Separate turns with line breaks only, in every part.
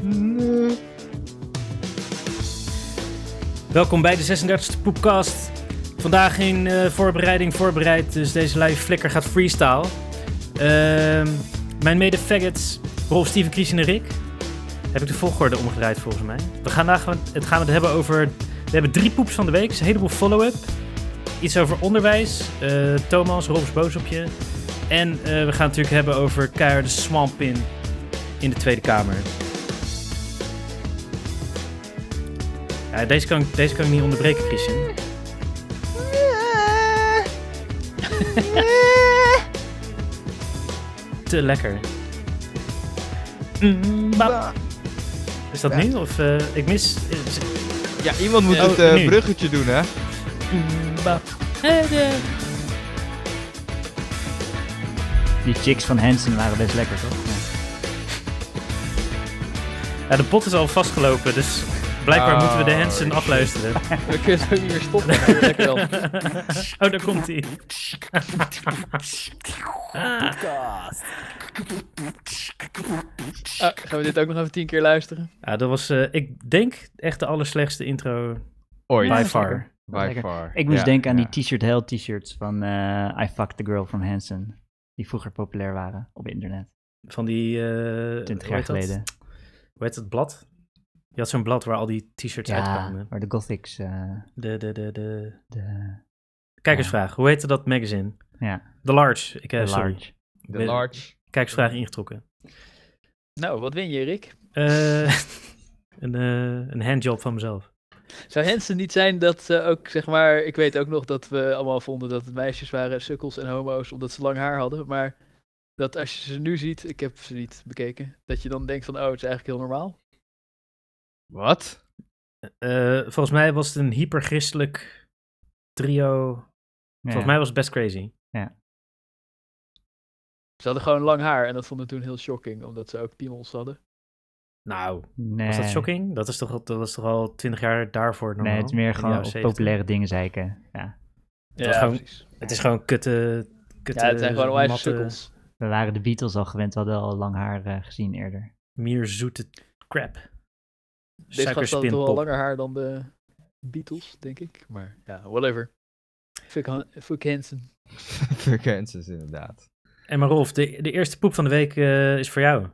Nee.
Welkom bij de 36e Poepcast. Vandaag in eh, voorbereiding voorbereid, dus deze live flikker gaat freestyle. Ehm, mijn mede-faggots, Rolf, Steven, Christian en Rick. Heb ik de volgorde omgedraaid volgens mij. We gaan vandaag het, gaan we het hebben over... We hebben drie poeps van de week, dus een heleboel follow-up. Iets over onderwijs. Eh, Thomas, Rolf is boos op je. En eh, we gaan het natuurlijk hebben over keiharde swamp in, in de Tweede Kamer. Ja, Eh, deze, kan, ik- deze kan ik niet onderbreken, Christian. Te lekker. Mm, bap. Is dat
Ja.
nu? Of eh, ik mis. is-
Ja, iemand moet
Oh,
het eh,
nu.
bruggetje doen, hè?
Mm, bap.
Die chicks van Hansen waren best lekker, toch? Ja.
Ja, de pot is al vastgelopen, dus blijkbaar
Oh,
moeten we de Hansen afluisteren.
We kunnen het ook niet meer stoppen. maar lekker wel.
Oh, daar komt hij.
Ah, gaan we dit ook nog even tien keer luisteren?
Ja, dat was, eh, ik denk, echt de allerslechtste intro
Ooit.
by
is
far.
lekker.
By
Lekker.
far.
Ik moest
Ja,
denken aan
ja.
die t-shirt hell t-shirts van eh, I fucked the girl from Hansen. Die vroeger populair waren op internet.
Van die... eh hoe
20 jaar
heet dat?
geleden.
Hoe heet dat blad? Je had zo'n blad waar al die t-shirts
Ja,
uitkwamen.
waar de gothics... eh,
De, de, de, de...
de,
Kijkersvraag, hoe heette dat magazine?
ja,
The Large. Ik, eh,
de
sorry.
large.
Ik
The
ben-
large.
Kijkersvraag ingetrokken.
Nou, wat win je, Rick?
Eh, een, eh, een handjob van mezelf.
Zou Hensen niet zijn dat ze ook, zeg maar... Ik weet ook nog dat we allemaal vonden dat het meisjes waren sukkels en homo's, omdat ze lang haar hadden. Maar dat als je ze nu ziet, ik heb ze niet bekeken, dat je dan denkt van, oh, het is eigenlijk heel normaal.
Wat?
Eh, volgens mij was het een hyperchristelijk trio. Volgens mij was het best crazy.
Ze hadden gewoon lang haar en dat vonden we toen heel shocking, omdat ze ook piemels hadden.
Nou,
nee.
was dat shocking? Dat is toch, al- dat was toch al twintig jaar daarvoor normaal?
Nee, het is meer
In de
gewoon
jaren
op
70.
populaire dingen zeiken. Ja.
Ja, gewoon-
precies.
Het is gewoon kutte... kutte
Ja, het zijn gewoon onwijs
matte,
sukkels.
We waren de Beatles al gewend, we hadden al lang haar eh, gezien eerder.
Meer zoete crap.
Deze gast had toch
Suikerspinpop.
wel langer haar dan de Beatles, denk ik. Maar ja, whatever. Fuck, Han- fuck Hansen.
Verkenses, inderdaad.
En maar Rolf, de, de eerste poep van de week eh, is voor jou.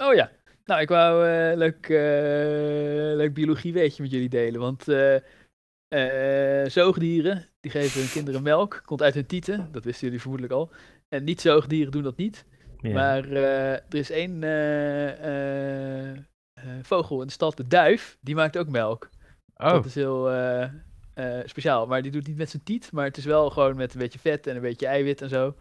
Oh ja. Nou, ik wou eh, leuk, eh, leuk biologie weetje met jullie delen. Want eh, eh, zoogdieren, die geven hun kinderen melk. Komt uit hun tieten. Dat wisten jullie vermoedelijk al. En niet-zoogdieren doen dat niet.
Ja.
Maar eh, er is één eh, eh, eh, vogel in de stad, de duif, die maakt ook melk.
Oh,
Dat is heel eh, eh, speciaal. Maar die doet niet met zijn tiet, maar het is wel gewoon met een beetje vet en een beetje eiwit en zo.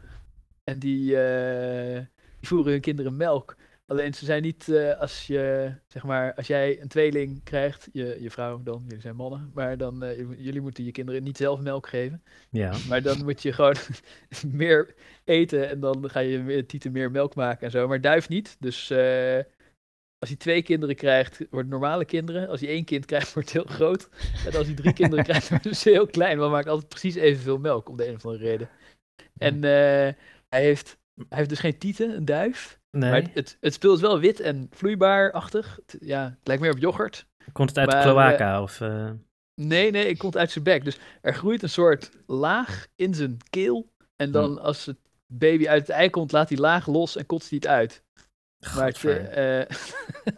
En die, eh, die voeren hun kinderen melk. Alleen ze zijn niet, eh, als, je, zeg maar, als jij een tweeling krijgt, je, je vrouw dan, jullie zijn mannen, maar dan, eh, je- jullie moeten je kinderen niet zelf melk geven.
ja.
Maar dan moet je gewoon meer eten en dan ga je meer- tieten meer melk maken en zo. Maar duif niet. Dus eh, als hij twee kinderen krijgt, worden normale kinderen. Als hij één kind krijgt, wordt het heel groot. En als hij drie kinderen krijgt, wordt het dus heel klein. Maar maakt altijd precies evenveel melk, om de een of andere reden. En eh, hij, heeft, hij heeft dus geen tieten, een duif.
Nee,
Maar het, het, het spul is wel wit en vloeibaarachtig. Het- Ja, het lijkt meer op yoghurt.
komt het uit de
maar,
cloaca? Of, eh,
Nee, nee, het komt uit zijn bek. Dus er groeit een soort laag in zijn keel. En dan als het baby uit het ei komt, laat die laag los en kotst die het uit. Maar het,
Godver.
eh, eh,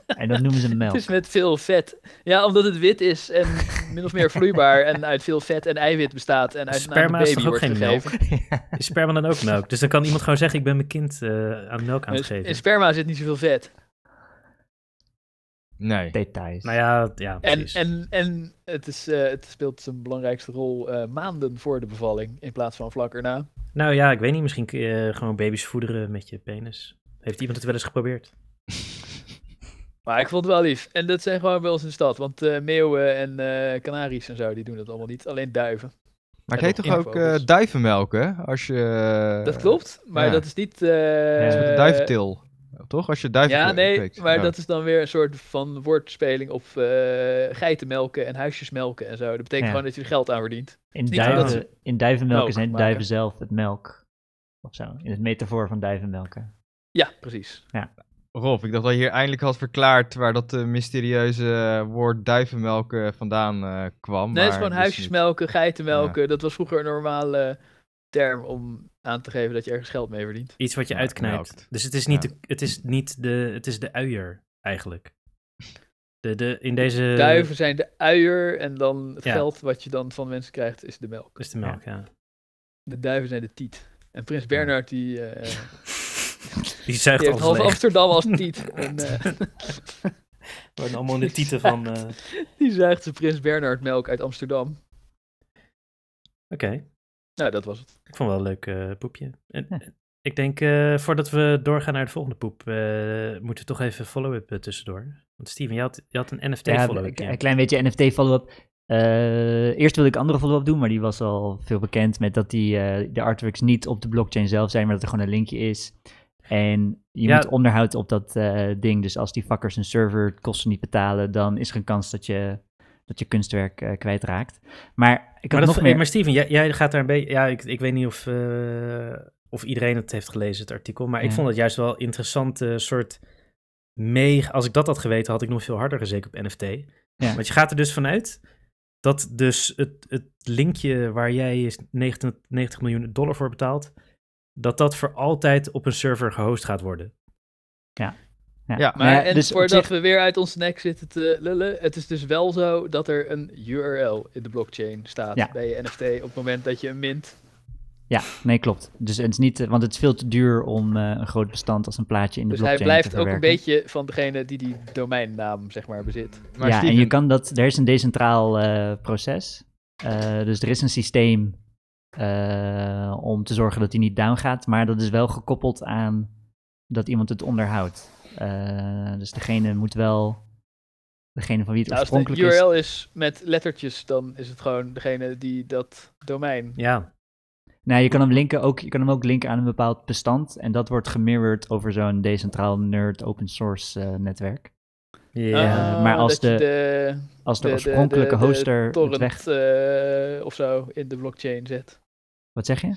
En dat noemen ze melk.
het is met veel vet. Ja, omdat het wit is en min of meer vloeibaar. En uit veel vet en eiwit bestaat. En uit
Sperma
aan de
is
baby
toch ook
wordt
geen
gegeven.
Is sperma dan ook melk? Dus dan kan iemand gewoon zeggen, ik ben mijn kind eh, aan melk aan het
In,
geven.
in sperma zit niet zoveel vet.
nee.
Details.
Nou ja, ja
En,
precies.
en, en het, is, eh, het speelt zijn belangrijkste rol eh, maanden voor de bevalling. In plaats van vlak erna.
Nou ja, ik weet niet, misschien eh, gewoon baby's voederen met je penis. Heeft iemand het wel eens geprobeerd?
Maar ik vond het wel lief. En dat zijn gewoon bij ons in de stad. Want eh, meeuwen en eh kanaries en zo, die doen dat allemaal niet. Alleen duiven.
Maar ik
Ja,
heet
nog
toch ook
invogels.
eh, duivenmelk, hè? Als je... eh,
dat klopt, maar
ja.
dat is niet... eh,
Dat is met een duiventil. Toch? Als je duiven
Ja, nee,
kweekt.
maar
Oh.
dat is dan weer een soort van woordspeling op eh, geitenmelken en huisjesmelken en zo. Dat betekent
Ja.
gewoon dat je er geld aan verdient.
In,
Niet omdat
duiven, in duivenmelken
melk
zijn
maken.
duiven zelf het melk. Of zo. In het metafoor van duivenmelken.
Ja, precies.
Rolf, ik dacht dat je hier eindelijk had verklaard waar dat eh, mysterieuze eh, woord duivenmelk eh, vandaan eh, kwam.
Nee, het
maar
is gewoon
dus niet.
huisjesmelken, geitenmelken. Dat was vroeger een normale term om aan te geven dat je ergens geld mee verdient.
Iets wat je
Ja,
uitknijpt.
melkt.
Dus het is niet,
Ja.
de, het is niet de, het is de uier eigenlijk. De, de, in deze
Duiven zijn de uier en dan het
Eh, ja.
geld wat je dan van mensen krijgt is de melk.
is de melk, ja.
De duiven zijn de tiet. En prins Bernhard die, eh,
Die zuigt
die
alles
heeft half
leeg.
Amsterdam als tiet. En, eh,
Worden allemaal in de tieten van... eh, Oké.
die zuigt de prins Bernhard melk uit Amsterdam. Nou, dat was het.
Ik vond wel een leuk eh, poepje. En,
Ja.
en Ik denk, eh, voordat we doorgaan naar de volgende poep, eh, moeten we toch even follow-up eh, tussendoor. Want Steven, je had, je had een
Ja,
NFT-follow-up.
een klein beetje NFT follow-up. Eh, eerst wilde ik een andere follow-up doen, maar die was al veel bekend met dat die, eh, de artworks niet op de blockchain zelf zijn, maar dat er gewoon een linkje is. En je
Ja.
moet onderhoud op dat eh, ding. Dus als die fuckers een serverkosten niet betalen, dan is er een kans dat je, dat je kunstwerk eh, kwijtraakt. Maar ik had
Maar, dat,
nog
nee,
meer...
maar Steven, jij, jij gaat daar een beetje. Ja, ik, ik weet niet of, eh, of iedereen het heeft gelezen, het artikel. Maar ik
Ja.
vond het juist wel interessant eh, soort mega. Als ik dat had geweten, had ik nog veel harder gezeken op NFT.
Ja.
Want je gaat er dus vanuit dat dus het, het linkje waar jij is 90, 90 miljoen dollar voor betaalt, dat dat voor altijd op een server gehost gaat worden.
Ja,
Maar
Nou ja,
en
dus op
voordat
zich-
we weer uit ons nek zitten te lullen, het is dus wel zo dat er een URL in de blockchain staat
Ja.
bij je NFT op het moment dat je hem mint. Dus
Ja, nee, klopt. Dus het is niet, eh, want het is veel te duur om eh, een groot bestand als een plaatje in de
Dus hij
blockchain
blijft
te
ook een
verwerken.
beetje van degene die die domeinnaam zeg maar bezit.
Maar
ja,
Steven,
en je kan dat, er is een decentraal eh, proces. Eh, dus er is een systeem eh, om te zorgen dat die niet down gaat, maar dat is wel gekoppeld aan dat iemand het onderhoudt. Eh, dus degene moet wel, degene van wie het
Nou, als de
oorspronkelijk is.
URL is met lettertjes, dan is het gewoon degene die dat domein.
Ja,
Nou, je kan hem linken ook, je kan hem ook linken aan een bepaald bestand en dat wordt gemirrored over zo'n decentraal nerd open source eh, netwerk.
ja.
Ah,
maar als
dat je
de-
de,
Als de,
de- de-
oorspronkelijke
de- de
hoster het weg-
torrent eh, of zo in de blockchain zet.
Wat zeg je?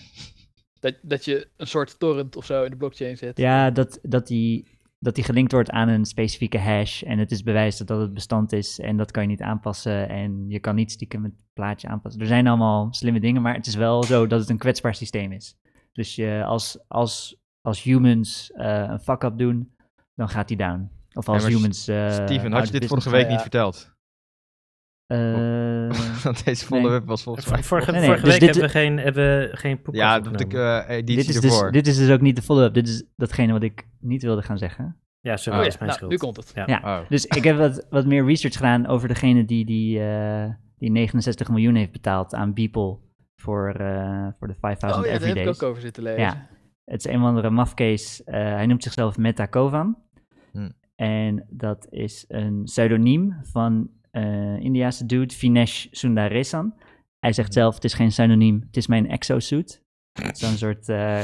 Dat, dat je een soort torrent of zo in de blockchain zet.
Ja, dat, dat, die, dat die gelinkt wordt aan een specifieke hash. En het is bewijs dat dat het bestand is. En dat kan je niet aanpassen. En je kan niet stiekem het plaatje aanpassen. Er zijn allemaal slimme dingen, maar het is wel zo dat het een kwetsbaar systeem is. Dus je, als, als, als humans eh, een fuck-up doen, dan gaat die down. Of als
maar
humans. eh,
Steven,
out
had je
of
dit
business-
vorige week
ja.
niet verteld?
Eh,
Want deze follow-up was volgens mij...
Vorige, vorige
Nee, nee, dus
week
dit-
hebben we geen, hebben we geen podcast
Ja, dat
opgenomen.
ik eh editie
dit, is dus,
ervoor.
dit is dus ook niet de follow-up. Dit is datgene wat ik niet wilde gaan zeggen.
ja,
Oh
sorry,
ja,
dat is mijn
nou,
schuld.
nu komt het.
Oh.
Dus ik heb wat, wat meer research gedaan over degene die, die, eh, die 69 miljoen heeft betaald aan Beeple voor, eh, voor de 5000
Oh ja, daar heb ik
everydays.
ook over zitten lezen.
Ja. Het is een of andere mafcase. Eh, hij noemt zichzelf Meta Kovan.
Hm.
En dat is een pseudoniem van eh Indiaanse dude Vinesh Sundaresan. Hij zegt zelf, het is geen pseudoniem, het is mijn exosuit. Zo'n soort, eh,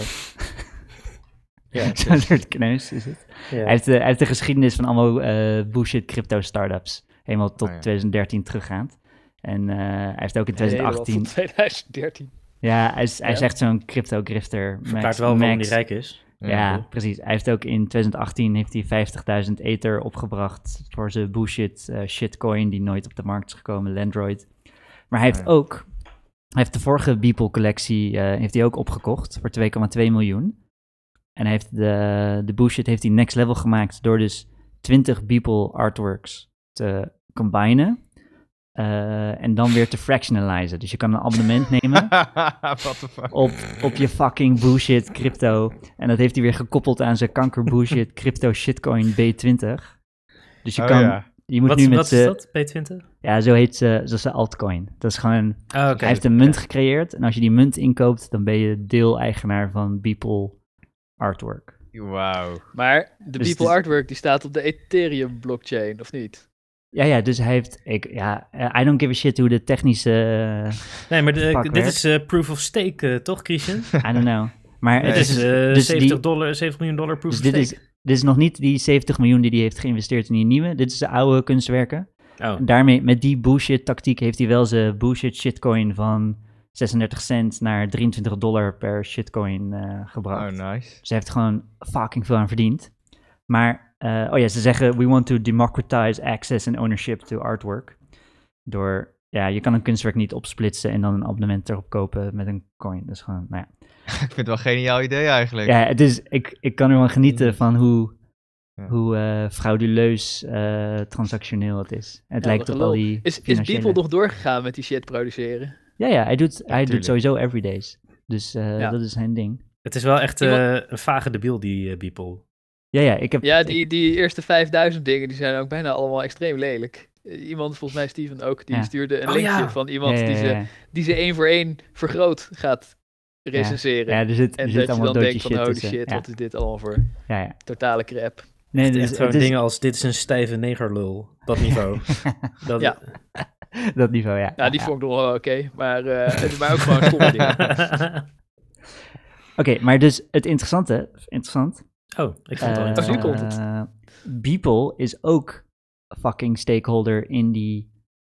Ja,
zo'n soort kneus is het.
Ja.
Hij heeft, de, hij heeft de geschiedenis van allemaal eh bullshit crypto startups. Helemaal tot
Oh ja.
2013 teruggaand. En eh, hij heeft ook in
Nederland
2018.
tot 2013.
Ja, hij is, hij is
Ja.
echt zo'n crypto grifter.
Verklaart wel waarom die rijk is.
Ja, precies. Hij heeft ook in 2018 heeft hij 50.000 ether opgebracht voor zijn bullshit eh, shitcoin die nooit op de markt is gekomen, Landroid. Maar hij heeft
Ja.
ook, hij heeft de vorige Beeple collectie eh, heeft hij ook opgekocht voor 2,2 miljoen. En hij heeft de, de bullshit heeft hij next level gemaakt door dus 20 Beeple artworks te combinen. eh, en dan weer te fractionalizen. Dus je kan een abonnement nemen
What the fuck?
op, op je fucking bullshit crypto. En dat heeft hij weer gekoppeld aan zijn kanker bullshit crypto shitcoin B20. Dus je
Oh
kan,
ja.
je moet
Wat,
nu met eh,
wat is
ze,
dat, P20?
ja, zo heet ze, zo zijn altcoin. Dat is gewoon,
Ah, oké.
hij heeft een munt gecreëerd en als je die munt inkoopt, dan ben je deel-eigenaar van Beeple Artwork.
Wauw.
Maar de
Dus het
People
is-
Artwork die staat op de Ethereum blockchain, of niet?
Ja, ja, dus hij heeft, ik, ja, eh, I don't give a shit hoe de technische, eh,
Nee, maar de-
Pak
dit
werk.
is eh, proof of stake, eh, toch, Christian?
I don't know. Maar
Nee,
het
Dit is
is,
eh,
dus
70,
die-
dollar, 70 miljoen dollar proof
dus
of
dit
stake.
is, dit is nog niet die 70 miljoen die hij heeft geïnvesteerd in die nieuwe. Dit is de oude kunstwerken.
Oh,
En daarmee, met die bullshit tactiek heeft hij wel zijn bullshit shitcoin van 36 cent naar 23 dollar per shitcoin eh,
Oh,
gebracht.
nice.
Dus hij heeft gewoon fucking veel aan verdiend. Maar Eh, oh ja, ze zeggen, we want to democratize access and ownership to artwork. Door, ja, je kan een kunstwerk niet opsplitsen en dan een abonnement erop kopen met een coin. Dat is gewoon, nou ja.
Ik vind het wel een geniaal idee eigenlijk.
Ja, het is, ik, ik kan ervan
Mm.
genieten van hoe,
Ja.
hoe eh, frauduleus eh, transactioneel het is. Het
Ja,
lijkt
wat
op
een
al
lul.
die
Is, is
financiële-
Beeple nog doorgegaan met die shit produceren?
Ja, ja, hij doet, hij doet
tuurlijk.
sowieso everydays. Dus eh,
Ja.
dat is zijn ding.
Het is wel echt eh,
Iemand-
een vage debiel, die eh Beeple.
Ja, ja, ik heb...
Ja,
ik-
die, die eerste 5000 dingen die zijn ook bijna allemaal extreem lelijk. Eh, Iemand, volgens mij Steven ook, die
Ja.
stuurde een
Oh,
linkje
ja.
van iemand
ja, ja,
die ze
ja.
die ze één voor één vergroot gaat recenseren.
Ja, er zit,
En
er
dat
zit
je
allemaal
dan
dodgy
denkt
shit
van, holy
tussen.
shit,
Ja,
wat is dit allemaal voor
ja, ja.
totale crap.
Nee, dus
echt gewoon
het is-
dingen als, dit is een stijve negerlul. Dat niveau. dat,
Ja.
dat niveau, ja.
Ja, Nou, die
Ja.
vond ik nog wel oké, maar, eh, maar ook gewoon stomme dingen.
Oké, maar dus het interessante, interessant.
oh, ik vond het al
eh,
nu
interessant.
komt het.
eh, Beeple is ook fucking stakeholder in die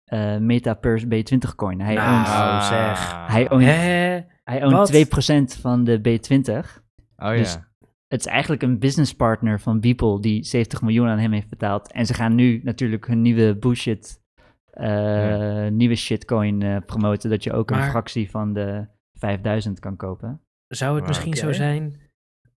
eh MetaPurse B20 coin. Hij
Nou.
owns,
Ah. zeg.
hij ownt,
Hè?
hij ownt
wat?
2% van de B20.
Oh
Dus-
ja.
Het is eigenlijk een businesspartner van Beeple die 70 miljoen aan hem heeft betaald. En ze gaan nu natuurlijk hun nieuwe bullshit, eh, nieuwe shitcoin eh, promoten. Dat je ook een
Maar-
fractie van de 5000 kan kopen.
Zou het
Wow.
misschien zo
Oké.
zijn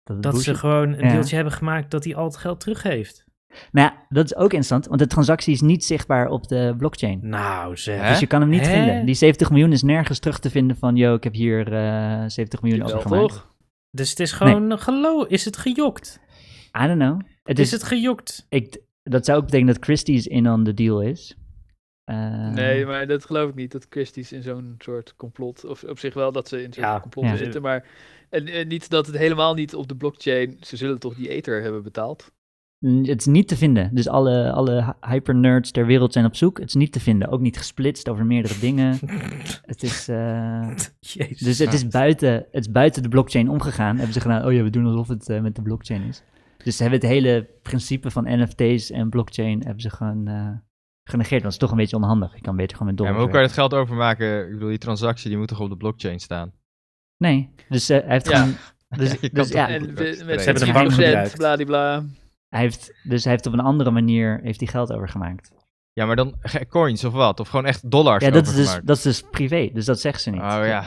Dat, is
dat
bullshit.
ze gewoon een
Ja.
deeltje hebben gemaakt dat hij al het geld teruggeeft?
Maar ja, dat is ook interessant, want de transactie is niet zichtbaar op de blockchain.
Nou zeg.
Hè?
Dus je kan hem niet
Hè?
vinden. Die 70 miljoen is nergens terug te vinden van, yo, ik heb hier eh 70 miljoen
Wel,
overgemaakt.
toch?
Dus het is gewoon gelo. Is het gejokt?
I don't know. Het
is
is,
het gejokt?
ik, dat zou ook betekenen dat Christie's in on the deal is. Eh,
Nee, maar dat geloof ik niet, dat Christie's in zo'n soort complot, of op zich wel dat ze in zo'n
Ja,
complot
ja.
zitten, maar en, en niet dat het helemaal niet op de blockchain, ze zullen toch die ether hebben betaald?
N- Het is niet te vinden. Dus alle, alle hy- hypernerds ter wereld zijn op zoek. Het is niet te vinden. Ook niet gesplitst over meerdere dingen. Het is, eh,
Jezus.
dus het is, buiten, het is buiten de blockchain omgegaan. Hebben ze gedaan, oh ja, we doen alsof het eh, met de blockchain is. Dus ze hebben het hele principe van NFT's en blockchain hebben ze gewoon eh, genegeerd. Want het is toch een beetje onhandig. Je kan beter gewoon met
Ja,
dollar.
maar hoe kan je het geld overmaken? Ik bedoel, die transactie die moet toch op de blockchain staan?
Nee, dus eh, hij heeft
Ja.
gewoon... Dus,
Je kan
dus
toch
ja,
niet-
en
dat
we-
is te
met
reden.
Ze hebben de bank
10%,
gebruikt.
bladibla.
hij heeft, dus hij heeft op een andere manier heeft hij geld overgemaakt.
Ja, maar dan ge- coins of wat? Of gewoon echt dollars
Ja, dat is, dus,
overgemaakt?
dat is dus privé. Dus dat zegt ze niet.
Oh ja.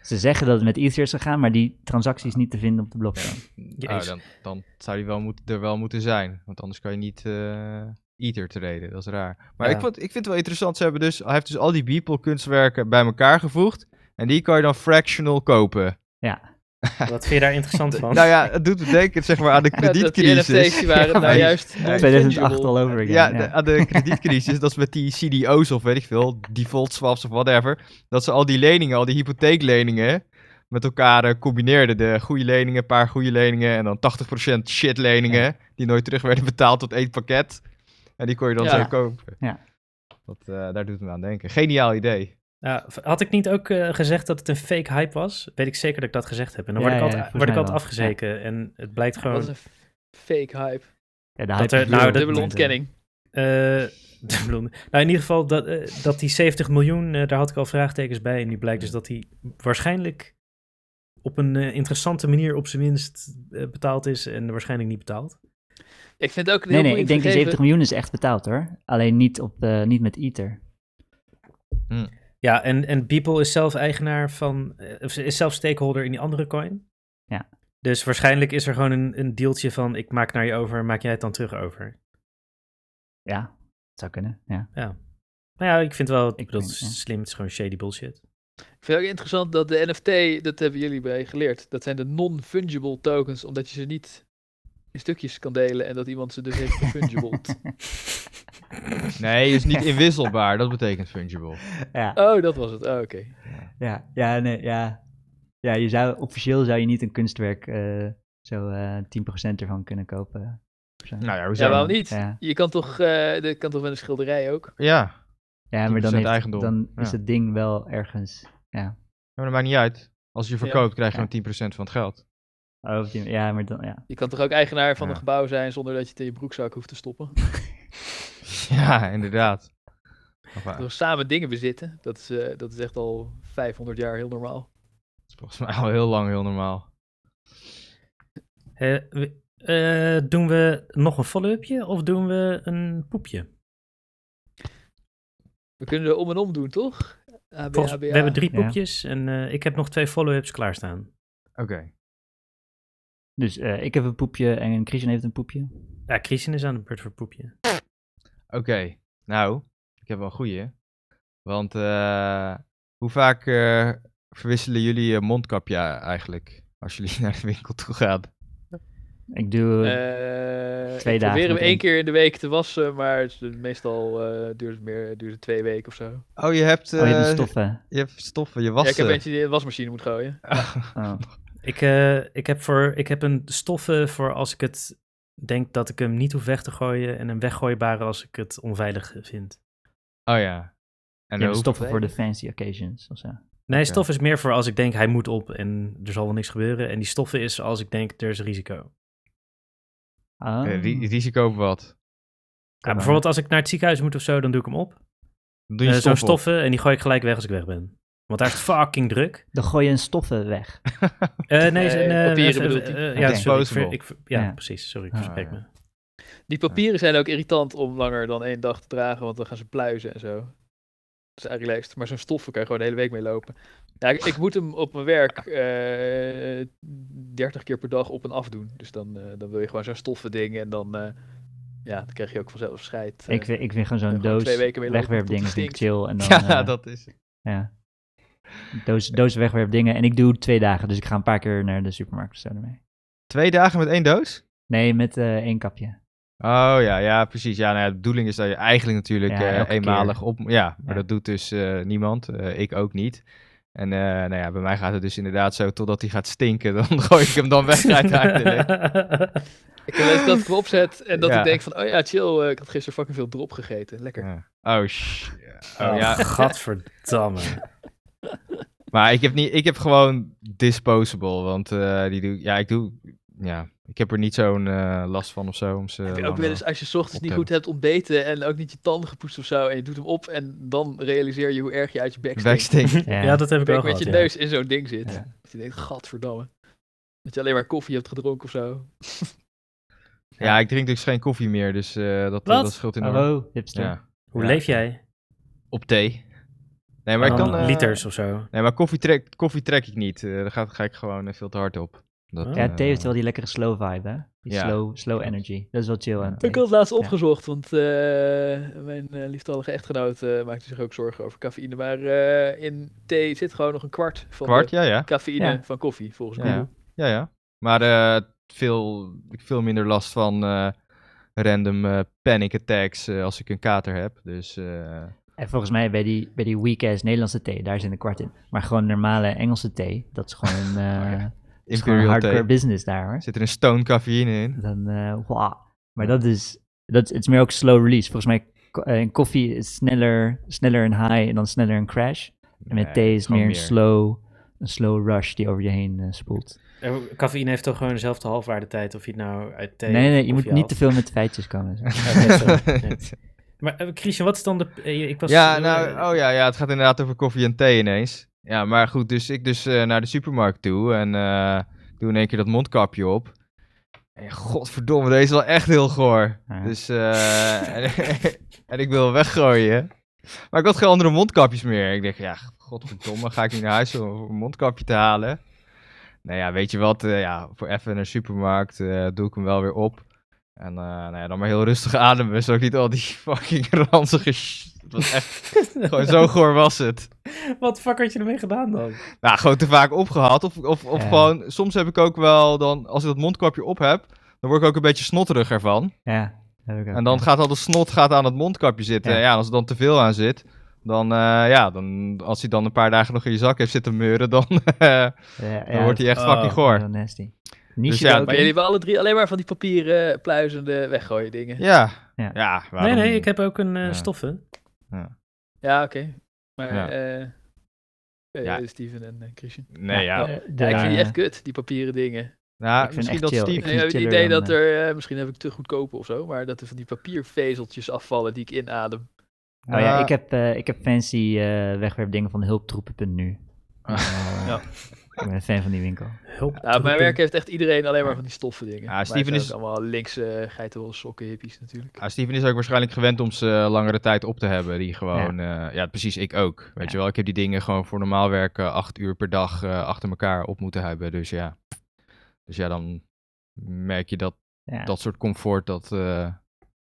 Ze zeggen dat het met Ether is gegaan, maar die transactie is niet te vinden op de blockchain.
Oh, dan, dan zou die wel moet, er wel moeten zijn. Want anders kan je niet eh Ether treden. Dat is raar. Maar
Ja.
ik, vond, ik vind het wel interessant. Ze hebben dus, hij heeft dus al die Beeple kunstwerken bij elkaar gevoegd. En die kan je dan fractional kopen.
Oh,
Wat vind je daar interessant van?
Nou ja, het doet me denken zeg maar, aan de
Ja, dat die NFT's
kredietcrisis.
die waren
Ja,
nou
maar-
juist
2008
non-fungible.
al over again.
Ja,
Ja,
de- aan de kredietcrisis, dat is met die CDO's of weet ik veel, default swaps of whatever, dat ze al die leningen, al die hypotheekleningen, met elkaar eh, combineerden. De goede leningen, een paar goede leningen en dan 80% shitleningen, die nooit terug werden betaald tot één pakket. En die kon je dan
Ja.
zo kopen.
Ja.
Dat, eh, daar doet het me aan denken. Geniaal idee.
Ja, v- had ik niet ook eh, gezegd dat het een fake hype was? Weet ik zeker dat ik dat gezegd heb. En dan
Ja,
word ik
ja,
altijd,
volgens
word ik
mij
altijd
wel.
afgezeken. En het blijkt gewoon...
Dat is een f- fake
Nou,
hype.
Ja, de
dat
hype
er-
is
nou,
real.
dat-
Dubbele ontkenning.
eh, de blonde. nou, in ieder geval dat, eh, dat die 70 miljoen, eh, daar had ik al vraagtekens bij. En nu blijkt dus dat die waarschijnlijk op een eh, interessante manier op zijn minst eh, betaald is en waarschijnlijk niet betaald.
Ik vind het ook een
Nee,
heel
nee, ik
boeiend
denk die
gegeven.
70 miljoen is echt betaald hoor. Alleen niet, op, eh, niet met Ether.
Ja, en, en Beeple is zelf eigenaar van, eh, of ze is zelf stakeholder in die andere coin.
Ja.
Dus waarschijnlijk is er gewoon een, een deeltje van ik maak naar je over, maak jij het dan terug over.
Ja, dat zou kunnen. Ja.
Nou ja, ik vind wel, ik bedoel,
weet
het is
het, ja.
slim, het is gewoon shady bullshit.
Ik vind het ook interessant dat de NFT, dat hebben jullie bij geleerd, dat zijn de non-fungible tokens, omdat je ze niet in stukjes kan delen en dat iemand ze dus heeft gefungibled.
Nee, is niet inwisselbaar, dat betekent fungible.
ja,
oh, dat was het. Oh, oké.
ja, ja, nee, ja. Ja, je zou, officieel zou je niet een kunstwerk eh, zo eh 10% ervan kunnen kopen. Zo.
Nou ja, we
Ja,
zijn...
waarom niet?
Ja,
Je kan toch, eh dat kan toch met een schilderij ook?
Ja,
ja maar dan,
10%
heeft-
eigendom.
dan is
Ja.
het ding wel ergens...
maar dat maakt niet uit. Als je
Ja.
verkoopt, krijg je
Ja.
gewoon 10% van het geld.
Oh, op die- ja, maar dan, ja.
Je kan toch ook eigenaar van
Ja.
een gebouw zijn zonder dat je het in je broekzak hoeft te stoppen?
Ja, inderdaad. Of, eh,
Door samen dingen bezitten, dat is, eh, dat is echt al 500 jaar heel normaal.
Dat is volgens mij al heel lang heel normaal.
Eh, we- eh, doen we nog een follow-upje of doen we een poepje?
We kunnen er om en om doen, toch? ABA,
Volgens-
ABA.
we hebben drie
Ja.
poepjes en eh, ik heb nog twee follow-ups klaarstaan.
Oké.
Dus eh, ik heb een poepje en Christian heeft een poepje.
Ja, Christian is aan de beurt voor poepje.
Oké, nou, ik heb wel een goeie. Want eh, hoe vaak eh, verwisselen jullie je mondkapje eigenlijk? Als jullie naar de winkel toe gaan.
Ik doe...
Eh,
Twee
ik
dagen
probeer hem
met
één
één.
keer in de week te wassen, maar het is- meestal eh, duurt het meer duurt het twee weken of zo.
Oh, je hebt,
oh, je hebt
eh,
een stoffen.
je hebt stoffen, je
Ja, ik
wassen.
heb eentje die in de wasmachine moet gooien.
Oh.
Ik, eh, ik, heb voor, ik heb een stoffen voor als ik het denk dat ik hem niet hoef weg te gooien en een weggooibare als ik het onveilig vind.
Oh ja. En
Je
hoe-
hebt stoffen voor de fancy occasions of zo.
Nee,
Oké.
stof is meer voor als ik denk hij moet op en er zal wel niks gebeuren. En die stoffen is als ik denk er is risico.
Ah.
Eh, ri- risico op wat?
Ja, bijvoorbeeld als ik naar het ziekenhuis moet of zo, dan doe ik hem op.
Dan Doe je
Eh,
stof
Zo'n
op.
stoffen en die gooi ik gelijk weg als ik weg ben. Want daar is het fucking druk.
Dan gooi je een stoffen weg.
Eh, nee, ze-
Nee,
eh,
papieren
eh,
bedoelt
eh,
hij.
eh,
Oké.
ja, sorry, ik ver-
Disposable.
ik ver- ja,
Ja.
precies. Sorry, ik
Ah,
verspreek
ja.
me.
Die papieren zijn ook irritant om langer dan één dag te dragen, want dan gaan ze pluizen en zo. Dat is eigenlijk lijst. Maar zo'n stoffen kan je gewoon de hele week mee lopen. Ja, ik, ik moet hem op mijn werk eh 30 keer per dag op en af doen. Dus dan, eh, dan wil je gewoon zo'n stoffen ding en dan, eh, ja, dan krijg je ook vanzelf scheid. eh.
ik, vind, ik vind gewoon zo'n
eh, gewoon
doos
twee weken mee lopen
wegwerpdingen
tot het
vind ik chill. En dan,
Ja,
eh,
dat is het.
ja. Doos, doos wegwerpdingen. En ik doe twee dagen, dus ik ga een paar keer naar de supermarkt of zo ermee.
Twee dagen met één doos?
Nee, met eh, één kapje.
Oh ja, ja, precies. Ja, nou ja, de bedoeling is dat je eigenlijk natuurlijk
Ja,
eh,
elke keer.
eenmalig op... Ja, maar
Ja.
dat doet dus eh, niemand. Eh, ik ook niet. En eh, nou ja, bij mij gaat het dus inderdaad zo totdat hij gaat stinken. Dan gooi ik hem dan weg uiteindelijk.
Ik heb wel eens dat ik hem opzet en dat
Ja.
ik denk van, oh ja, chill, eh, ik had gisteren fucking veel drop gegeten. Lekker.
Ja. Oh, sh-
Oh,
oh ja.
Gadverdamme.
Maar ik heb, niet, ik heb gewoon disposable, want eh, die doe... Ja, ik doe... Ja, ik heb er niet zo'n eh, last van of zo. Om ze eh,
Heb je
lang,
ook wel eens, als je 's ochtends niet
optellen.
goed hebt ontbeten en ook niet je tanden gepoetst of zo, en je doet hem op en dan realiseer je hoe erg je uit je bek
eh,
stinkt.
wegstinken.
ja.
Ja.
dat heb ik
Dat
wel
je met
gehad.
je
ja.
neus in zo'n ding zit.
Ja.
Dat je denkt, gadverdamme. Dat je alleen maar koffie hebt gedronken of zo.
Ja, ik drink dus geen koffie meer, dus eh, dat,
Wat?
dat scheelt enorm.
Hallo, Oh, hipster.
Ja,
Hoe
Ja.
leef jij?
op thee. Nee, maar ik
Dan
kan... eh,
liters of zo.
Nee, maar koffie trek, koffie trek ik niet. Eh, daar ga, ga ik gewoon eh, veel te hard op. Dat,
Ja,
eh,
thee heeft wel die lekkere slow vibe, hè? Die
Ja.
slow, slow energy. Dat is wel chill aan
Ja.
thee.
Ik had het laatst opgezocht, want eh, mijn eh, lieftallige echtgenoot eh, maakte zich ook zorgen over cafeïne. Maar eh, in thee zit gewoon nog een kwart van
Kwart,
de
ja, ja.
cafeïne
Ja.
van koffie, volgens
Ja,
mij.
ja. ja, ja. Maar eh, veel, ik veel minder last van eh, random eh, panic attacks eh, als ik een kater heb. Dus eh,
En volgens mij bij die, bij die weak-ass Nederlandse thee, daar zit een kwart in. Maar gewoon normale Engelse thee, dat is gewoon, eh
Oh ja.
dat is gewoon
imperial
hardcore
thee.
business daar, hoor.
Zit er een stone cafeïne in?
Dan, eh wauw. Maar dat is, dat, is- het is meer ook slow release. Volgens mij ko- eh, in koffie is sneller, sneller een high en dan sneller een crash. En met
Nee,
thee is
gewoon
meer een slow, een slow rush die over je heen eh, spoelt.
Eh, Cafeïne heeft toch gewoon dezelfde halfwaardetijd of je het nou uit thee
Nee, nee,
of
je moet
koffie
niet te
haalt?
veel met de feitjes komen.
Oké, sorry. Nee. Maar eh, Christian, wat is dan de... eh, ik was,
Ja,
eh,
nou, oh ja, ja, het gaat inderdaad over koffie en thee ineens. Ja, maar goed, dus ik dus eh, naar de supermarkt toe en eh, doe in één keer dat mondkapje op. En godverdomme, deze is wel echt heel goor.
Ja.
Dus, eh, en, en ik wil hem weggooien. Maar ik had geen andere mondkapjes meer. Ik dacht, ja, godverdomme, ga ik nu naar huis om een mondkapje te halen? Nou ja, weet je wat, eh, ja, voor even naar de supermarkt eh, doe ik hem wel weer op. En eh, nou ja, dan maar heel rustig ademen, zodat ik niet al die fucking ranzige... sh- Het was echt gewoon zo goor was het.
Wat de fuck had je ermee gedaan dan?
Nou, gewoon te vaak opgehaald. Of, of, of
Ja.
gewoon, soms heb ik ook wel dan, als ik dat mondkapje op heb, dan word ik ook een beetje snotterig ervan.
ja, dat heb ik ook.
En dan gaat al de snot gaat aan het mondkapje zitten.
Ja.
En ja, als er dan te veel aan zit, dan, eh, ja, dan, als hij dan een paar dagen nog in je zak heeft zitten meuren, dan, eh,
Ja, ja,
dan wordt hij echt
oh,
fucking goor.
Heel nasty. Niche
Dus ja,
ook in?
Maar jullie hebben alle drie alleen maar van die papieren eh, pluizende weggooien dingen. Ja,
Ja. Ja,
Ja.
waarom
Nee, nee,
niet?
ik heb ook een eh,
Ja.
stoffen.
oké. Maar
Ja.
eh, eh,
Ja.
Steven en eh, Christian.
Nee, ja.
Ja,
de-
Ja, ik vind die echt kut, die papieren dingen.
Nou,
Ik vind
misschien
echt
dat
chill.
Steve...
Ik
En
vind
ik
het
heb het
chiller
idee
dan,
dat er, eh, misschien heb ik te goedkoop of zo, maar dat er van die papiervezeltjes afvallen die ik inadem. Nou,
Oh ja,
Ah,
ik heb, eh, ik heb fancy eh wegwerpdingen van hulptroepen.nu.
Ah.
Eh,
Ja.
Ik ben fan van die winkel.
Hulp.
Ja, op mijn
troepen.
werk heeft echt iedereen alleen maar van die stoffen dingen. Maar het
Steven
zijn ook
is-
allemaal linkse uh, geitenwolle sokken hippies natuurlijk.
Ah, Steven is ook waarschijnlijk gewend om ze eh, langere tijd op te hebben. Die gewoon, eh, ja, ja precies, ik ook. Weet
Ja.
je wel, ik heb die dingen gewoon voor normaal werken acht uur per dag eh, achter elkaar op moeten hebben. Dus ja. Dus ja, dan merk je dat
Ja.
dat soort comfort, dat eh,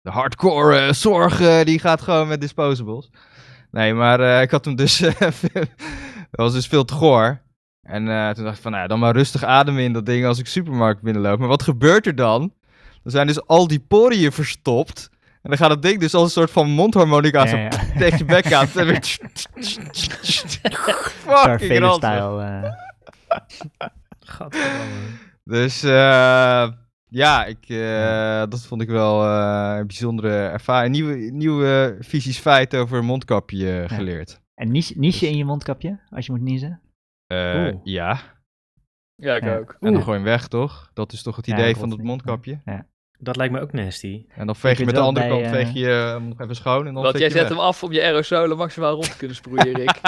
de hardcore eh, zorg, eh, die gaat gewoon met disposables. Nee, maar eh, ik had hem dus, eh, dat was dus veel te goor. En eh, toen dacht ik van, nou ja, dan maar rustig ademen in dat ding als ik supermarkt binnenloop. Maar wat gebeurt er dan? Er zijn dus al die poriën verstopt. En dan gaat dat ding dus als een soort van mondharmonica
Ja,
zo
ja.
tegen je bek aan. En weer
Darth
Fucking
Vader
ranzig.
style. eh.
Gadverdamme.
Dus eh, ja, ik, eh, dat vond ik wel eh, een bijzondere ervaring. Nieuwe, nieuwe visies feit over mondkapje eh,
Ja.
geleerd.
En niche,
Dus-
niche in je mondkapje, als je moet niezen.
Eh,
Oeh.
ja,
Ja, ik
Ja.
ook.
en dan
Oeh.
gooi je hem weg, toch? Dat is toch het
Ja,
idee
dat
van dat
klopt.
mondkapje?
Dat lijkt me ook nasty.
En dan veeg je
kunt
met de
wel
andere
bij,
kant
eh,
veeg je eh, hem nog even schoon. En dan
Want
zet
jij
je
zet
weg.
hem af om je aerosolen maximaal rond te kunnen sproeien, Rick.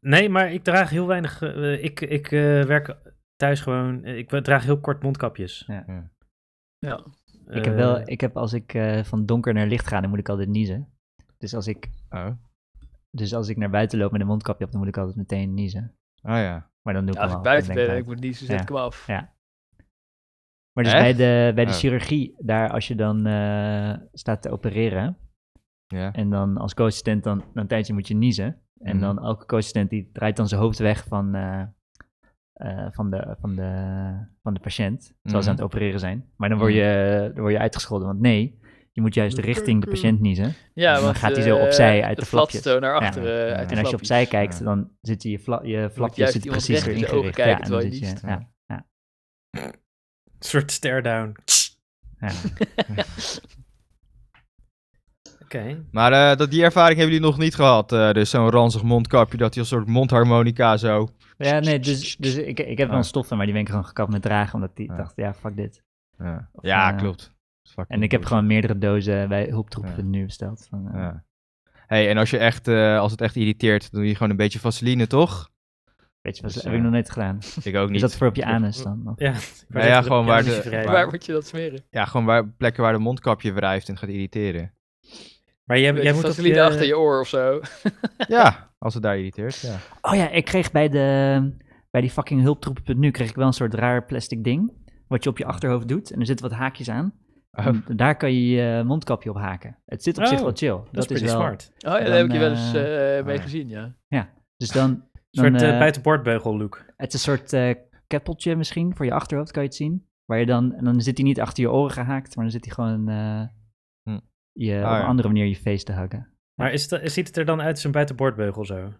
Nee, maar ik draag heel weinig. eh, ik ik eh, werk thuis gewoon. eh, ik draag heel kort mondkapjes. Eh,
ja.
Ik
Eh.
heb wel, ik heb als ik eh, van donker naar licht ga, dan moet ik altijd niezen. Dus als ik,
Oh.
dus als ik naar buiten loop met een mondkapje op, dan moet ik altijd meteen niezen.
oh ja.
Maar dan doe ik
Ja,
hem
als
al. dan
ik buiten
denk ik
ben en ik
uit.
moet niet, zo zet ik hem af.
Ja. Maar dus
Echt?
bij de, bij de
Oh.
chirurgie, daar als je dan eh, staat te opereren
Ja.
en dan als co-assistent dan, dan een tijdje moet je niezen. En
Mhm.
dan elke co-assistent die draait dan zijn hoofd weg van, eh, eh, van, de, van, de, van de patiënt, terwijl ze aan
Mhm.
het opereren zijn. Maar dan word je, eh, dan word je uitgescholden, want nee, je moet juist richting de patiënt niezen.
Ja,
Dan
want,
gaat hij zo
eh,
opzij uit de
flatstone
flapjes.
naar
Ja.
achteren. eh,
En
uit de
En als je
flapjes.
opzij kijkt,
Ja.
dan zit je, fla je flapje
juist
zit
iemand
precies
recht
erin
in de ogen
gericht.
kijken
en
terwijl je
zit
niest.
ja, ja,
soort stare down.
ja.
Oké.
Maar eh, dat, die ervaring hebben jullie nog niet gehad. eh, dus zo'n ranzig mondkapje, dat je een soort mondharmonica zo...
Ja, nee, dus, dus ik, ik heb wel een stof, maar die ben ik gewoon gekapt met dragen, omdat die
Ja.
dacht, ja, fuck dit.
Ja, ja
eh,
klopt. Fucking
En ik heb
bullshit.
gewoon meerdere dozen bij hulptroepen
Ja.
nu besteld. Van, eh,
Ja. Hey, en als, je echt, eh, als het echt irriteert, doe je gewoon een beetje vaseline, toch?
Weet je, wat
Dus,
heb
eh,
ik nog nooit gedaan.
Ik ook niet.
Is dat voor op je anus dan? Of-
Ja, ik wou
ja,
zeggen,
gewoon
ja,
waar
dat is
de-
je vrij.
waar-
Waar moet je dat smeren?
Ja, gewoon waar, plekken waar de mondkapje wrijft en gaat irriteren.
Maar jij, jij
Jij
moet eh, op
vaseline
je-
achter je oor of zo. Oh
ja, als het daar irriteert, ja.
Oh ja, ik kreeg bij, de, bij die fucking hulptroepen.nu kreeg ik wel een soort raar plastic ding, wat je op je achterhoofd doet. En er zitten wat haakjes aan.
Oh.
En daar kan je je eh, mondkapje op haken. Het zit op zich
Oh,
wel chill.
Dat is pretty
wel,
smart.
Oh ja, daar
Dan,
heb ik je wel eens
eh,
eh, mee
ja.
gezien, ja.
Dus dan,
Een
dan
soort eh,
eh,
buitenboordbeugel look.
het is een soort eh keppeltje misschien, voor je achterhoofd kan je het zien. Waar je dan, en dan zit hij niet achter je oren gehaakt, maar dan zit hij gewoon eh,
Hm.
je,
Ah,
op een
ja.
andere manier je face te hakken.
Maar is het, ziet het er dan uit als een buitenboordbeugel zo?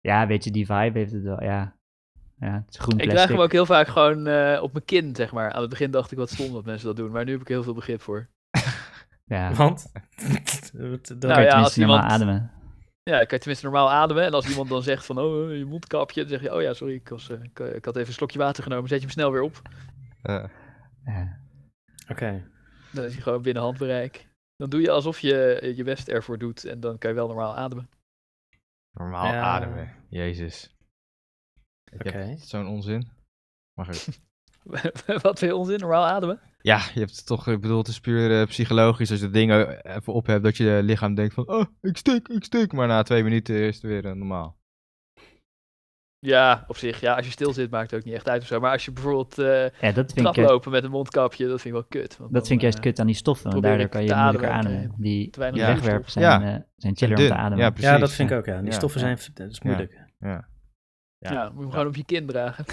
Ja, weet je, die vibe heeft het wel, ja. Ja, het is groen
Ik
plastic.
draag hem ook heel vaak gewoon eh, op mijn kin, zeg maar. Aan het begin dacht ik wat stom dat mensen dat doen, maar nu heb ik er heel veel begrip voor.
Ja, dan
Want? Dat-
Nou
kan je
ja,
tenminste
als
normaal
iemand-
ademen.
Ja, dan kan je tenminste normaal ademen. En als iemand dan zegt van, oh, eh, je mondkapje, dan zeg je, oh ja, sorry, ik, was, eh, ik, eh, ik had even een slokje water genomen. Zet je hem snel weer op.
Eh,
Ja.
Oké.
Dan is hij gewoon binnen handbereik. Dan doe je alsof je eh, je best ervoor doet en dan kan je wel normaal ademen.
normaal
Ja.
ademen. Jezus. Ik heb
Oké.
zo'n onzin. Maar goed.
Wat veel onzin, normaal ademen.
Ja, je hebt het toch, ik bedoel, het is puur eh, psychologisch. Als je dat ding eh, even op hebt, dat je lichaam denkt van, oh, ik stik, ik stik. Maar na twee minuten is het weer eh, normaal.
Ja, op zich. Ja, als je stil zit maakt het ook niet echt uit of zo. Maar als je bijvoorbeeld eh
Ja, dat vind ik,
trap
juist-
lopen met een mondkapje, dat vind ik wel kut. want
dat
dan,
vind ik juist
eh,
kut aan die stoffen, want
probeer
daardoor
ik
kan je
te
moeilijker
ademen,
ademen. Die,
te weinig
die
Ja.
wegwerp zijn,
Ja.
eh, zijn chiller om te
Dun.
ademen.
Ja, precies.
Ja, dat vind ik ook, ja. Die
Ja,
stoffen
ja.
zijn... Dat is moeilijk.
Ja, Oh moet je hem gewoon op je kin dragen.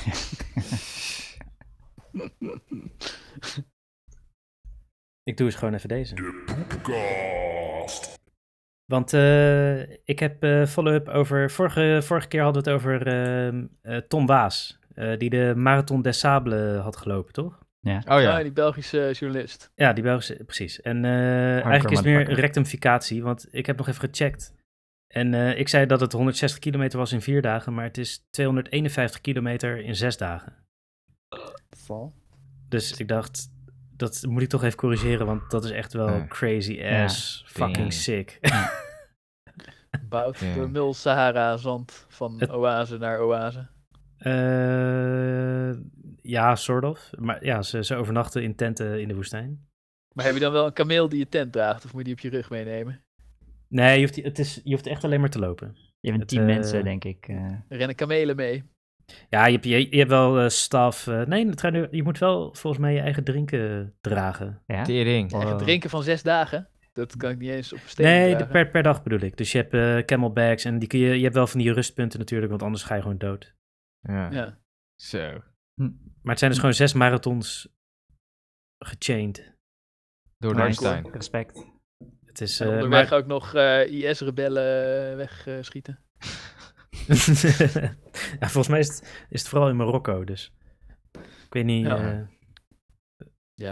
Ik doe eens gewoon even deze. De poepkast. Want eh, ik heb eh, follow-up over... Vorige, vorige keer hadden we het over ehm, eh, Tom Waas. eh, die de Marathon des Sables had gelopen, toch?
Oh
ja.
ja.
die Belgische eh, journalist.
Ja, die Belgische, precies. En eh, eigenlijk is het meer een
motherfucker.
rectificatie, want ik heb nog even gecheckt. En eh, ik zei dat het 160 kilometer was in vier dagen, maar het is 251 kilometer in zes dagen. Dus ik dacht, dat moet ik toch even corrigeren, want dat is echt wel
Ja.
crazy ass, fucking
Damn.
sick.
Bouwt
Ja.
de Mul Sahara zand van
Het-
oase naar oase.
Eh, ja, sort of. Maar ja, ze, ze overnachten in tenten in de woestijn.
Maar heb je dan wel een kameel die je tent draagt? Of moet je die op je rug meenemen?
Nee, je hoeft, het is, je hoeft echt alleen maar te lopen.
Je
Het,
bent tien
eh,
mensen, denk ik. eh.
Er rennen kamelen mee.
Ja, je hebt, je, je hebt wel eh, staf. eh, nee, de trein- je moet wel volgens mij je eigen drinken dragen.
ja.
Tering.
Ja,
Oh.
Het drinken van zes dagen, dat kan ik niet eens op een steen
Nee, de,
dragen.
per, per dag bedoel ik. Dus je hebt eh, camelbacks en die kun je, je hebt wel van die rustpunten natuurlijk, want anders ga je gewoon dood.
Ja.
Ja.
Zo.
Maar het zijn
Hm.
dus gewoon zes marathons gechained.
Door de
Nice.
woestijn.
Respect.
Het is,
En
eh,
onderweg
maar-
ook nog eh, IS-rebellen eh, wegschieten.
ja, volgens mij is het, is het vooral in Marokko, dus ik weet niet.
Ja.
eh,
Ja,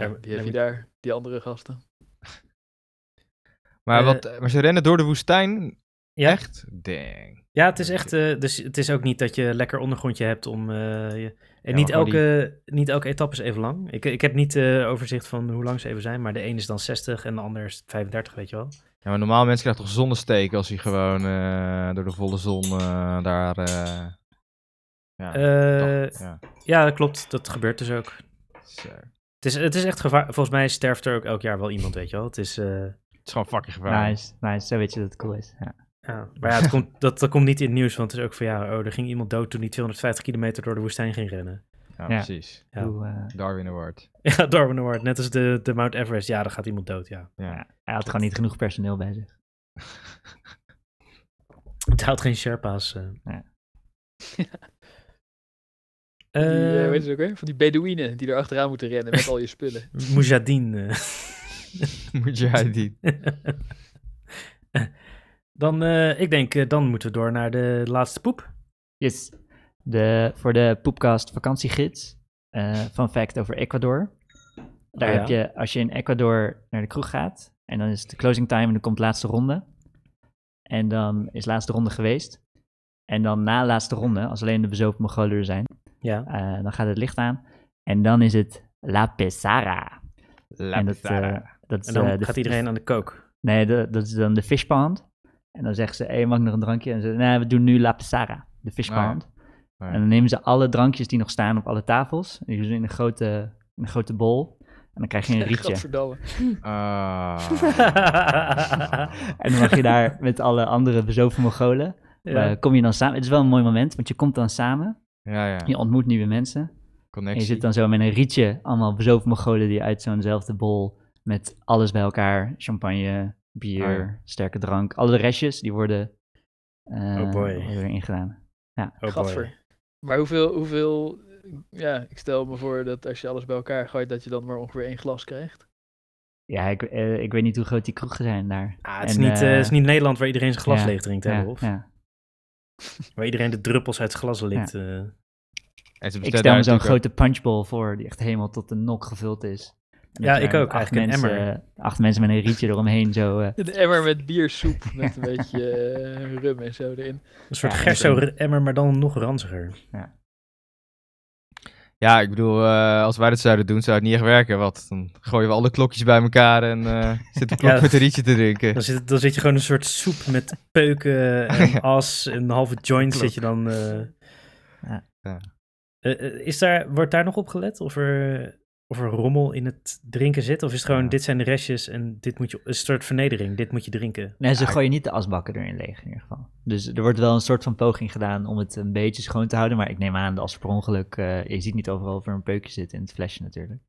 Ja,
die heb
neem
je
ik-
daar, die andere gasten.
Maar,
Eh,
wat, maar ze rennen door de woestijn?
Ja.
Echt? Dang.
ja, het is echt. eh, dus het is ook niet dat je lekker ondergrondje hebt om. eh, je, en
maar
niet,
gewoon die-
elke, niet elke etappe is even lang. Ik, ik heb niet eh, overzicht van hoe lang ze even zijn, maar de een is dan 60 en de ander is 35, weet je wel.
Ja, maar normaal mensen krijgen toch zonnesteek als hij gewoon eh, door de volle zon eh, daar... eh, ja,
Eh,
toch, ja.
ja, dat klopt. Dat gebeurt dus ook.
Zo. Het
Het is, het is echt gevaar. Volgens mij sterft er ook elk jaar wel iemand, weet je wel. Het is. eh,
is gewoon fucking gevaarlijk.
Nice, nice. Zo weet je dat het cool is. Ja.
ja. Maar ja, het komt, dat, dat komt niet in het nieuws, want het is ook van ja, oh, er ging iemand dood toen hij 250 kilometer door de woestijn ging rennen.
Ja,
Ja.
precies.
Ja.
Hoe, eh,
Darwin Award.
Ja, Darwin Award, net als de, de Mount Everest. Ja, daar gaat iemand dood, ja.
hij had gewoon niet genoeg personeel bij zich.
Het houdt geen Sherpa's. eh.
Ja.
Die, eh,
Eh,
weet je het ook weer? Van die Bedouinen die er achteraan moeten rennen met al je spullen.
Mujahideen, eh.
Moet jij die...
dan, eh, ik denk, eh, dan moeten we door naar de laatste poep.
Yes. De, voor de Poepcast vakantiegids. eh fun fact over Ecuador. Daar
Oh ja.
heb je, als je in Ecuador naar de kroeg gaat. En dan is het de closing time en dan komt de laatste ronde. En dan is de laatste ronde geweest. En dan na de laatste ronde, als alleen de bezopen Mongolen er zijn.
Ja.
eh, dan gaat het licht aan. En dan is het La Pesara.
La
en dat,
Pizarra.
eh, dat is,
En dan
eh, de-
gaat iedereen aan de kook.
Nee, de- dat is dan de fishpond. En dan zeggen ze, hé, mag ik nog een drankje? En ze zeggen, nee, we doen nu La Pesara, de fishpond.
Oh, ja.
En dan nemen ze alle drankjes die nog staan op alle tafels. En die doen ze in een grote, in een grote bol. En dan krijg je een rietje.
Gadverdamme.
Ah.
En dan mag je daar met alle andere bezopen Mongolen. eh,
Ja.
kom je dan samen. Het is wel een mooi moment, want je komt dan samen.
ja, ja.
Je ontmoet nieuwe mensen. En je
Connectie.
zit dan zo met een rietje. Allemaal bezopen Mongolen die uit zo'nzelfde bol. Met alles bij elkaar. Champagne, bier,
Oh ja.
sterke drank. Alle restjes, die worden eh
Oh boy.
weer ingedaan.
Oh boy.
Gadver. Maar hoeveel, hoeveel... Ja, ik stel me voor dat als je alles bij elkaar gooit, dat je dan maar ongeveer één glas krijgt.
Ja, ik, eh, ik weet niet hoe groot die kroegen zijn daar.
Ah, het, is
En,
niet, eh,
eh,
het is niet Nederland waar iedereen zijn glas
ja,
leeg drinkt, hè,
Ja,
Rolf?
ja.
Waar iedereen de druppels uit het glas likt. eh.
En ze
Ik
bestellen
stel me
daar
zo'n
natuurlijk ook-
grote punchbowl voor die echt helemaal tot de nok gevuld is. En
Ja,
dat er
ik ook,
met Acht
eigenlijk een
mensen, eh, Acht mensen met een rietje eromheen zo. eh,
Een emmer met biersoep met een beetje eh, rum en zo erin.
Een soort
Ja, dus, eh,
Gerso-emmer, maar dan nog ranziger.
Ja, ik bedoel, eh, als wij dat zouden doen, zou het niet echt werken. Want dan gooien we alle klokjes bij elkaar en eh, zit de klok
Ja.
met een rietje te drinken.
Dan zit, dan zit je gewoon een soort soep met peuken en as en een halve joint
Klopt.
zit je dan... eh.
Ja.
Ja.
Eh, eh, is daar, wordt daar nog op gelet of er, of er rommel in het drinken zit? Of is het gewoon,
Ja.
dit zijn de restjes en dit moet je... Een soort vernedering, dit moet je drinken.
Nee, ze gooien niet de asbakken erin leeg in ieder geval. Dus er wordt wel een soort van poging gedaan om het een beetje schoon te houden. Maar ik neem aan dat als per ongeluk, eh, je ziet niet overal of er een peukje zit in het flesje natuurlijk.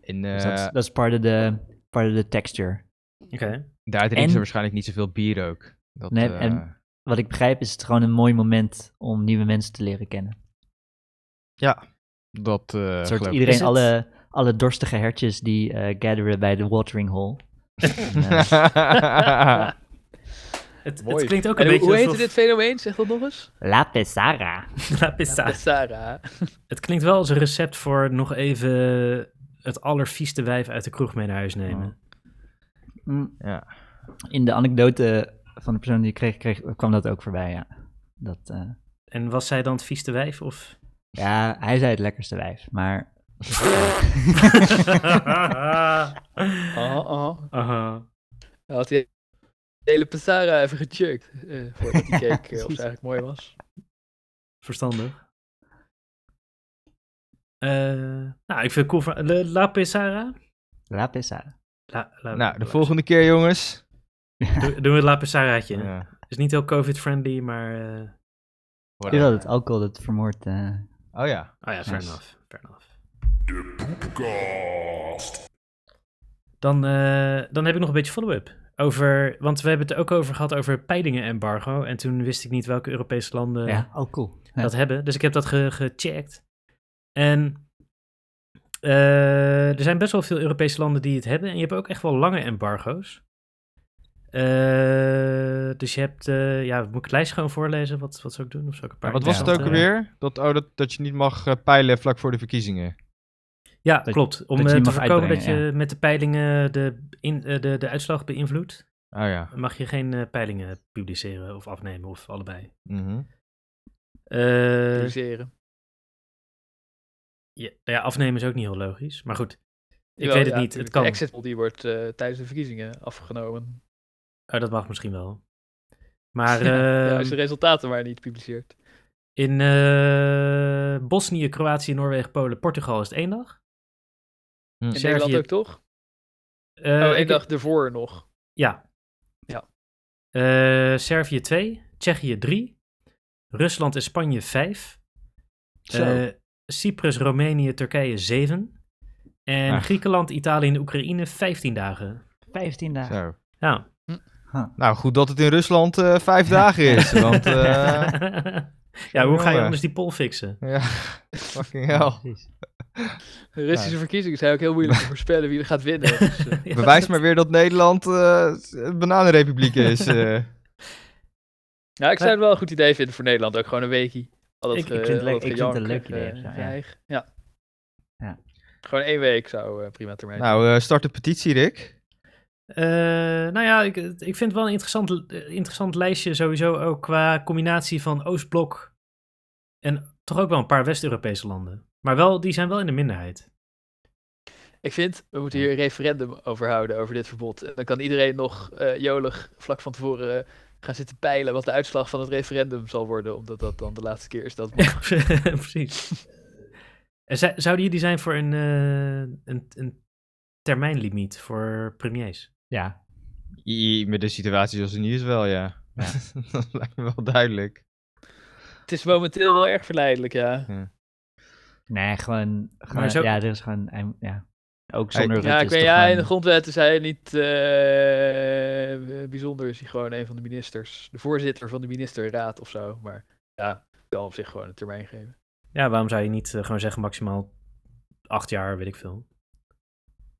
En eh,
Dus dat, is- dat is part of the, part of the texture.
Oké.
daar drinken ze
en-
waarschijnlijk niet zoveel bier ook. Dat,
Nee,
eh,
en- Wat ik begrijp is het gewoon een mooi moment om nieuwe mensen te leren kennen.
dat eh,
Een soort
geloof ik.
iedereen,
Is het-
alle, alle dorstige hertjes die eh, gatheren bij de watering hole. En, eh,
Het,
Mooi.
het klinkt ook een
En hoe,
beetje
hoe heette
alsof-
dit fenomeen? Zeg dat nog eens.
La Pesara.
La pista.
De Sarah.
Het klinkt wel als een recept voor nog even het allervieste wijf uit de kroeg mee naar huis nemen.
Oh.
Mm.
Ja.
In de anekdote van de persoon die ik kreeg, kreeg kwam dat ook voorbij, ja. Dat, eh,
En was zij dan het vieste wijf of...
ja, hij zei het lekkerste wijf, maar
Oh, oh.
Aha.
Hij had die hele Pesara even
Eh,
gecheckt. eh voordat die cake eh, of ze eigenlijk mooi was.
Verstandig. Eh, nou, ik vind het cool van... La, La Pesara?
La Pesara.
La, La-
Nou, de
La-
volgende keer, jongens.
Doe- Doen we het La Pesaraatje.
Ja.
Is niet heel covid-friendly, maar... eh,
Je wil het alcohol dat vermoord. eh,
Oh ja.
Oh ja, fair
Nice.
enough. Fair enough. De poepkast. Dan, eh, dan heb ik nog een beetje follow-up. Over, want we hebben het er ook over gehad over peilingen-embargo. En toen wist ik niet welke Europese landen
ja, oh cool. Ja.
dat hebben. Dus ik heb dat ge- gecheckt. En eh, er zijn best wel veel Europese landen die het hebben. En je hebt ook echt wel lange embargo's. Eh, dus je hebt, eh, ja, moet ik het lijst gewoon voorlezen? Wat, wat zou ik doen? Of zou ik een paar eh,
Maar wat was het ook
interessante-
alweer? Dat, oh, dat, dat je niet mag eh, peilen vlak voor de verkiezingen.
Ja,
Dat-
klopt. Om
dat je
eh,
niet
te
mag
voorkomen dat je
uitbrengen,
met de peilingen de, in, eh, de, de uitslag beïnvloedt,
Oh ja.
mag je geen eh, peilingen publiceren of afnemen of allebei.
Mhm.
Eh
Dus-
Produceren.
ja, nou ja, afnemen is ook niet heel logisch. Maar goed, ik
Jawel,
weet het
ja,
niet. Het
tuurlijk.
kan.
De exit poll die wordt eh, tijdens de verkiezingen afgenomen.
Oh, dat mag misschien wel. Maar
Ja,
ehm,
als de resultaten maar niet publiceert.
in eh, Bosnië, Kroatië, Noorwegen, Polen, Portugal is het één dag.
Hm. In
In
Servië-
Nederland ook toch?
Eh,
oh,
ik-
ik dacht ervoor nog.
Ja.
Ja.
Eh, Servië 2, Tsjechië 3, Rusland en Spanje 5,
Zo.
eh, Cyprus, Roemenië, Turkije 7 en
Ach.
Griekenland, Italië en Oekraïne 15 dagen.
15 dagen.
Zo.
Ja.
Nou, goed dat het in Rusland eh, vijf dagen is. Want, eh,
ja, hoe ga je
jongen.
anders die poll fixen?
ja, fucking hell.
Precies.
De Russische verkiezingen zijn ook heel moeilijk te voorspellen wie er gaat winnen. Dus, eh,
Ja,
Bewijs
dat-
maar weer dat Nederland eh, een bananenrepubliek is. eh.
nou, ik zou het wel een goed idee vinden voor Nederland. Ook gewoon een weekie. Al dat
Ik- ik
ge-
vind het
al
leuk-
dat
ik vind het een leuk
gejank,
idee
eh,
of zo, ja.
geëig. ja.
Ja.
Gewoon één week zou eh, prima termijn zijn.
nou, eh, start de petitie, Rick.
Eh, nou ja, ik, ik vind het wel een interessant, eh, interessant lijstje sowieso ook qua combinatie van Oostblok en toch ook wel een paar West-Europese landen. Maar wel, die zijn wel in de minderheid.
Ik vind, we moeten hier een referendum over houden, over dit verbod. En dan kan iedereen nog eh, jolig vlak van tevoren eh, gaan zitten peilen wat de uitslag van het referendum zal worden. Omdat dat dan de laatste keer is dat het
Ja, precies. En zou- zouden jullie zijn voor een, eh, een, een termijnlimiet voor premiers?
Ja,
I- met de situatie zoals het nu is wel, ja.
Ja.
dat lijkt me wel duidelijk.
Het is momenteel wel erg verleidelijk, ja.
nee, gewoon. gewoon-
zo-
Ja, er is gewoon. hij- Ja. Ook
Hij-
zonder.
Ja,
Rutte
ik
is
weet,
toch
ja, in de
gewoon-
grondwet is hij niet eh, bijzonder. Is hij gewoon een van de ministers. De voorzitter van de ministerraad of zo. Maar ja, wel op zich gewoon een termijn geven.
Ja, waarom zou je niet eh, gewoon zeggen maximaal acht jaar, weet ik veel.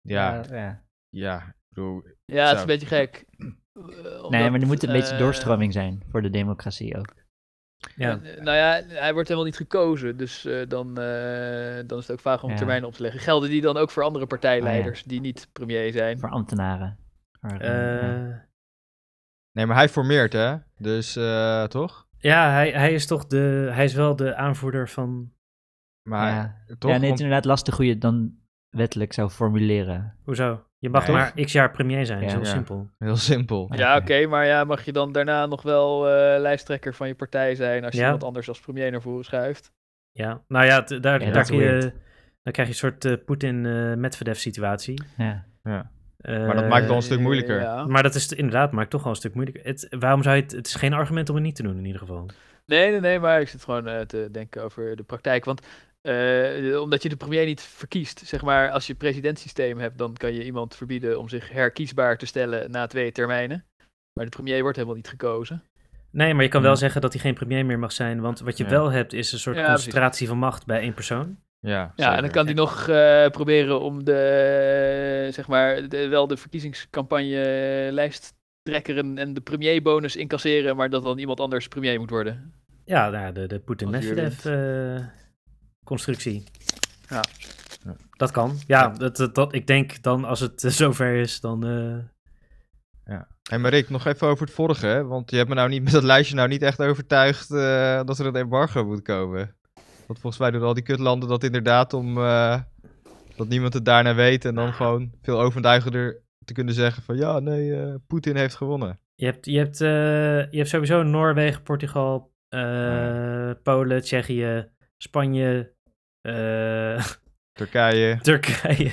Ja, ja.
ja.
ik bedoel,
Ja, het
Zo.
is een beetje gek. Eh,
Nee,
omdat,
maar er moet een beetje
eh,
doorstroming zijn voor de democratie ook.
Ja,
En, eh, nou ja, hij wordt helemaal niet gekozen. Dus eh, dan, eh, dan is het ook vaag om
Ja. Oh,
termijnen op te leggen. Gelden die dan ook voor andere partijleiders die niet premier zijn?
Voor ambtenaren. Voor, eh, ja.
Eh,
Nee, maar hij formeert, hè? Dus, eh, toch?
ja hij, hij is toch de, hij is wel de aanvoerder van,
Maar,
Ja.
toch?
ja, nee, het
Want-
is inderdaad lastig hoe je het dan wettelijk zou formuleren.
hoezo? Je mag
Nee.
maar x jaar premier zijn, is
Ja.
heel
Ja.
simpel.
Heel simpel.
Ja,
Oké.
oké, maar ja, mag je dan daarna nog wel eh, lijsttrekker van je partij zijn als je
Ja.
iemand anders als premier naar voren schuift?
Ja, nou ja, t- daar,
Ja,
daar
dat
kun
is
je,
weird.
dan krijg je een soort eh, Poetin-Medvedev-situatie.
Ja.
Maar dat maakt het wel een
Eh,
stuk moeilijker.
ja.
Maar dat is t- inderdaad, maakt het toch wel een stuk moeilijker. Het, waarom zou je het, het is geen argument om het niet te doen in ieder geval.
Nee, nee, nee, maar ik zit gewoon eh, te denken over de praktijk. Want eh, omdat je de premier niet verkiest, zeg maar, als je presidentssysteem hebt, dan kan je iemand verbieden om zich herkiesbaar te stellen na twee termijnen. Maar de premier wordt helemaal niet gekozen.
Nee, maar je kan wel
Ja.
zeggen dat hij geen premier meer mag zijn, want wat je
Ja.
wel hebt is een soort
Ja, precies.
concentratie van macht bij één persoon.
Ja,
Ja, en dan kan hij nog eh, proberen om de, zeg maar, de- wel de verkiezingscampagne lijsttrekkeren en de premierbonus incasseren, maar dat dan iemand anders premier moet worden.
Ja, nou, ja, de, de Poetin-Medvedev
Als
eh, constructie.
Ja.
Ja.
Dat kan. Ja, dat, dat, dat- ik denk dan als het eh, zover is, dan... eh,
Hé, maar Rick, nog even over het vorige, hè? Want je hebt me nou niet met dat lijstje nou niet echt overtuigd eh, dat er een embargo moet komen. Want volgens mij doen al die kutlanden dat inderdaad om eh, dat niemand het daarna weet en dan gewoon veel overduigender te kunnen zeggen van ja, nee, eh, Poetin heeft gewonnen.
Je hebt, je hebt, eh, je hebt sowieso Noorwegen, Portugal, eh, Polen, Tsjechië, Spanje, eh,
Turkije.
Turkije.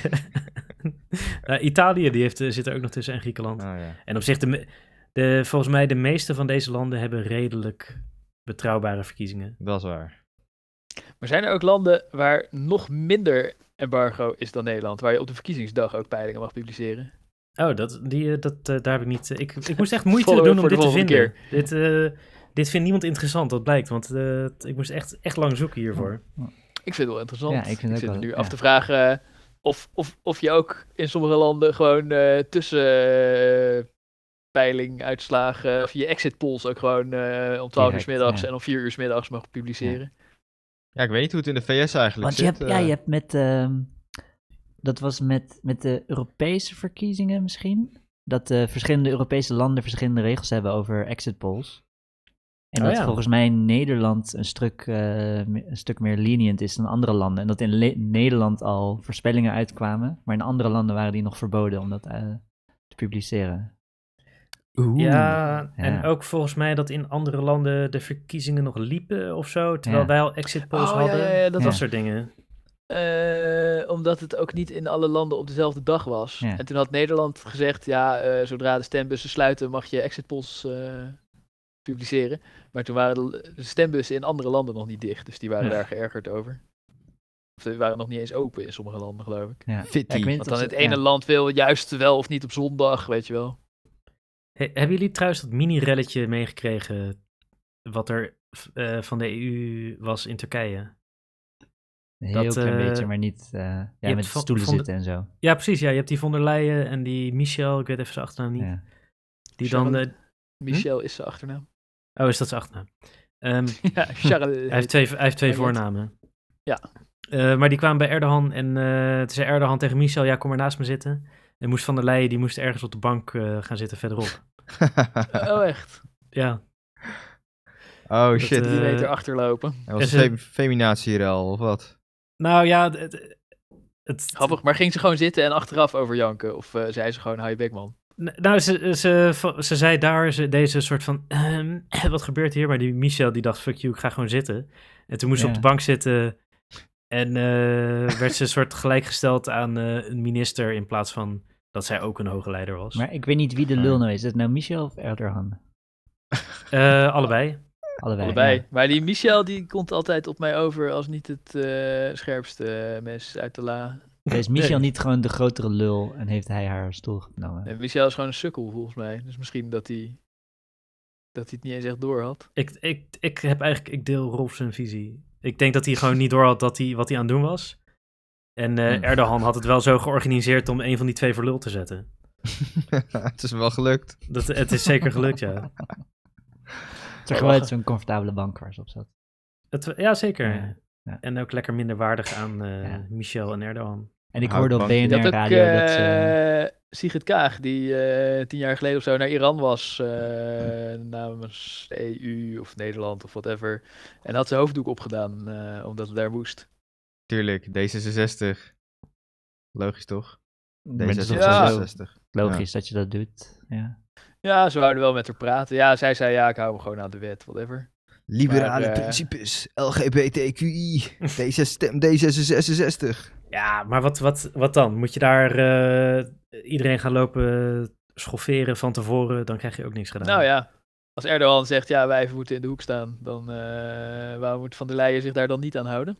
Nou, Italië die heeft, eh, zit er ook nog tussen en Griekenland.
Oh, ja.
En op zich, de, me- de, volgens mij de meeste van deze landen hebben redelijk betrouwbare verkiezingen.
Dat is waar.
Maar zijn er ook landen waar nog minder embargo is dan Nederland? Waar je op de verkiezingsdag ook peilingen mag publiceren?
Oh, dat, die, eh, dat, eh, daar heb ik niet... eh, ik, ik moest echt moeite
Follow-up
doen om
voor de
dit te vinden.
volgende
Dit, eh, dit vindt niemand interessant, dat blijkt. Want eh, t- ik moest echt, echt lang zoeken hiervoor.
Ik vind het wel interessant.
Ja, ik vind het ook
zit me
wel-
nu
ja.
af te vragen eh, of, of, of je ook in sommige landen gewoon eh, tussen eh, peiling, uitslagen, of je exit polls ook gewoon eh, om 12 uur 's
Direct,
middags
ja.
en om 4 uur 's middags mag publiceren.
Ja, ik weet niet hoe het in de VS eigenlijk
Want je
zit.
hebt, ja,
eh.
je hebt met, ehm, dat was met, met de Europese verkiezingen misschien, dat eh, verschillende Europese landen verschillende regels hebben over exit polls. En
Oh
dat
ja.
volgens mij Nederland een stuk, eh, me- een stuk meer lenient is dan andere landen. En dat in Le- Nederland al voorspellingen uitkwamen, maar in andere landen waren die nog verboden om dat eh, te publiceren.
ja, en
ja.
ook volgens mij dat in andere landen de verkiezingen nog liepen of zo. Terwijl
Ja.
wij al exit polls
Oh, ja,
hadden.
ja, ja, dat
dat
Ja.
soort dingen.
Eh, omdat het ook niet in alle landen op dezelfde dag was.
Ja.
En toen had Nederland gezegd, ja, eh, zodra de stembussen sluiten mag je exit polls eh, publiceren. Maar toen waren de, de stembussen in andere landen nog niet dicht, dus die waren
Ja.
daar geërgerd over. Of die waren nog niet eens open in sommige landen, geloof ik.
Ja.
Fitty.
Ja, ik weet niet
Want dan
of
het
ze-
ene
ja.
land wil juist wel of niet op zondag, weet je wel.
He- hebben jullie trouwens dat mini-relletje meegekregen wat er eh, van de EU was in Turkije?
Een heel
dat,
klein
eh,
beetje, maar niet eh, ja,
hebt
met
van-
stoelen
van de-
zitten en zo.
Ja, precies. Ja, je hebt die von der Leyen en die Michel, ik weet even zijn achternaam niet.
Ja.
Die dan, hm?
Charlotte. Michel is zijn achternaam.
eh, oh, is dat zijn achternaam? Ehm,
ja, Charles.
hij, heeft twee, hij heeft twee
Hij heet-
voornamen.
Ja.
Eh, maar die kwamen bij Erdogan en eh toen zei Erdogan tegen Michel, ja, kom maar naast me zitten. En moest van der Leyen, die moest ergens op de bank eh, gaan zitten verderop.
Oh, echt.
Ja,
oh
Dat,
shit.
eh,
Die weet erachter lopen.
Dat was
is het-
een feminatierel of wat?
nou ja, het... het- het-
Grappig, maar ging ze gewoon zitten en achteraf over janken? Of eh, zei ze gewoon, hou je bek, man?
N- Nou, ze, ze, ze zei daar ze, deze soort van, ehm, wat gebeurt hier? Maar die Michel die dacht, fuck you, ik ga gewoon zitten. En toen moest ze
Ja.
op de bank zitten en eh, werd ze een soort gelijkgesteld aan eh, een minister in plaats van dat zij ook een hoge leider was.
Maar ik weet niet wie de lul nou is. Is het nou Michel of Erdogan?
Eh, allebei.
Allebei.
Allebei.
ja.
Maar die Michel die komt altijd op mij over als niet het eh, scherpste eh, mens uit de la.
Dus Is Michel
Nee.
niet gewoon de grotere lul en heeft hij haar stoel genomen?
En Eh, Michel is gewoon een sukkel volgens mij. Dus misschien dat hij dat hij het niet eens echt door had.
Ik, ik, ik heb eigenlijk, ik deel Rolf zijn visie. Ik denk dat hij gewoon niet door had dat hij, wat hij aan het doen was. En eh,
Hmm.
Erdogan had het wel zo georganiseerd om een van die twee voor lul te zetten.
het is hem wel gelukt.
Dat, het is zeker gelukt, ja.
Het is gewoon
Oh.
uit zo'n comfortabele bank waar ze op zat.
Het, ja, zeker.
Ja, ja.
En ook lekker minder waardig aan eh,
Ja.
Michel en Erdogan.
En ik
Hout
hoorde op
bankje.
BNR
Je Oh, had ook
Radio dat ze...
eh, Sigrid Kaag, die eh, tien jaar geleden of zo naar Iran was eh,
Mm.
namens de EU of Nederland of whatever. En had zijn hoofddoek opgedaan eh, omdat het daar moest.
Tuurlijk, D66. Logisch toch?
Maar het is toch
Ja.
zo
D66.
logisch dat je dat doet. Ja.
Ja, ze wouden wel met haar praten. Ja, zij zei ja, ik hou me gewoon aan de wet, whatever.
Liberale
Maar, eh,
principes, LGBTQI, D6, stem D66.
Ja, maar wat, wat, wat dan? Moet je daar eh, iedereen gaan lopen schofferen van tevoren? Dan krijg je ook niks gedaan.
Nou ja, als Erdogan zegt ja, wijven moeten in de hoek staan, dan eh, waarom moet Van der Leyen zich daar dan niet aan houden?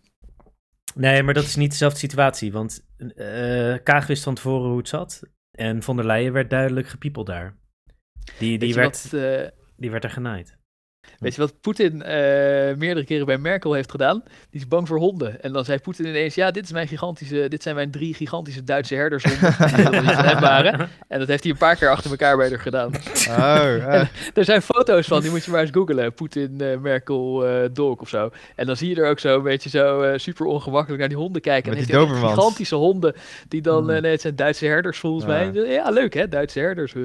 Nee, maar dat is niet dezelfde situatie. Want eh Kaag wist van tevoren hoe het zat. En von der Leyen werd duidelijk gepiepeld daar. Die,
Weet
die,
je,
werd,
wat, eh,
die werd er genaaid.
weet je wat Poetin eh, meerdere keren bij Merkel heeft gedaan? Die is bang voor honden. En dan zei Poetin ineens, ja, dit, is mijn gigantische, dit zijn mijn drie gigantische Duitse herdershonden. die helemaal niet van hem waren. En dat heeft hij een paar keer achter elkaar bij haar gedaan.
Oh, eh,
Er zijn foto's van, die moet je maar eens googlen. Poetin, eh, Merkel, eh Dolk of zo. En dan zie je er ook zo een beetje zo eh, super ongemakkelijk naar die honden kijken.
Met
en
die
heeft hij ook echt
Dobermans.
gigantische honden die dan,
Hmm.
eh, nee, het zijn Duitse herders volgens
Ja.
mij. Ja, leuk hè, Duitse herders. eh.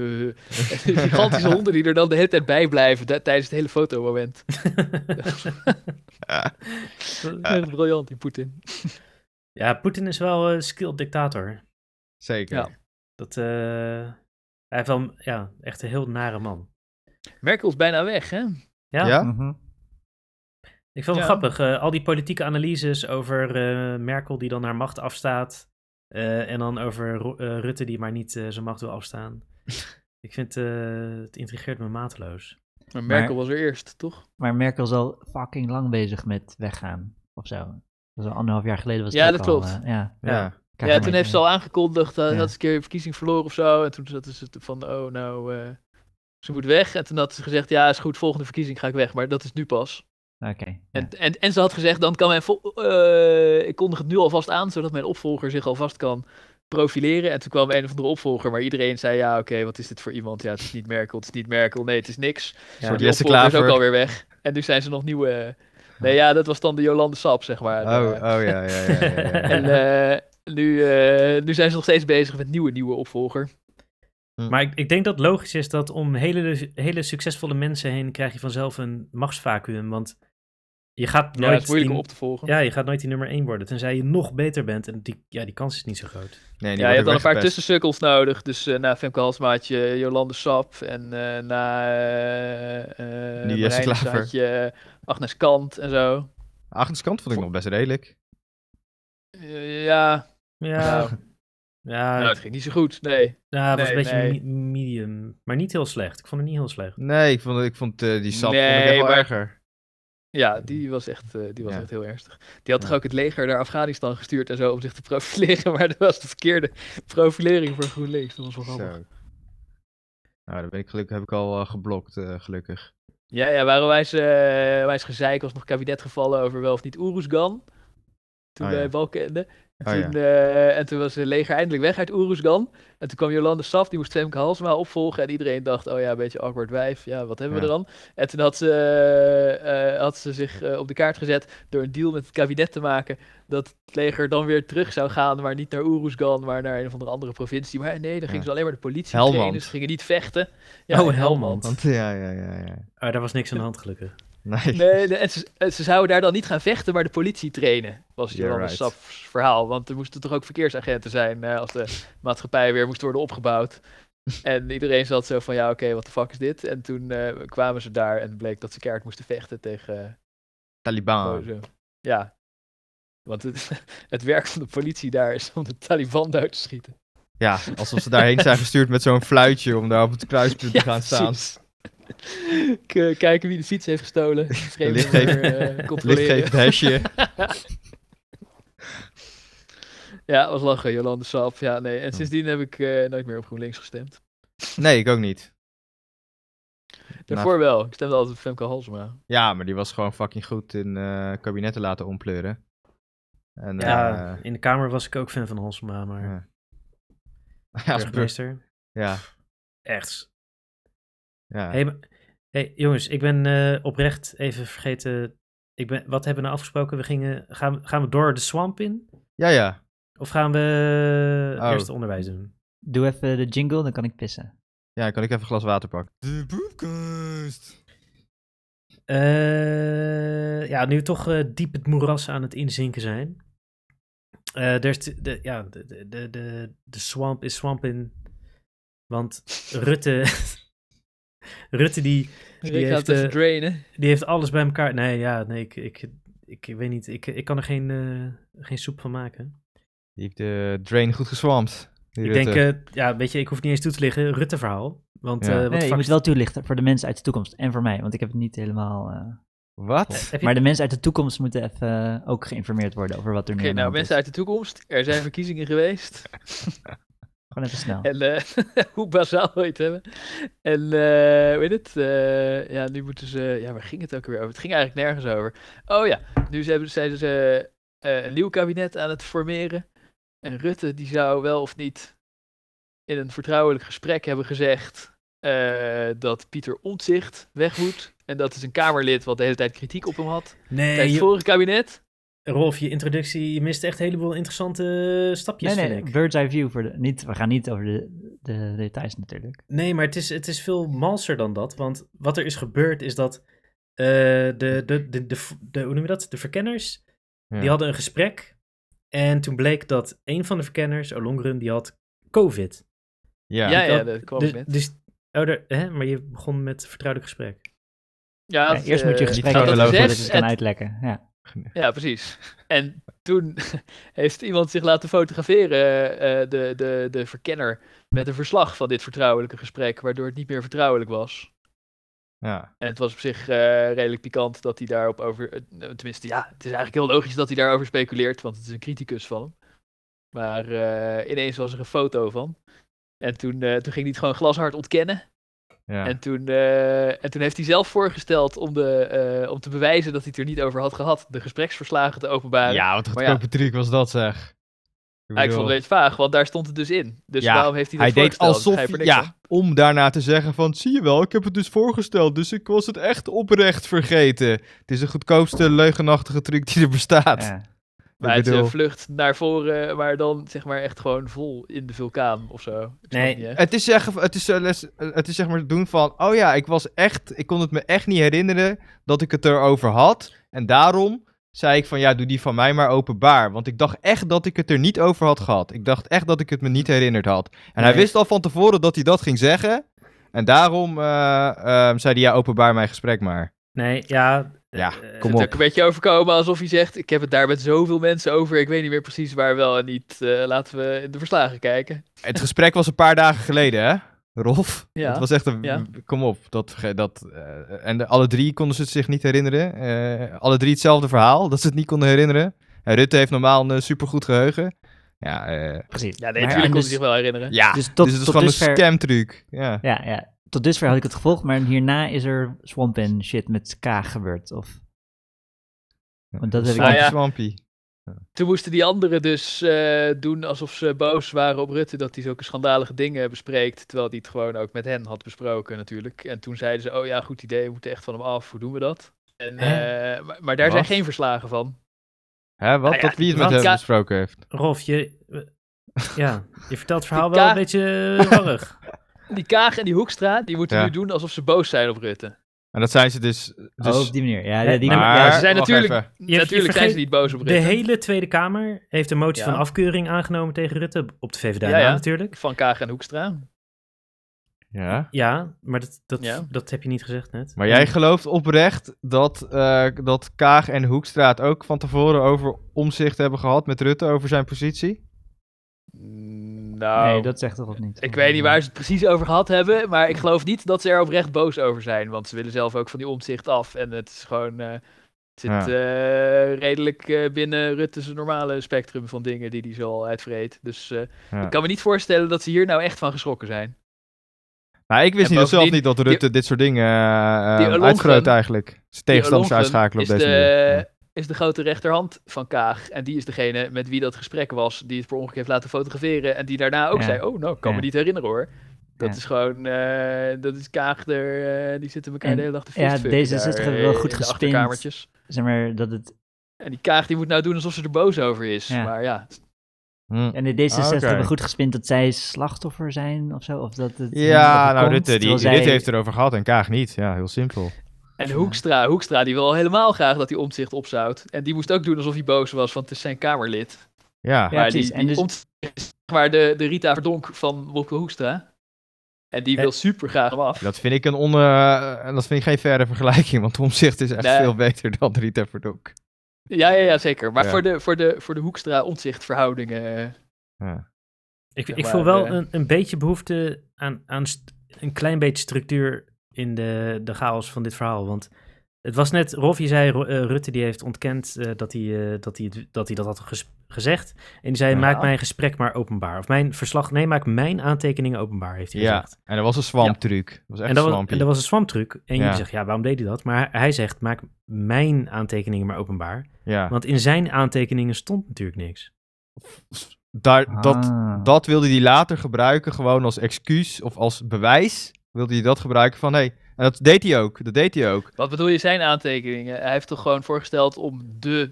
gigantische honden die er dan de hele tijd bij blijven da- tijdens het hele fotomoment. Echt briljant, die Poetin.
ja, Poetin is wel een skilled dictator.
zeker.
Ja.
Dat, eh, hij heeft wel ja, echt een heel nare man.
Merkel is bijna weg hè.
Ja,
Ja?
Mhm.
Ik vond het
Ja.
grappig. eh, al die politieke analyses over eh, Merkel die dan haar macht afstaat. eh, en dan over Ro- eh, Rutte die maar niet eh, zijn macht wil afstaan. ik vind eh, het intrigeert me mateloos.
Maar Merkel
Maar-
was er eerst, toch?
Maar Merkel is al fucking lang bezig met weggaan, of zo. Dat was al anderhalf jaar geleden. Was het
Ja,
ook
dat
al,
klopt.
eh, ja,
Ja.
Kijk
ja,
maar
toen
mee.
heeft ze al aangekondigd dat
Ja.
had ze een keer een verkiezing verloren of zo. En toen zaten ze van, oh nou, eh, ze moet weg. En toen had ze gezegd, ja is goed, volgende verkiezing ga ik weg. Maar dat is nu pas.
Oké. ja.
En, en, en ze had gezegd, dan kan mijn vol- eh, ik kondig het nu alvast aan, zodat mijn opvolger zich alvast kan profileren. En toen kwam een of andere opvolger, maar iedereen zei, ja oké, wat is dit voor iemand? Ja, het is niet Merkel, het is niet Merkel, nee, het is niks.
Ja,
Maar
soort
die
Jesse
opvolger is ook
Klaver.
alweer weg. En nu zijn ze nog nieuwe... eh, Nee, ja, dat was dan de Jolande Sap, zeg maar.
Oh,
Eh,
oh ja, ja, ja. ja, ja, ja.
En eh, nu, eh, nu zijn ze nog steeds bezig met nieuwe, nieuwe opvolger.
Maar ik, ik denk dat het logisch is dat om hele, hele succesvolle mensen heen krijg je vanzelf een machtsvacuüm. Want je gaat
Ja, dat is
nooit,
moeilijk
die,
om op te volgen.
ja, je gaat nooit die nummer 1 worden. Tenzij je nog beter bent. En die, ja, die kans is niet zo groot.
nee, die
Ja, je hebt
worden
dan een paar
weggepest.
tussensukkels nodig. Dus eh, na Femke Halsmaatje, Jolande Sap. En eh, na eh eh,
Nu Jesse
Marijnissen
Klaver.
had je Agnes Kant en zo.
Achterkant vond ik nog best redelijk.
Eh, ja,
Ja,
nou,
ja,
nou, het ging niet zo goed. Nee,
ja, het was een
nee,
beetje
nee.
me- medium. Maar niet heel slecht. Ik vond het niet heel slecht.
Nee, ik vond, ik vond eh, die sap vond ik
Nee,
echt wel
maar-
erger.
ja, die was echt, eh, die was
Ja.
echt heel ernstig. Die had
Ja.
toch ook het leger naar Afghanistan gestuurd en zo om zich te profileren. Maar dat was de verkeerde profilering voor GroenLinks. Dat was wel grappig.
Zo. Nou, dan ben ik gelukkig, heb ik al eh, geblokt, eh, gelukkig.
Ja, ja, waren wijs, eh wijs gezeik was nog kabinet gevallen over wel of niet Oeruzgan. Toen
Oh ja.
bij Balkenende. En,
Oh ja.
toen, eh, en toen was het leger eindelijk weg uit Oeruzgan. En toen kwam Jolande Saf, die moest Femke Halsema opvolgen. En iedereen dacht, oh ja, een beetje awkward wijf. Ja, wat hebben we
Ja.
eraan? En toen had ze, eh, eh, had ze zich eh, op de kaart gezet door een deal met het kabinet te maken. Dat het leger dan weer terug zou gaan, maar niet naar Oeruzgan, maar naar een of andere andere provincie. Maar nee, dan gingen
Ja.
ze alleen maar de politie
Helmand.
trainen. Ze gingen niet vechten.
Oh,
in
Helmand.
Want ja, ja, ja, ja.
Ah, daar was niks aan de hand, gelukkig.
Nee.
Nee, nee, en ze, en ze zouden daar dan niet gaan vechten, maar de politie trainen. Was
Yeah,
Jolanda
right.
Sap's verhaal. Want er moesten toch ook verkeersagenten zijn eh, als de maatschappij weer moest worden opgebouwd. En iedereen zat zo van, ja, oké, wat de fuck is dit? En toen eh, kwamen ze daar en bleek dat ze keihard moesten vechten tegen eh,
Taliban.
boze. Ja. Want het, het werk van de politie daar is om de Taliban dood te schieten.
Ja, alsof ze daarheen zijn gestuurd met zo'n fluitje om daar op het kruispunt te gaan staan.
precies. K- Kijken wie de fiets heeft gestolen. Vreemde
Lichtgevend-
nummer, eh, controleren.
Lichtgevend hesje.
Ja, was lachen, Jolande Sap. Ja, nee. En sindsdien heb ik eh, nooit meer op GroenLinks gestemd.
Nee, ik ook niet.
Daarvoor wel. Ik stemde altijd op Femke Halsema.
Ja, maar die was gewoon fucking goed in eh, kabinetten laten ompleuren. En,
Ja,
eh,
in de kamer was ik ook fan van Halsema, maar
ja. ja, als burg-
burgemeester,
ja,
echt.
ja.
Hey, maar- hey, jongens, ik ben eh, oprecht even vergeten. Ik ben, wat hebben we nou afgesproken? We gingen, gaan, we- gaan we door de swamp in?
ja, ja.
Of gaan we eh,
Oh.
eerst onderwijs doen?
Doe even de jingle, dan kan ik pissen.
Ja, dan kan ik even een glas water pakken. De poepkast.
Eh, ja, nu we toch eh, diep het moeras aan het inzinken zijn. Eh, er is de, de- ja, de, de, de, de, de swamp is swamp in. Want Rutte... Rutte die...
Dus Ik ga
heeft,
het even
eh,
drainen.
Die heeft alles bij elkaar. Nee, ja, nee, ik, ik, ik, weet niet. Ik, ik kan er geen, eh, geen soep van maken.
Die heeft de drain goed geswampt. Die
Ik
Rutte.
denk, eh, ja, weet je, ik hoef niet eens toe te liggen. Rutte-verhaal. Want
Ja.
eh, wat
Nee,
de
je
fuck
moet
is-
wel toelichten voor de mensen uit de toekomst en voor mij, want ik heb het niet helemaal... eh,
Wat?
Heb je-
Maar de mensen uit de toekomst moeten even eh, ook geïnformeerd worden over wat er
Oké,
nu aan de
nou,
hand
mensen
is.
uit de toekomst. Er zijn verkiezingen geweest.
Gewoon even snel.
En eh, hoe bazaal wil je het hebben? En eh, hoe weet het? Eh, ja, nu moeten ze. Ja, waar ging het ook weer over? Het ging eigenlijk nergens over. Oh ja, nu ze hebben- zijn ze eh, een nieuw kabinet aan het formeren. En Rutte, die zou wel of niet in een vertrouwelijk gesprek hebben gezegd eh, dat Pieter Omtzigt weg moet. En dat is een Kamerlid wat de hele tijd kritiek op hem had.
Nee,
Tijdens het
je,
vorige kabinet.
Rolf, je introductie, je mist echt een heleboel interessante eh, stapjes,
Nee, nee,
vind ik.
bird's eye view. Voor de, niet, we gaan niet over de, de details natuurlijk.
Nee, maar het is, het is veel malser dan dat. Want wat er is gebeurd is dat eh, de, de, de, de, de, hoe noem je dat? De verkenners,
Ja.
die hadden een gesprek. En toen bleek dat een van de verkenners, Olongren, die had COVID.
Ja.
Ja, ja,
dat-
dat kwam
Dus,
net.
dus oh, daar- hè? maar je begon met vertrouwelijk gesprek.
Ja,
Ja, eerst moet je
eh,
gesprek
niet
hebben
gaan
voordat je
zes
het kan
en-
uitlekken. Ja.
Ja, precies. En toen heeft iemand zich laten fotograferen, eh, de, de, de verkenner, met een verslag van dit vertrouwelijke gesprek, waardoor het niet meer vertrouwelijk was.
Ja.
En het was op zich eh, redelijk pikant dat hij daarop over. eh, nou, tenminste, ja, het is eigenlijk heel logisch dat hij daarover speculeert, want het is een criticus van hem. Maar eh, ineens was er een foto van. En toen, eh, toen ging hij het gewoon glashard ontkennen.
ja.
En, toen, eh, en toen heeft hij zelf voorgesteld om, de, eh, om te bewijzen dat hij het er niet over had gehad, de gespreksverslagen te openbaren.
ja, wat een
eh, maar
goedkope truc was dat, zeg.
Ja, ik
bedoel,
vond het een beetje vaag, want daar stond het dus in. Dus
Ja,
waarom heeft hij
hij
dat
deed
voorgesteld? Ik
alsof
begrijp er niks van.
ja, om daarna te zeggen van, zie je wel, ik heb het dus voorgesteld, dus ik was het echt oprecht vergeten. Het is de goedkoopste leugenachtige truc die er bestaat.
Ja.
Maar het
bedoel-
eh, vlucht naar voren, eh, maar dan zeg maar echt gewoon vol in de vulkaan of zo. Ik snap
Nee.
niet, hè?
Het is, zeg, het, is, eh, les- eh, het is zeg maar het doen van, oh ja, ik was echt, ik kon het me echt niet herinneren dat ik het erover had. En daarom zei ik van, ja, doe die van mij maar openbaar. Want ik dacht echt dat ik het er niet over had gehad. Ik dacht echt dat ik het me niet herinnerd had. En hij
Nee.
wist al van tevoren dat hij dat ging zeggen. En daarom eh, ehm, zei hij, ja, openbaar mijn gesprek maar.
Nee, ja.
Ja,
eh,
kom
Het
op.
ook een beetje overkomen alsof hij zegt, ik heb het daar met zoveel mensen over, ik weet niet meer precies waar wel en niet. Eh, laten we in de verslagen kijken.
Het gesprek was een paar dagen geleden, hè? Rolf?
Ja,
Het was echt een...
ja.
Kom op. Dat, verge- dat, eh, en de- alle drie konden ze het zich niet herinneren. Eh, alle drie hetzelfde verhaal, dat ze het niet konden herinneren. En Rutte heeft normaal een eh, supergoed geheugen. Ja, eh,
Precies.
Ja, nee,
Maar-
natuurlijk
en
kon
dus-
hij zich wel herinneren.
ja.
Dus
Dus,
tot-
het is
tot
gewoon
dusver-
een scamtruc. Ja.
Ja, ja. Tot dusver had ik het gevolgd, maar hierna is er Swamp en shit met K gebeurd. Of... Want dat heb ik
Swampie,
Ah, ja.
swampie.
Toen moesten die anderen dus eh, doen alsof ze boos waren op Rutte dat hij zulke schandalige dingen bespreekt. Terwijl hij het gewoon ook met hen had besproken natuurlijk. En toen zeiden ze, oh ja, goed idee, we moeten echt van hem af. Hoe doen we dat? En, eh, maar, maar daar zijn
Wat?
geen verslagen van.
Hè, wat?
Ah, ja,
dat wie het met
want
hem
Ka-
besproken heeft.
Rolf, je, eh, ja, je vertelt het verhaal
Die
wel een
ka-
beetje eh, warrig.
Die Kaag en die Hoekstra, die moeten
Ja.
nu doen alsof ze boos zijn op Rutte.
En dat zijn ze dus... dus
Oh, op die manier. Ja,
Nee,
ja, die
maar-
ja,
ze zijn
wacht
natuurlijk,
even.
je
natuurlijk zijn
vergeet
ze niet boos op
De
Rutte.
hele Tweede Kamer heeft een motie
Ja.
van afkeuring aangenomen tegen Rutte. Op de VVD
Ja, ja.
natuurlijk.
Van Kaag en Hoekstra.
Ja.
Ja, maar dat, dat,
Ja.
dat heb je niet gezegd net.
Maar jij gelooft oprecht dat, eh, dat Kaag en Hoekstra het ook van tevoren over omzicht hebben gehad met Rutte over zijn positie?
Nou,
Oh.
nee, dat zegt toch of niet?
ik weet niet waar ze het precies over gehad hebben. Maar ik geloof niet dat ze er oprecht boos over zijn. Want ze willen zelf ook van die omzicht af. En het is gewoon. eh, het zit
Ja.
eh, redelijk eh, binnen Rutte's normale spectrum van dingen die hij zo al uitvreet. Dus eh,
Ja.
ik kan me niet voorstellen dat ze hier nou echt van geschrokken zijn.
Nou, ik wist
En
niet, dat zelf
bovendien-
niet dat Rutte dit soort dingen eh, eh,
die Ollongren-
uitgroot eigenlijk. Zijn tegenstanders
Die Ollongren
uitschakelen op
is
deze
de,
manier. Ja.
Is de grote rechterhand van Kaag. En die is degene met wie dat gesprek was. Die het per ongeluk heeft laten fotograferen. En die daarna ook
Ja.
zei: Oh, nou, ik kan
Ja.
me niet herinneren hoor. Dat
Ja.
is gewoon, eh, dat is Kaag er, eh, die zitten elkaar
En-
de hele dag te
ja,
fistfucken
deze
daar,
zitten
eh,
wel goed
in de
gespind.
achterkamertjes.
Zeg maar dat het...
En die Kaag die moet nou doen alsof ze er boos over is.
Ja.
Maar ja,
Hm.
En de D66
Oké.
hebben goed gespind dat zij slachtoffer zijn of zo. Of dat het
Ja,
dat het
nou,
komt,
Rutte, die,
terwijl zij-
Rutte heeft erover gehad en Kaag niet. Ja, heel simpel.
en Hoekstra, Hoekstra die wil al helemaal graag dat hij omzicht opzout. En die moest ook doen alsof hij boos was, want het is zijn Kamerlid.
Ja,
Ja.
maar die,
precies. En
die
dus-
Omtzigt is zeg maar de, de Rita Verdonk van Wopke Hoekstra. En die
Eh.
wil super graag hem af.
dat vind ik een on, eh, dat vind ik geen verre vergelijking, want omzicht is echt
Nee.
veel beter dan Rita Verdonk.
Ja, ja, ja zeker. Maar
Ja.
voor de, voor de, voor de Hoekstra-omzicht verhoudingen. eh,
Ik,
Zeg
ik
maar,
voel wel
eh,
een, een beetje behoefte aan, aan st- een klein beetje structuur in de, de chaos van dit verhaal. Want het was net, Rolf, je zei, Ro- eh, Rutte die heeft ontkend eh, dat, hij, eh, dat, hij, het- dat hij dat had ges- gezegd. En die zei,
Ja.
maak mijn gesprek maar openbaar. Of mijn verslag, nee, maak mijn aantekeningen openbaar, heeft hij
Ja,
gezegd.
en dat was een swamptruc. Dat was
En
echt een
dat, was, en
swampie.
dat was een swamtruc. En
Ja.
jullie zeggen, ja, waarom deed hij dat? Maar hij, hij zegt, maak mijn aantekeningen maar openbaar.
Ja,
Want in zijn aantekeningen stond natuurlijk niks.
Daar, dat,
Ah.
dat wilde hij later gebruiken, gewoon als excuus of als bewijs. Wilde hij dat gebruiken van, hé, hey, en dat deed hij ook, dat deed hij ook.
Wat bedoel je zijn aantekeningen? Hij heeft toch gewoon voorgesteld om de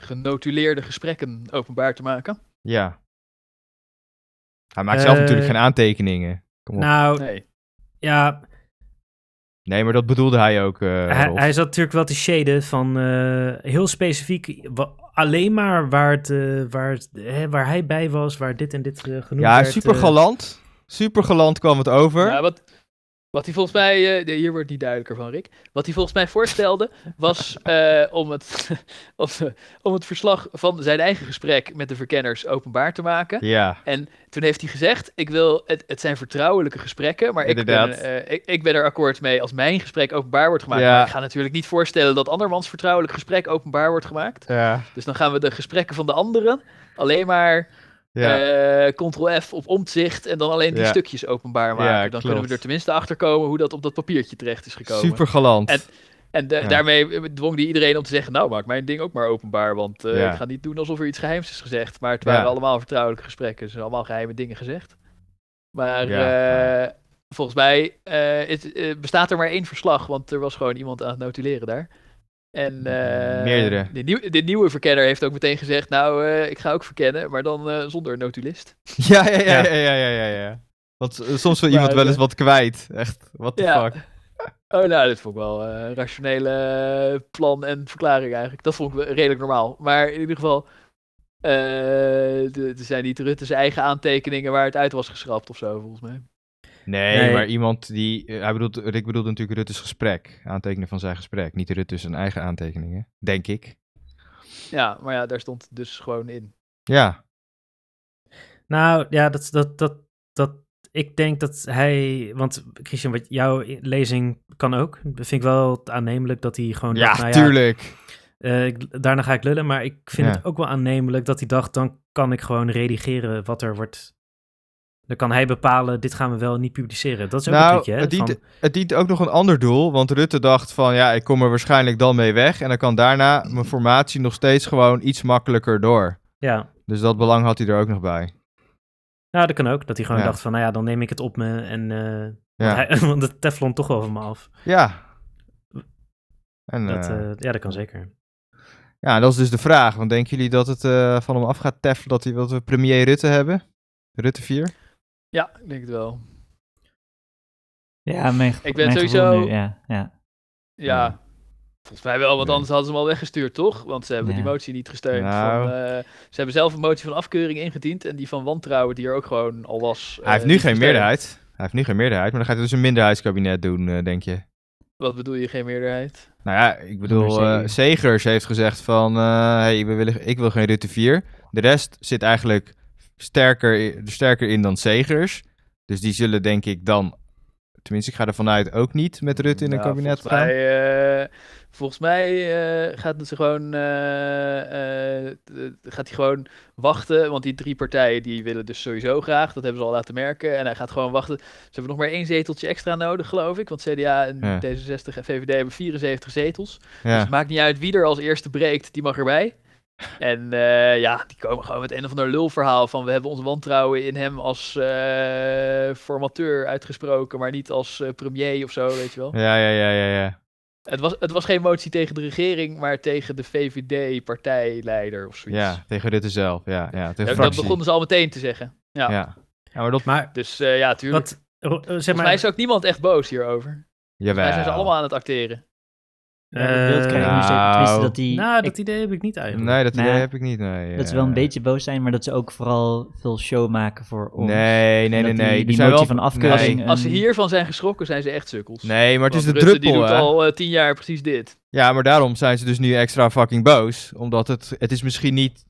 genotuleerde gesprekken openbaar te maken?
Ja. Hij maakt zelf
Eh,
natuurlijk geen aantekeningen. Kom op.
Nou,
Nee.
ja,
nee, maar dat bedoelde hij ook. eh,
hij,
Rolf.
hij zat natuurlijk wel te shaden van eh, heel specifiek wa- alleen maar waar, het, eh, waar, het, hè, waar hij bij was, waar dit en dit eh, genoemd
ja,
werd.
super
eh.
galant. Super galant kwam het over.
Ja, wat, Wat hij volgens mij, eh, nee, hier wordt het niet duidelijker van Rick. Wat hij volgens mij voorstelde was eh, om, het, om, om het verslag van zijn eigen gesprek met de verkenners openbaar te maken.
Ja.
En toen heeft hij gezegd: Ik wil, het, het zijn vertrouwelijke gesprekken, maar ik ben,
Inderdaad.
eh, ik, ik ben er akkoord mee als mijn gesprek openbaar wordt gemaakt.
Ja.
Maar ik ga natuurlijk niet voorstellen dat andermans vertrouwelijk gesprek openbaar wordt gemaakt.
Ja.
Dus dan gaan we de gesprekken van de anderen alleen maar
Ja.
eh, Ctrl-F op omzicht en dan alleen die
Ja.
stukjes openbaar maken. dan
klopt.
kunnen we er tenminste achter komen hoe dat op dat papiertje terecht is gekomen.
Super galant.
En- En de-
Ja.
daarmee dwong hij iedereen om te zeggen: Nou, maak mijn ding ook maar openbaar. Want eh,
Ja.
ik ga niet doen alsof er iets geheims is gezegd. Maar het
Ja.
waren allemaal vertrouwelijke gesprekken. Ze zijn allemaal geheime dingen gezegd. Maar
Ja,
eh, volgens mij eh, is- eh, bestaat er maar één verslag. Want er was gewoon iemand aan het notuleren daar. En, eh,
Meerdere.
De, nieuw- de nieuwe verkenner heeft ook meteen gezegd: Nou, eh, ik ga ook verkennen, maar dan eh, zonder notulist.
Ja, ja, ja,
Ja.
ja, ja, ja, ja, ja. Want eh, soms wil iemand wel eens wat kwijt. Echt, what the
Ja.
fuck.
Oh, nou, dit vond ik wel eh, een rationele eh, plan en verklaring eigenlijk. Dat vond ik wel redelijk normaal. Maar in ieder geval, eh, de- er zijn niet Rutte's eigen aantekeningen waar het uit was geschrapt of zo, volgens mij.
Nee,
Nee.
maar iemand die... eh, hij bedoelt, Rick bedoelde natuurlijk Rutte's gesprek. Aantekenen van zijn gesprek. Niet Rutte zijn eigen aantekeningen. Denk ik.
Ja, maar ja, daar stond het dus gewoon in.
Ja.
Oh, Nou ja, dat, dat, dat, dat, ik denk dat hij. Want Christian, wat jouw lezing kan ook. Vind ik wel aannemelijk dat hij gewoon.
Ja,
dacht, nou
tuurlijk.
eh, ik- daarna ga ik lullen. Maar ik vind
Ja.
het ook wel aannemelijk dat hij dacht: dan kan ik gewoon redigeren wat er wordt. Dan kan hij bepalen: dit gaan we wel niet publiceren. Dat is ook een
Nou,
trucje. Hè?
het dient,
van-
het dient ook nog een ander doel. Want Rutte dacht van, ja, ik kom er waarschijnlijk dan mee weg. En dan kan daarna mijn formatie nog steeds gewoon iets makkelijker door.
ja.
Dus dat belang had hij er ook nog bij.
Nou, dat kan ook. Dat hij gewoon
Ja.
dacht: van nou ja, dan neem ik het op me. En, eh,
Ja.
want, hij, want de Teflon toch wel van me af.
Ja. En,
Dat,
eh,
eh, ja, dat kan zeker.
Ja, dat is dus de vraag. Want denken jullie dat het eh, van hem af gaat teffelen dat, hij, dat we premier Rutte hebben? Rutte 4?
Ja, ik denk het wel.
Ja, mijn, ge-
Ik ben
mijn gevoel
sowieso-
nu, ja, ja.
Ja,
Nee.
volgens mij wel, want
Nee.
anders hadden ze hem al weggestuurd, toch? Want ze hebben
Ja.
die motie niet gesteund.
Nou.
Van, eh, ze hebben zelf een motie van afkeuring ingediend en die van wantrouwen, die er ook gewoon al was.
hij heeft
eh,
nu
niet
geen
gesteund.
meerderheid. Hij heeft nu geen meerderheid, maar dan gaat hij dus een minderheidskabinet doen, eh, denk je.
Wat bedoel je, geen meerderheid?
Nou ja, ik bedoel,
Zonder
eh Segers heeft gezegd van, eh, hey, we willen, ik wil geen Rutte 4. De rest zit eigenlijk sterker, i- er sterker in dan Segers. Dus die zullen denk ik dan, tenminste ik ga ervan uit, ook niet met Rutte in een
Ja,
kabinet
volgens
gaan.
Mij, eh, volgens mij eh, gaat het gewoon, eh, eh, t- gaat hij gewoon wachten. Want die drie partijen die willen dus sowieso graag. Dat hebben ze al laten merken. En hij gaat gewoon wachten. Ze hebben nog maar één zeteltje extra nodig, geloof ik. Want CDA en
Ja.
D66 en VVD hebben 74 zetels. Dus
Ja.
het maakt niet uit wie er als eerste breekt, die mag erbij. En eh, ja, die komen gewoon met een of ander lulverhaal van we hebben ons wantrouwen in hem als eh, formateur uitgesproken, maar niet als eh, premier of zo, weet je wel.
ja, ja, ja, ja, ja.
Het was, het was geen motie tegen de regering, maar tegen de VVD-partijleider of zoiets.
Ja, tegen Rutte zelf. Ja, ja, tegen
dat, dat
fractie.
begonnen ze al meteen te zeggen.
ja.
ja.
Ja. maar dat...
Maar
Dus eh, ja, tuurlijk.
wat. ro- eh, zeg
Volgens mij
maar,
is ook niemand echt boos hierover. Volgens mij zijn ze
Jawel.
allemaal aan het acteren.
Ja, dat beeld krijg ik nu
Nou.
steeds. Tenminste, dat die,
eh, Nou,
ik-
dat idee heb ik niet eigenlijk.
Nee, dat
Nou
idee
ja,
heb ik niet. Nee,
dat ze
eh.
wel een beetje boos zijn, maar dat ze ook vooral veel show maken voor ons.
Nee,
En
nee, nee,
dat die-
nee.
die
Er zijn
motie
wel-
van afkeuring,
Nee.
Als ze
Ehm,
hiervan zijn geschrokken, zijn ze echt sukkels.
Nee, maar het is de
Want Rutte,
druppel.
die doet
hè.
al eh, tien jaar precies dit.
Ja, maar daarom zijn ze dus nu extra fucking boos. Omdat het, het is misschien niet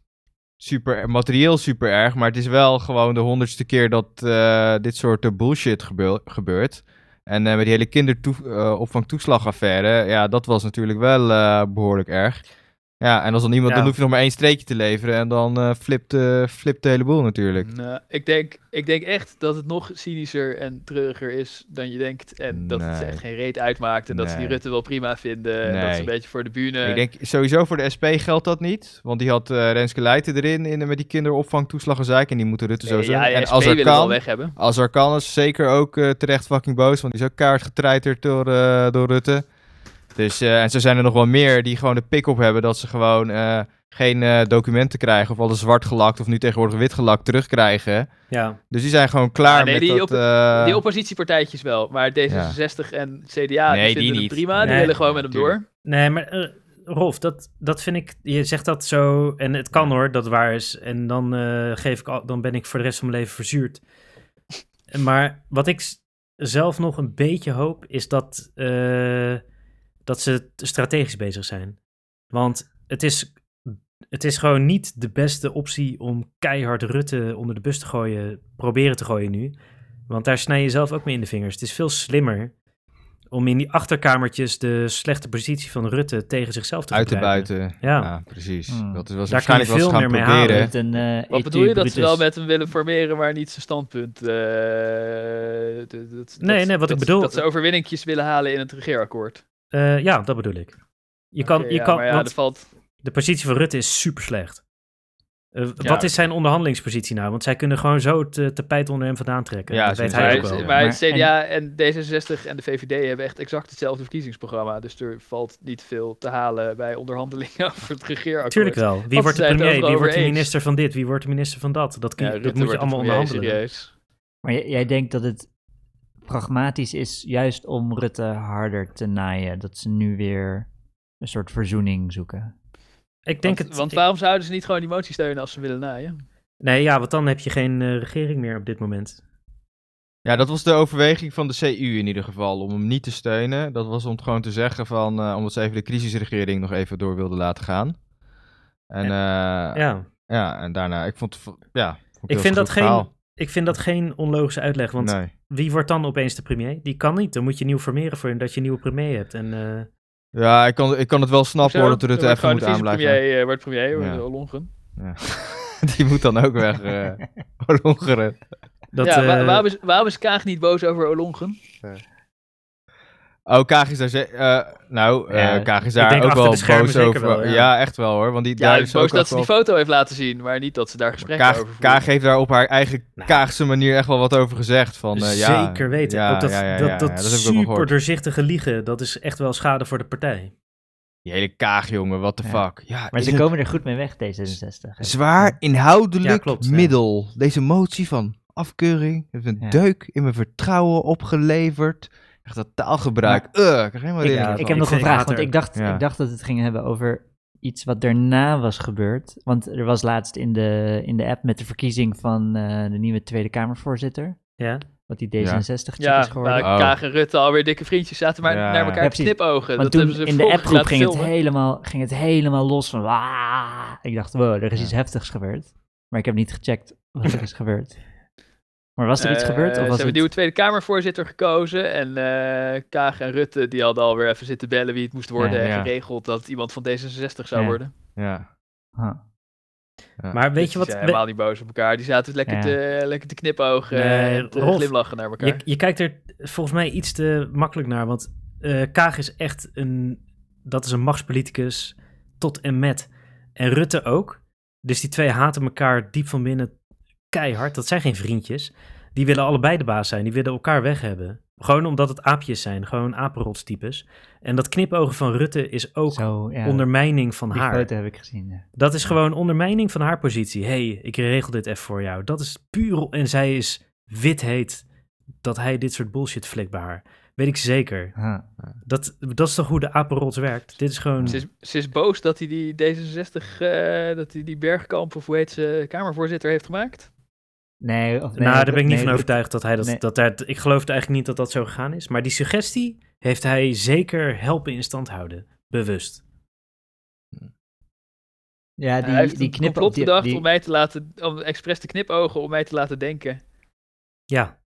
super, materieel super erg, maar het is wel gewoon de honderdste keer dat eh, dit soort eh, bullshit gebeur- gebeurt. En eh, met die hele kinderopvangtoeslagaffaire, ja, dat was natuurlijk wel eh, behoorlijk erg. Ja, en als dan iemand,
Ja.
dan hoef je nog maar één streekje te leveren en dan eh, flipt, eh, flipt de hele boel natuurlijk.
Nou, ik, denk, ik denk echt dat het nog cynischer en treuriger is dan je denkt. En dat het ze
Nee.
echt geen reet uitmaakt. En dat ze die
Nee.
Rutte wel prima vinden. En dat
Nee.
ze een beetje voor de bühne...
Ik denk sowieso voor de SP geldt dat niet. Want die had eh, Renske Leijten erin in, eh, met die kinderopvangtoeslag en En die moeten Rutte
Nee,
sowieso.
Eh, ja,
en
en SP als
als er
willen wel
kan,
weg hebben.
als er kan is zeker ook eh, terecht fucking boos. Want die is ook kaart getreiterd door, eh, door Rutte. Dus, eh, en zo zijn er nog wel meer die gewoon de pick-up hebben dat ze gewoon eh, geen eh, documenten krijgen. Of alles zwart gelakt of nu tegenwoordig wit gelakt terugkrijgen.
Ja.
Dus die zijn gewoon klaar
Ja, Ah, nee,
met
die
dat...
op-
eh,
Die oppositiepartijtjes wel, maar D66 en CDA
Nee,
die
die
vinden het
niet.
prima. Die
Nee.
willen gewoon met hem
Tuurlijk.
door.
Nee, maar eh, Rolf, dat, dat vind ik. Je zegt dat zo. En het kan hoor, dat waar is. En dan, eh, geef ik al, dan ben ik voor de rest van mijn leven verzuurd. Maar wat ik s- zelf nog een beetje hoop is dat, eh, dat ze t- strategisch bezig zijn. Want het is, het is gewoon niet de beste optie om keihard Rutte onder de bus te gooien, proberen te gooien nu. Want daar snij je zelf ook mee in de vingers. Het is veel slimmer om in die achterkamertjes de slechte positie van Rutte tegen zichzelf te
Uit te
gebruiken.
buiten.
Ja.
Ja, precies.
Hmm.
Dat is wel
Oh. Daar kan je
waarschijnlijk wat ze
veel
gaan
meer mee halen.
proberen.
Met een, eh,
Wat
etu
bedoel je dat ze
Brutus.
wel met hem willen formeren, maar niet zijn standpunt? eh, dat- dat,
Nee,
dat-
nee, wat ik
dat-
bedoel-
Dat ze overwinningjes willen halen in het regeerakkoord.
Eh, ja, dat bedoel ik. Je kan,
Oké,
je
ja,
kan,
maar ja,
want-
dat valt.
De positie van Rutte is super slecht. Eh,
Ja.
Wat is zijn onderhandelingspositie nou? Want zij kunnen gewoon zo het eh, tapijt onder hem vandaan trekken.
Ja,
dat weet
sowieso.
hij ook
Maar-
wel.
ja.
Maar het
Maar-
CDA en D66 en de VVD hebben echt exact hetzelfde verkiezingsprogramma. Dus er valt niet veel te halen bij onderhandelingen over het regeerakkoord.
Tuurlijk wel. Wie
Want
wordt de
ze zijn het
premier?
overal
Wie wordt de
over eens.
minister van dit? Wie wordt de minister van dat? Dat, kun,
Ja,
je-
Rutte
dat moet je
wordt
allemaal
het premier,
onderhandelen.
Serieus.
Maar jij, jij denkt dat het pragmatisch is juist om Rutte harder te naaien. Dat ze nu weer een soort verzoening zoeken.
Ik denk
want,
het.
want
ik-
waarom zouden ze niet gewoon die motie steunen als ze willen naaien?
nee, ja, want dan heb je geen eh, regering meer op dit moment.
Ja, dat was de overweging van de CU in ieder geval. Om hem niet te steunen. Dat was om het gewoon te zeggen van. eh, omdat ze even de crisisregering nog even door wilden laten gaan. En, eh, ja.
ja,
en daarna. Ik vond. het vo- Ja, vond het
ik
heel
vind,
goed
dat geen,
verhaal.
ik vind dat geen onlogische uitleg. Want
Nee.
wie wordt dan opeens de premier? Die kan niet. Dan moet je nieuw formeren voor hem dat je een nieuwe premier hebt. En eh,
Ja, ik kan, ik kan het wel snappen hoor dat Rutte even moet aan blijven.
Premier, eh, wordt premier, wordt
Ja.
Ollongren.
Ja. Die moet dan ook weg. eh worden omgerend.
dat,
ja, wa-
eh,
waarom, is, waarom is Kaag niet boos over Ollongren?
Oh, Kaag is daar... ze- eh, nou, eh
Ja,
Kaag is
ik denk
daar ook
achter
wel
de schermen
boos
zeker
over.
wel, ja.
ja. echt wel hoor. Want die,
Ja,
daar
ik
is
is boos
ook
dat
echt
ze die
wel-
foto heeft laten zien, maar niet dat ze daar gesprekken over
Kaag,
voeren.
Kaag heeft daar op haar eigen
Nou.
Kaagse manier echt wel wat over gezegd. Van, eh, ja,
Zeker weten.
Ja,
Ook dat,
ja, ja,
dat,
ja,
dat,
ja, heb ik ook wel
super
gehoord.
doorzichtige liegen, dat is echt wel schade voor de partij.
Die hele Kaag, jongen, what the
Ja.
fuck. Ja,
Maar
is
ze
het
komen er goed mee weg, D66.
Zwaar inhoudelijk
Ja, klopt, ja.
middel. Deze motie van afkeuring heeft een
Ja.
deuk in mijn vertrouwen opgeleverd. Echt dat taalgebruik. Eh, ik krijg helemaal
Ik,
rillingen
ja,
ik
van.
heb nog
vind-
een
ik
vraag,
haat
want
er-
ik dacht,
Ja.
ik dacht dat we het ging hebben over iets wat daarna was gebeurd. Want er was laatst in de, in de app met de verkiezing van eh, de nieuwe Tweede Kamervoorzitter,
Ja?
wat die
Ja.
D66 chick is
Ja, eh,
geworden.
waar
Oh.
Kaag en Rutte alweer dikke vriendjes zaten maar
Ja.
naar elkaar
Ja,
te
precies.
knipogen.
Want
dat
toen
hebben ze
in de
vervolgens
appgroep
laten
ging het,
filmen.
helemaal, ging het helemaal los van... "Waaah." Ik dacht, wow, er is iets heftigs gebeurd. Maar ik heb niet gecheckt wat er is gebeurd. Maar was er iets
Eh,
gebeurd? Of
ze
was
hebben
het...
een nieuwe Tweede Kamervoorzitter gekozen. En eh, Kaag en Rutte die hadden alweer even zitten bellen wie het moest worden.
Ja.
En geregeld dat het iemand van D66 zou
Ja.
worden.
Ja.
Huh.
Ja. eh,
Maar weet
Dus
je
die
wat?
zijn
we-
helemaal niet boos op elkaar. Die zaten lekker,
Ja.
te, lekker te knipogen
Nee,
en te
Rolf,
glimlachen naar elkaar.
je, je kijkt er volgens mij iets te makkelijk naar, want eh, Kaag is echt een, dat is een machtspoliticus tot en met. En Rutte ook. Dus die twee haten elkaar diep van binnen keihard. Dat zijn geen vriendjes. Die willen allebei de baas zijn. Die willen elkaar weg hebben. Gewoon omdat het aapjes zijn. Gewoon apenrotstypes. En dat knipogen van Rutte is ook
Zo, ja,
ondermijning van
die
haar.
foto heb ik gezien. ja.
Dat is gewoon ondermijning van haar positie. hey, ik regel dit even voor jou. Dat is puur. o- En zij is witheet dat hij dit soort bullshit flikt bij haar. Weet ik zeker.
Huh.
Dat, dat is toch hoe de apenrots werkt? Dit is gewoon.
Ze is, ze is boos dat hij die D66, eh, dat hij die Bergkamp of hoe heet ze, Kamervoorzitter heeft gemaakt.
Nee, of nee,
nou, daar ben ik niet
nee,
van
dat-
overtuigd dat hij dat,
nee.
dat, hij- Ik geloof het eigenlijk niet dat dat zo gegaan is. Maar die suggestie heeft hij zeker helpen in stand houden. Bewust.
Ja, die,
hij heeft
die
een
knippen
complot
op die,
bedacht
die-
om mij te laten, om expres te knipogen, om mij te laten denken.
Ja.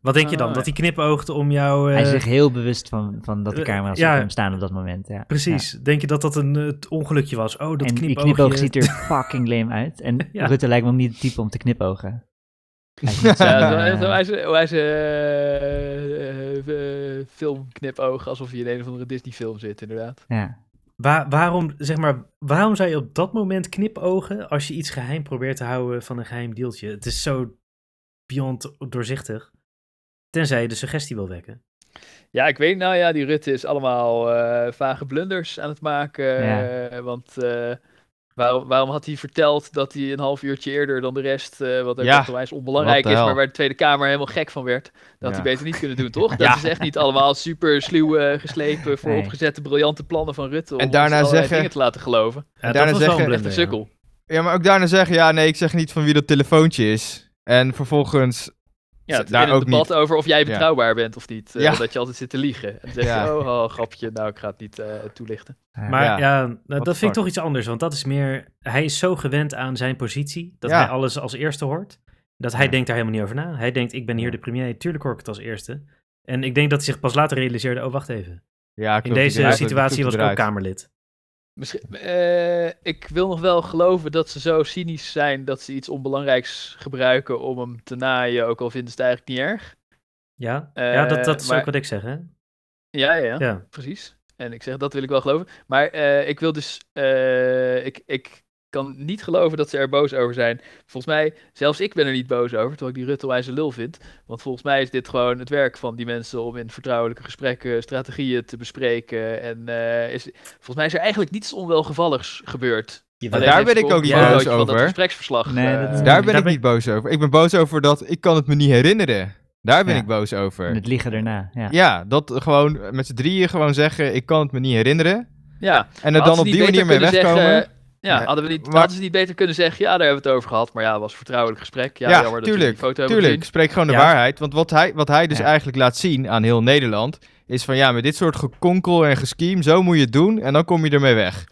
Wat denk je dan?
Ah,
dat hij knipoogt om jou. eh,
Hij is zich heel bewust van, van dat de
eh,
camera's
ja.
op hem staan op dat moment. Ja. Ja.
Precies. Denk je dat dat een eh, t- ongelukje was? Oh, dat
en die
knipoogje.
knipoog ziet er fucking lame uit. En
Ja.
Rutte lijkt me ook niet het type om te knipogen. Hij is niet zo'n,
Ja,
eh,
zo- zo- hij is- hoe hij zijn eh, eh, eh, filmknipoog, alsof je in een of andere Disney-film zit, inderdaad.
ja.
Waar- waarom, zeg maar, waarom zou je op dat moment knipogen als je iets geheim probeert te houden van een geheim deeltje? Het is zo beyond doorzichtig. Tenzij je de suggestie wil wekken.
Ja, ik weet, nou ja, die Rutte is allemaal eh, vage blunders aan het maken.
Ja.
eh, want eh, waarom, waarom had hij verteld dat hij een half uurtje eerder dan de rest, eh, wat ook
Ja,
ja, onwijs
what
onbelangrijk
the
is, maar
hell.
waar de Tweede Kamer helemaal gek van werd, dat had
Ja.
hij beter niet kunnen doen, toch? Dat is echt niet allemaal super sluw eh, geslepen, vooropgezette, briljante plannen van Rutte om
En
ons
daarna
allerlei
zeggen-
dingen te laten geloven.
Ja, dat
daarna
was wel een
zeggen-
Echt een
blunder. ja.
sukkel.
Ja, maar ook daarna zeggen, ja, nee, ik zeg niet van wie dat telefoontje is. En vervolgens
Ja, het
daar
in
ook
een debat over of jij
Ja.
betrouwbaar bent of niet. eh,
Ja.
Dat je altijd zit te liegen. En dan zeg je,
Ja.
oh, oh, grapje, nou, ik ga het niet eh, toelichten.
Maar ja, nou,
the
dat vind
fuck.
ik toch iets anders. Want dat is meer. Hij is zo gewend aan zijn positie. Dat
Ja.
hij alles als eerste hoort. Dat hij
Ja.
denkt daar helemaal niet over na. Hij denkt: ik ben hier
Ja.
de premier. Tuurlijk hoor ik het als eerste. En ik denk dat hij zich pas later realiseerde: oh, wacht even.
Ja,
In
klopt, die
deze
draait-
situatie
die
was ik ook
draait.
Kamerlid.
Misschien, eh, ik wil nog wel geloven dat ze zo cynisch zijn dat ze iets onbelangrijks gebruiken om hem te naaien, ook al vinden ze het eigenlijk niet erg.
Ja,
Eh,
ja dat, dat is
maar-
ook wat ik zeg, hè?
Ja, ja, ja,
Ja.
precies. En ik zeg, dat wil ik wel geloven. Maar eh, ik wil dus, eh, ik, ik kan niet geloven dat ze er boos over zijn. Volgens mij, zelfs ik ben er niet boos over, terwijl ik die Rutte wijze lul vind. Want volgens mij is dit gewoon het werk van die mensen om in vertrouwelijke gesprekken strategieën te bespreken. En eh, is, volgens mij is er eigenlijk niets onwelgevalligs gebeurd.
Maar
Alleen
daar
heeft
ben ik ook niet
een fotootje
boos
van dat
over.
gespreksverslag.
Nee, dat
eh,
is-
Daar ben
Daar
ik
ben-
niet boos over. Ik ben boos over dat ik kan het me niet herinneren. Daar ben
Ja.
ik boos over.
Met liegen daarna. Ja.
Ja, dat gewoon met z'n drieën gewoon zeggen, ik kan het me niet herinneren.
Ja,
En er dan op die manier mee wegkomen.
ja,
Ja,
hadden, we niet,
maar-
hadden ze niet beter kunnen zeggen, ja, daar hebben we het over gehad. Maar ja, het was vertrouwelijk gesprek. Ja,
Ja,
jammer dat
tuurlijk,
we die foto hebben
Tuurlijk,
gezien.
spreek gewoon de
Ja.
waarheid. Want wat hij, wat hij dus
Ja.
eigenlijk laat zien aan heel Nederland, is van ja, met dit soort gekonkel en geschiem, zo moet je het doen en dan kom je ermee weg.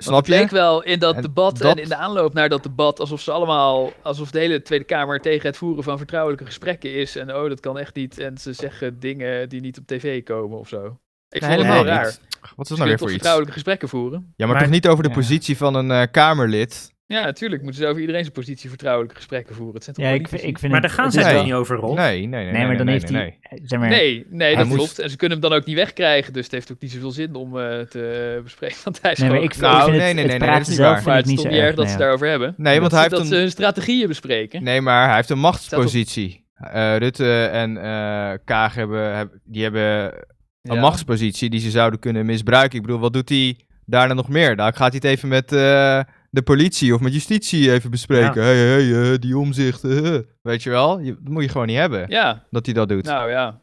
Snap
Het leek
je?
wel in dat
En
debat
dat-
en in de aanloop naar dat debat alsof ze allemaal, alsof de hele Tweede Kamer tegen het voeren van vertrouwelijke gesprekken is. En oh, dat kan echt niet. En ze zeggen dingen die niet op tv komen of zo. Ik
Nee,
vond het
helemaal
heel
niet.
raar.
Wat Wat is
Ze
dat nou
kunnen
weer
toch
voor iets?
vertrouwelijke gesprekken voeren?
Ja, maar,
Maar-
toch niet over de
Ja.
positie van een eh, Kamerlid.
Ja, natuurlijk moeten ze over iedereen zijn positie vertrouwelijke gesprekken voeren. Het zijn toch
Ja, ik,
politici?
ik vind
Maar
het-
daar gaan
het
zij
is
zij
toch
wel-
niet over, Rolf?
Nee, nee, nee.
Nee, maar dan
nee,
heeft
nee,
hij...
nee.
eh, Zeg maar,
Nee, nee,
Hij
dat
moest-
klopt. En ze kunnen hem dan ook niet wegkrijgen, dus het heeft ook niet zoveel zin om eh, te bespreken. Want hij is
nee, maar
gewoon...
ik,
Nou,
ik vind
nee,
het,
nee,
het
nee, nee,
praten
dat is niet
zelf
waar.
maar
vind
het
ik
is
niet
toch
zo
niet erg dat ze
nee,
het daarover hebben?
Nee, want
dat
hij
ze,
heeft
dat eh,
een...
ze hun strategieën bespreken.
Nee, maar hij heeft een machtspositie. Eh, Rutte en eh Kaag hebben, heb- die hebben een
Ja.
machtspositie die ze zouden kunnen misbruiken. Ik bedoel, wat doet hij daarna nog meer? Nou, gaat hij het even met eh, de politie of met justitie even bespreken. Hé, hé, hé, eh, die omzicht. eh, eh. Weet je wel? Je- dat moet je gewoon niet hebben,
Ja,
dat hij dat doet.
nou ja.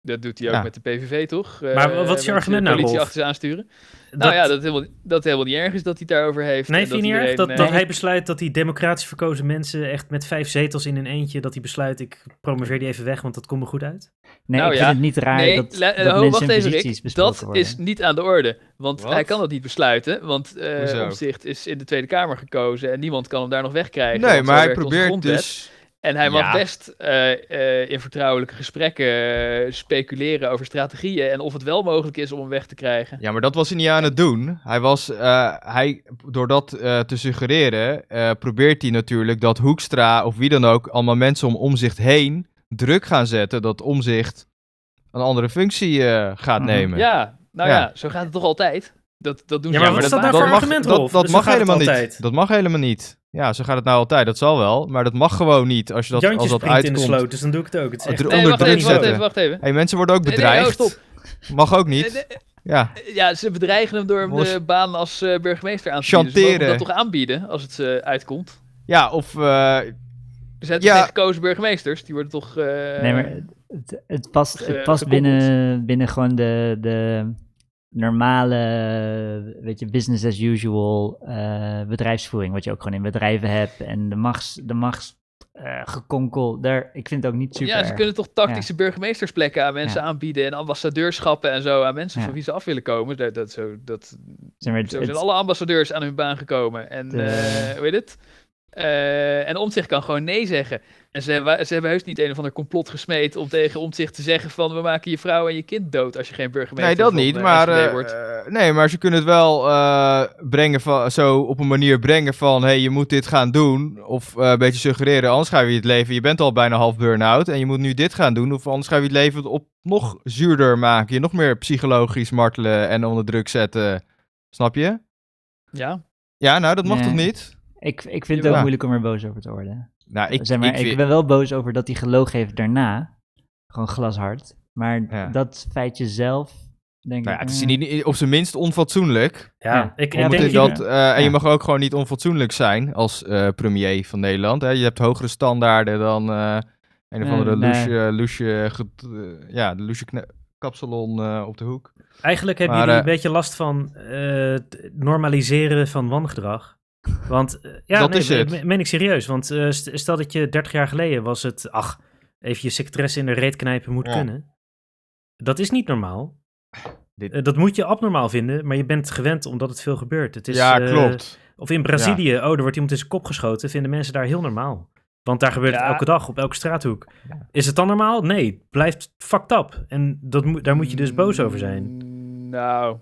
Dat doet hij ook
Ja.
met de PVV, toch?
Maar wat is je argument nou,
nou? De politie
Rolf?
achter ze aansturen.
Dat-
Nou ja, dat helemaal, dat helemaal niet erg is dat hij het daarover heeft.
Nee,
en
vind je niet erg
iedereen,
dat,
eh,
dat hij besluit dat die democratisch verkozen mensen echt met vijf zetels in een eentje, dat hij besluit ik promoveer die even weg, want dat komt me goed uit?
Nee,
Nou
ik
ja,
vind het niet raar
Nee,
dat,
la-
dat
eh, ho,
mensen
wacht
hun
even,
posities
Rick.
besproken
Dat
worden.
is eh, niet aan de orde. Want
Wat?
hij kan dat niet besluiten. Want
Hoezo?
eh Omzicht is in de Tweede Kamer gekozen. En niemand kan hem daar nog wegkrijgen.
nee,
want zo
maar hij
werkt onze
probeert
grondwet.
dus...
En hij mag
Ja.
best eh, eh, in vertrouwelijke gesprekken eh, speculeren over strategieën en of het wel mogelijk is om hem weg te krijgen.
Ja, maar dat was hij niet aan het doen. Hij was, eh, hij, door dat eh, te suggereren, eh, probeert hij natuurlijk dat Hoekstra of wie dan ook allemaal mensen om omzicht heen druk gaan zetten dat omzicht een andere functie eh, gaat
Mhm.
nemen.
Ja, nou ja.
Ja.
zo gaat het toch altijd? Dat, dat doen
Ja,
ze
maar
met
wat is dat
baat.
nou voor
mag,
argument,
dat,
Rolf?
dat
Dus zo
mag
gaat het
helemaal niet.
altijd.
Dat mag helemaal niet. Ja, zo gaat het nou altijd. Dat zal wel, maar dat mag gewoon niet als je dat
Jantje
als dat
springt in de
uitkomt.
sloot, dus dan doe ik het ook. Het is
Oh,
echt-
dro-
Nee,
onder
wacht
druk
even, wacht
zetten.
even, wacht even.
hey, mensen worden ook
Nee, nee, oh,
bedreigd.
stop.
Mag ook
Nee,
niet.
nee,
Ja.
eh, Ja, ze bedreigen hem door hem de
Mos-
baan als eh, burgemeester aan te bieden. Ze mogen
Chanteren.
hem dat toch aanbieden als het eh, uitkomt?
Ja, of eh,
Er zijn
Ja.
toch geen gekozen burgemeesters? Die worden toch... eh,
Nee, maar het, het past,
ge-
het past
gekoppeld.
binnen, binnen gewoon de, de normale, weet je, business as usual eh, bedrijfsvoering, wat je ook gewoon in bedrijven hebt. En de machts, de machts eh, gekonkel, daar, ik vind het ook niet super
Ja, ze
erg.
kunnen toch tactische burgemeestersplekken aan mensen aanbieden en ambassadeurschappen en zo aan mensen
Ja.
van wie ze af willen komen. Dat, dat, zo, dat,
Zeg maar, het-
Zo
het-
zijn alle ambassadeurs aan hun baan gekomen. En
De-
eh, hoe heet het? Eh, en Omtzigt kan gewoon nee zeggen. En ze, hebben- ze hebben heus niet een of ander complot gesmeed om tegen Omtzigt te zeggen van... we maken je vrouw en je kind dood als je geen burgemeester
Nee, dat
van,
niet.
eh,
maar,
SVD
eh,
wordt.
eh, nee, maar ze kunnen het wel eh, brengen van, zo op een manier brengen van... hé, hey, je moet dit gaan doen. Of eh, een beetje suggereren, anders ga je het leven... je bent al bijna half burn-out en je moet nu dit gaan doen. Of anders ga je het leven op nog zuurder maken. Je nog meer psychologisch martelen en onder druk zetten. Snap je?
Ja,
Ja, nou, dat mag
Nee.
toch niet?
ik, ik vind het
Jawel.
ook moeilijk om er boos over te worden. Eh,
Nou, ik,
zeg maar, ik,
ik, vind-
ben wel boos over dat hij geloof heeft daarna, gewoon glashard. Maar
Ja.
dat feitje zelf, denk
nou
ik...
ja, het is
eh,
niet, op zijn minst onfatsoenlijk.
ja,
ja.
ik,
Om
ik
het
denk
Omdat
in
je
hier-
ieder-
dat, eh, en
Ja.
je mag ook gewoon niet onfatsoenlijk zijn als eh, premier van Nederland. Hè? Je hebt hogere standaarden dan eh, een of
Nee,
andere
nee.
loesje, loesje, get- eh, ja, de loesje kne- kapsalon eh, op de hoek.
Eigenlijk hebben
Maar,
jullie
eh,
een beetje last van eh, het normaliseren van wangedrag. Want eh, ja,
Dat
nee,
is het.
me- meen ik serieus. Want eh, st- stel dat je 30 jaar geleden was het, ach, even je secretaresse in de reet knijpen moet
Ja.
kunnen. Dat is niet normaal.
Dit-
Eh, dat moet je abnormaal vinden, maar je bent gewend omdat het veel gebeurt. Het is,
ja,
eh,
klopt.
Of in Brazilië, oh, er wordt iemand in zijn kop geschoten, vinden mensen daar heel normaal. Want daar gebeurt het
Ja.
elke dag, op elke straathoek.
Ja.
Is het dan normaal? Nee, het blijft fucked up. En dat moet- daar moet je dus boos over zijn.
Mm, Nou,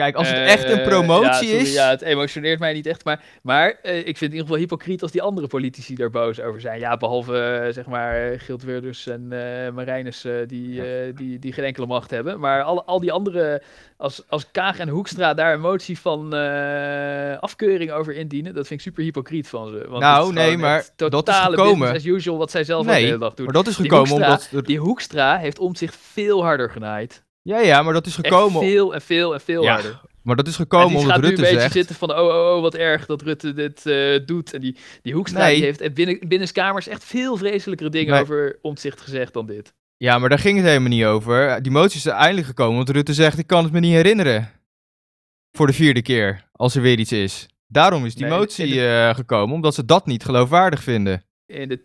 Kijk, als het
Eh,
echt een promotie
ja, sorry,
is...
Ja, het emotioneert mij niet echt. Maar, maar eh, ik vind het in ieder geval hypocriet als die andere politici daar boos over zijn. Ja, behalve eh, zeg maar eh, Geert Wilders en eh Marijnus, eh, die, eh, die, die geen enkele macht hebben. Maar al, al die andere, als, als Kaag en Hoekstra daar een motie van eh, afkeuring over indienen, dat vind ik super hypocriet van ze. Want
Nou,
het is gewoon
nee, maar
echt
dat is
totale
gekomen.
business as usual wat zij zelf al de
Nee,
hele dag doen.
maar dat is
Die
gekomen
Hoekstra,
omdat... er-
Die Hoekstra heeft om zich veel harder genaaid.
Ja, ja, maar dat is
Echt
gekomen...
veel en veel en veel
Ja,
harder.
Maar dat is
En
gekomen
die
omdat
gaat nu een
Rutte
beetje
zegt...
zitten van, oh, oh, oh, wat erg dat Rutte dit eh, doet. En die, die Hoekstra
Nee.
die heeft eh, binnen, binnenskamers echt veel vreselijkere dingen
Nee.
over omzicht gezegd dan dit.
Ja, maar daar ging het helemaal niet over. Die motie is er eindelijk gekomen, want Rutte zegt, ik kan het me niet herinneren. Voor de vierde keer, als er weer iets is. Daarom is die
Nee,
motie
in
eh, gekomen, omdat ze dat niet geloofwaardig vinden.
In de,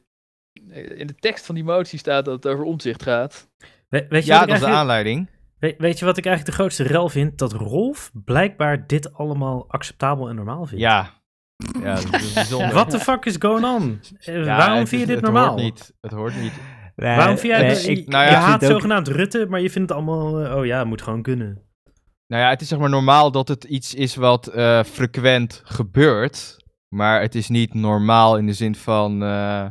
in de tekst van die motie staat dat het over omzicht gaat.
We- weet, je
Ja,
wat ik
dat is de
eigenlijk-
aanleiding.
we- weet je wat ik eigenlijk de grootste rel vind? Dat Rolf blijkbaar dit allemaal acceptabel en normaal vindt.
Ja. Ja, dat is bijzonder.
What the fuck is going on? Eh,
Ja,
Waarom
het
vind je
is-
dit normaal?
Het hoort niet. Het hoort niet.
Waarom vind jij
Nee,
dat-
eh, ik-
nou ja,
je
ik vind
haat
het ook-
zogenaamd Rutte, maar je vindt het allemaal... eh, oh ja, het moet gewoon kunnen.
Nou ja, het is zeg maar normaal dat het iets is wat eh, frequent gebeurt. Maar het is niet normaal in de zin van eh,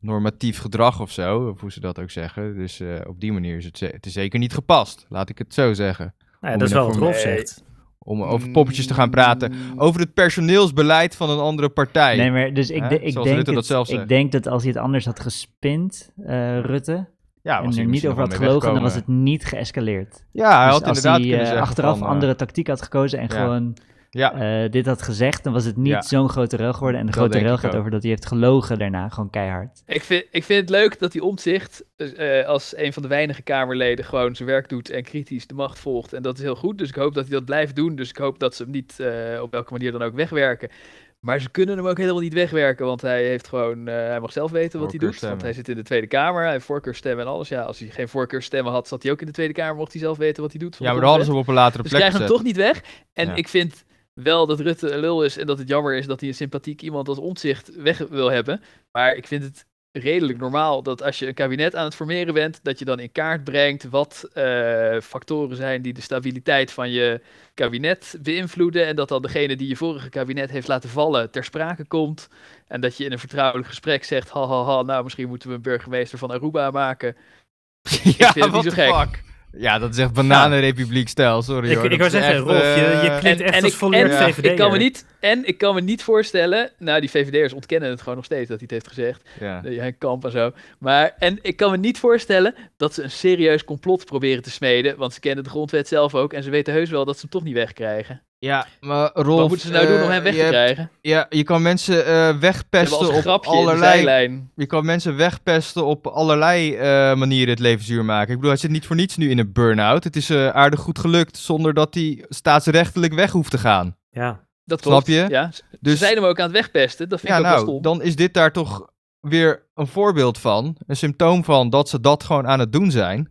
normatief gedrag of zo. Of hoe ze dat ook zeggen. Dus eh, op die manier is het, ze- het is zeker niet gepast. Laat ik het zo zeggen.
Nou ja,
Om
dat is
in
wel
een
wat
form-
Rolf
Nee.
zegt.
Om over poppetjes te gaan
Mm.
praten. Over het personeelsbeleid van een andere partij.
Nee, maar dus ik,
Hè?
de- ik,
Zoals
denk,
Rutte dat
het-
zelf
ik
zegt.
denk dat als hij het anders had gespind, eh, Rutte,
ja, was
en
hij
er niet
misschien
over had
nog wel mee
gelogen, dan was het
weggekomen.
niet geëscaleerd.
Ja, hij
Dus
had
als
inderdaad
hij
kunnen
eh,
zeggen
achteraf
van, eh,
andere tactiek had gekozen en
ja.
gewoon
Ja,
eh, dit had gezegd, dan was het niet
Ja.
zo'n grote rel geworden. En de
Dat
grote
denk
rel
ik
gaat
ook.
over dat hij heeft gelogen daarna, gewoon keihard.
Ik vind, ik vind het leuk dat die omzicht dus, eh, als een van de weinige Kamerleden gewoon zijn werk doet en kritisch de macht volgt. En dat is heel goed. Dus ik hoop dat hij dat blijft doen. Dus ik hoop dat ze hem niet eh, op welke manier dan ook wegwerken. Maar ze kunnen hem ook helemaal niet wegwerken. Want hij heeft gewoon. eh, hij mag zelf weten wat hij doet. Want
Voorkeurstemmen.
hij zit in de Tweede Kamer. Hij heeft voorkeurstemmen en alles. Ja, als hij geen voorkeurstemmen had, zat hij ook in de Tweede Kamer. Mocht hij zelf weten wat hij doet. van
ja,
de
maar dan hadden
grondwet.
ze hem op een latere
Dus
plek
ze krijgen hem
gezet.
toch niet weg. En
Ja.
ik vind wel dat Rutte een lul is en dat het jammer is dat hij een sympathiek iemand als ontzicht weg wil hebben. Maar ik vind het redelijk normaal dat als je een kabinet aan het formeren bent, dat je dan in kaart brengt wat eh, factoren zijn die de stabiliteit van je kabinet beïnvloeden. En dat dan degene die je vorige kabinet heeft laten vallen ter sprake komt. En dat je in een vertrouwelijk gesprek zegt, ha ha ha, nou misschien moeten we een burgemeester van Aruba maken.
ja,
vind het
what
niet zo
the
gek.
fuck. Ja, dat is echt bananenrepubliek-stijl, sorry
Ik-
hoor.
ik
Dat
wou
is
zeggen,
echt,
Rolf, je- je
eh,
klinkt echt als volleerd
en,
VVD'er.
ik kan me niet En ik kan me niet voorstellen, nou die VVD'ers ontkennen het gewoon nog steeds dat hij het heeft gezegd.
ja.
Nee, Henk Kamp en zo. Maar, en ik kan me niet voorstellen dat ze een serieus complot proberen te smeden. Want ze kennen de grondwet zelf ook. En ze weten heus wel dat ze hem toch niet wegkrijgen.
Ja, maar Rolf...
Wat moeten ze nou doen om hem weg
eh, je
te
hebt-
krijgen? Ze
Ja, je kan mensen eh,
hebben als
wegpesten
een
op
grapje in de
allerlei...
zijlijn.
Je kan mensen wegpesten op allerlei eh, manieren het leven zuur maken. Ik bedoel, hij zit niet voor niets nu in een burn-out. Het is eh, aardig goed gelukt zonder dat hij staatsrechtelijk weg hoeft te gaan.
Ja.
Dat
Snap
klopt.
je?
Ja, ze- ze
Dus
zijn hem ook aan het wegpesten. Dat vind
ja,
ik ook wel
nou,
stom.
dan is dit daar toch weer een voorbeeld van. Een symptoom van dat ze dat gewoon aan het doen zijn.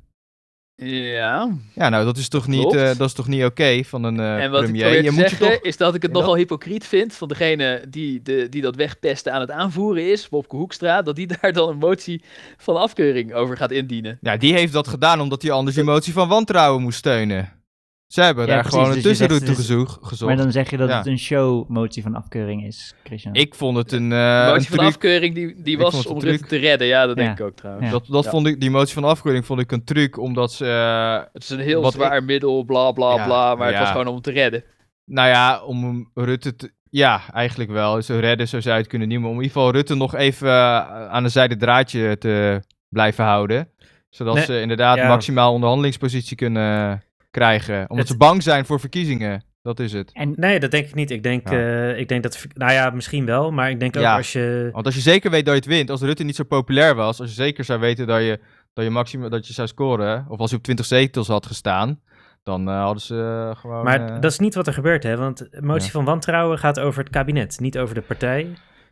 Ja.
Ja, nou, dat is toch niet,
Klopt.
eh, dat is toch niet oké van een eh
en wat ik
premier.
probeer
je
te
moet je
zeggen
toch...
is dat ik het
Ja.
nogal hypocriet vind van degene die, de, die dat wegpesten aan het aanvoeren is, Bobke Hoekstra, dat die daar dan een motie van afkeuring over gaat indienen.
Ja, die heeft dat gedaan omdat hij anders die motie van wantrouwen moest steunen. Ze hebben
Ja,
daar
precies,
gewoon een
dus je zegt
tussenroute
het is-
gezoeg- gezocht.
Maar dan zeg je dat
Ja.
het een showmotie van afkeuring is, Christian.
Ik vond het een, eh,
De
een
motie van
truc.
afkeuring die, die
Ik vond
was
het een
om Rutte te redden. Ja, dat denk ik ook trouwens.
Ja.
Dat, dat
Ja.
vond ik, die motie van afkeuring vond ik een truc, omdat ze... eh,
Het is een heel
Wat
zwaar middel, bla bla
Ja,
bla. Maar het
ja.
was gewoon om te redden.
nou ja, om hem Rutte te... Ja, eigenlijk wel. Zo redden, zo zou je het kunnen noemen. Om in ieder geval Rutte nog even eh, aan een zijde draadje te blijven houden. Zodat
Nee,
ze inderdaad
ja.
maximaal onderhandelingspositie kunnen krijgen. Omdat
Het-
ze bang zijn voor verkiezingen. Dat is het.
En
Nee, dat denk ik niet. Ik denk,
Ja.
eh, ik denk dat... Nou ja, misschien wel, maar ik denk ook
Ja.
als je...
Want als je zeker weet dat je het wint, als Rutte niet zo populair was, als je zeker zou weten dat je, dat je, maxima, dat je zou scoren, of als hij op 20 zetels had gestaan, dan eh, hadden ze eh, gewoon...
Maar
Oh,
eh,
dat is niet wat er gebeurt, hè? Want de motie
Ja.
van wantrouwen gaat over het kabinet, niet over de partij.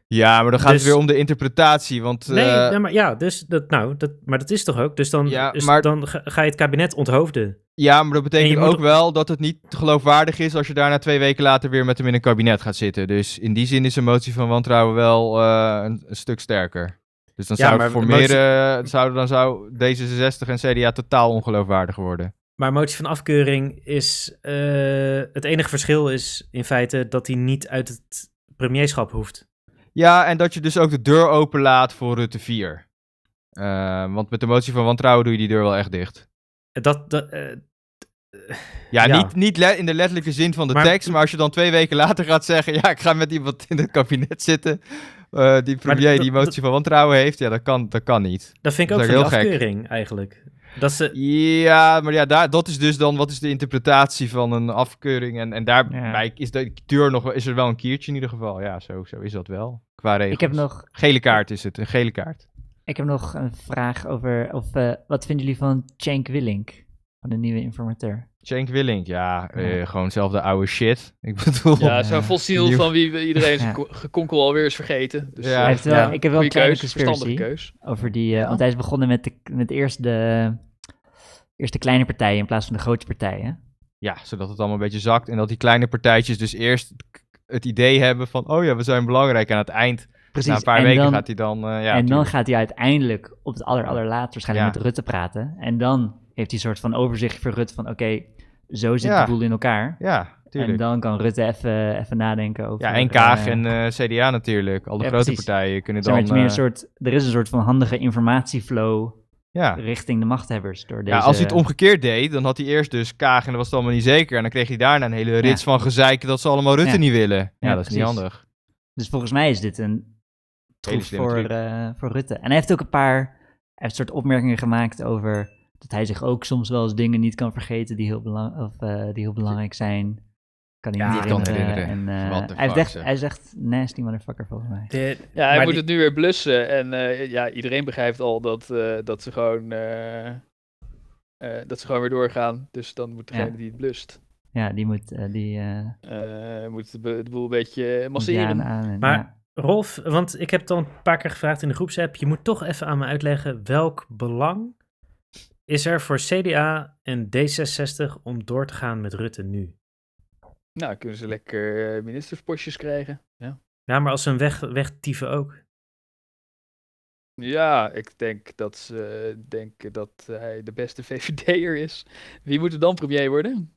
Ja, maar dan gaat
Dus-
het weer om de interpretatie. Want
Nee,
eh,
nee, maar ja, dus dat, nou, dat, maar dat is toch ook? Dus dan,
Ja,
dus
maar-
dan ga, ga je het kabinet onthoofden.
ja, maar dat betekent
moet
ook
op-
wel dat het niet geloofwaardig is als je daarna twee weken later weer met hem in een kabinet gaat zitten. Dus in die zin is de motie van wantrouwen wel eh, een, een stuk sterker. Dus dan
Ja,
zou
maar
het
de
voor
motie-
meer, eh, zou, dan zou D66 en CDA totaal ongeloofwaardig worden.
Maar motie van afkeuring is. eh, het enige verschil is in feite dat hij niet uit het premierschap hoeft.
Ja, en dat je dus ook de deur openlaat voor Rutte 4. Eh, want met de motie van wantrouwen doe je die deur wel echt dicht.
Dat, dat, eh,
Ja,
Ja.
niet, niet le- in de letterlijke zin van de
Maar-
tekst, maar als je dan twee weken later gaat zeggen, ja, ik ga met iemand in het kabinet zitten, eh, die premier
dat-
die motie van wantrouwen heeft, ja, dat kan, dat kan niet.
dat vind ik
Dat
ook
is
van die
ook heel gek.
afkeuring eigenlijk. Dat ze,
Ja, maar ja, daar, dat is dus dan, wat is de interpretatie van een afkeuring? En, en daarbij is de deur nog, wel- is er wel een kiertje in ieder geval. Ja, zo, zo is dat wel, qua regels.
Ik heb, nog,
Gele kaart is het, een gele kaart.
ik heb nog een vraag over, of eh, wat vinden jullie van Cenk Willink, van de nieuwe informateur?
Cenk Willink, ja, eh,
Ja.
gewoon zelfde oude shit. Ik bedoel,
Ja, zo'n
Ja.
fossiel
Nieuw.
van wie we- iedereen zijn
Ja.
ko- gekonkel alweer is vergeten. Dus
Ja.
eh,
Hij heeft wel,
ja.
Ik heb wel een
goede
kleine
keus,
conspiracy
verstandige keus.
over die, eh,
Ja.
want hij is begonnen met, de, met eerst, de, eerst de kleine partijen in plaats van de grote partijen.
Ja, zodat het allemaal een beetje zakt. En dat die kleine partijtjes dus eerst k- het idee hebben van... oh ja, we zijn belangrijk. En aan het eind,
Precies.
na een paar
en
weken,
dan-
gaat hij dan... eh, ja,
en dan
tuurlijk.
gaat hij uiteindelijk op het aller, allerlaatst waarschijnlijk
Ja.
met Rutte praten. En dan heeft hij een soort van overzicht voor Rutte van oké, zo zit
Ja.
de boel in elkaar.
Ja,
en
tuurlijk.
dan kan Rutte even, even nadenken over...
ja, en Kaag
eh,
en eh, CDA natuurlijk. Alle
ja,
grote
precies.
partijen kunnen
zeg
dan...
maar, het is meer een
eh,
soort, er is een soort van handige informatieflow
ja.
richting de machthebbers. Door deze,
ja, als hij het omgekeerd deed, dan had hij eerst dus Kaag... en dat was het allemaal niet zeker. En dan kreeg hij daarna een hele rits van gezeik... dat ze allemaal Rutte
Ja.
niet willen. Ja, dat is niet
precies.
handig.
Dus volgens mij is dit een troef
slimme
voor,
truc.
eh, voor Rutte. En hij heeft ook een paar hij heeft soort opmerkingen gemaakt over dat hij zich ook soms wel eens dingen niet kan vergeten die heel, belang of, eh, die heel belangrijk zijn. Kan hij
Ja,
niet
die kan
herinneren.
herinneren.
En, eh,
What the
hij, heeft
fuck,
echt,
zeg.
hij is echt nasty motherfucker volgens mij.
de,
Ja, hij
Maar
moet
die-
het nu weer blussen. En eh, ja, iedereen begrijpt al dat, eh, dat ze gewoon... eh, eh, dat ze gewoon weer doorgaan. Dus dan moet degene
Ja.
die het blust,
Ja, die moet eh, die eh,
eh, moet de, be- de boel een beetje
moet die
masseren.
nou.
aan, aan en-
Maar-
ja.
Rolf, want ik heb het al een paar keer gevraagd in de groepsapp. Je moet toch even aan me uitleggen welk belang is er voor CDA en D66 om door te gaan met Rutte nu?
Nou, kunnen ze lekker eh, ministerspostjes krijgen.
Ja, maar als ze hem weg, wegtieven ook.
Ja, ik denk dat ze eh, denken dat hij de beste VVD'er is. Wie moet er dan premier worden?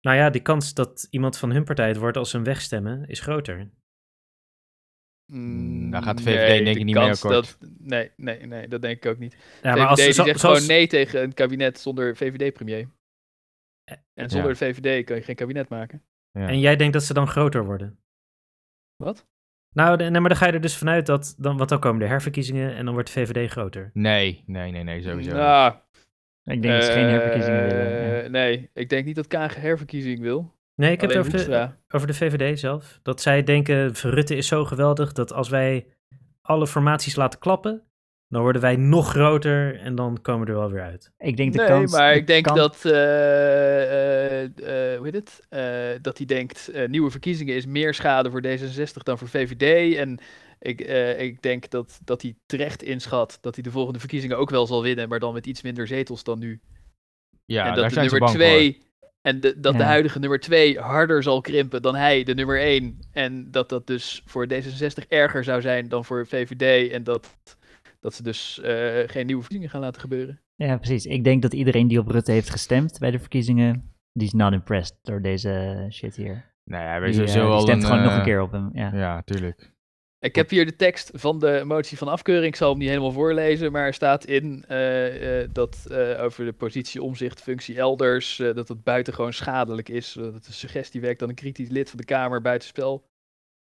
Nou ja, die kans dat iemand van hun partij het wordt als ze hem wegstemmen is groter.
Mm, daar gaat de
Mm,
VVD denk
de
ik niet mee
kans
akkoord.
Dat, nee, nee, nee, dat denk ik ook niet.
Ja,
VVD
maar als,
die
zo-
zegt
zoals-
gewoon nee tegen een kabinet zonder VVD-premier. En zonder
Ja.
de VVD kan je geen kabinet maken.
Ja.
En jij denkt dat ze dan groter worden?
Wat?
Nou, de- nee, maar dan ga je er dus vanuit dat, dan, want dan komen de herverkiezingen en dan wordt de VVD groter.
Nee, nee, nee, nee, sowieso. niet.
Nou,
Ik denk dat ze geen herverkiezingen willen. ja.
eh, Nee, ik denk niet dat Kaag een herverkiezing wil.
Nee, ik heb
Alleen
het over de,
Hoekstra.
over de VVD zelf. Dat zij denken, Rutte is zo geweldig dat als wij alle formaties laten klappen, dan worden wij nog groter en dan komen we er wel weer uit.
Ik denk de
nee,
kans...
maar
de
ik denk
kans-
dat, eh, eh, eh, hoe heet het? Eh, dat hij denkt, eh, nieuwe verkiezingen is meer schade voor D66 dan voor VVD. En ik, eh, ik denk dat, dat hij terecht inschat dat hij de volgende verkiezingen ook wel zal winnen, maar dan met iets minder zetels dan nu.
ja,
en dat
daar
de
zijn ze
nummer
bang voor.
twee, en de, dat de
Ja.
huidige nummer 2 harder zal krimpen dan hij, de nummer 1. En dat dat dus voor D66 erger zou zijn dan voor VVD. En dat, dat ze dus eh, geen nieuwe verkiezingen gaan laten gebeuren.
Ja, precies. Ik denk dat iedereen die op Rutte heeft gestemd bij de verkiezingen, die is not impressed door deze shit hier.
Nee, hij
Die,
weet
eh,
sowieso
die
al
stemt gewoon nog
eh,
een keer op hem. Ja.
Ja, tuurlijk.
Ik heb hier de tekst van de motie van afkeuring. Ik zal hem niet helemaal voorlezen, maar er staat in eh, eh, dat eh, over de positie, omzicht, functie elders, eh, dat het buitengewoon schadelijk is. eh, dat de suggestie werkt dat een kritisch lid van de Kamer buitenspel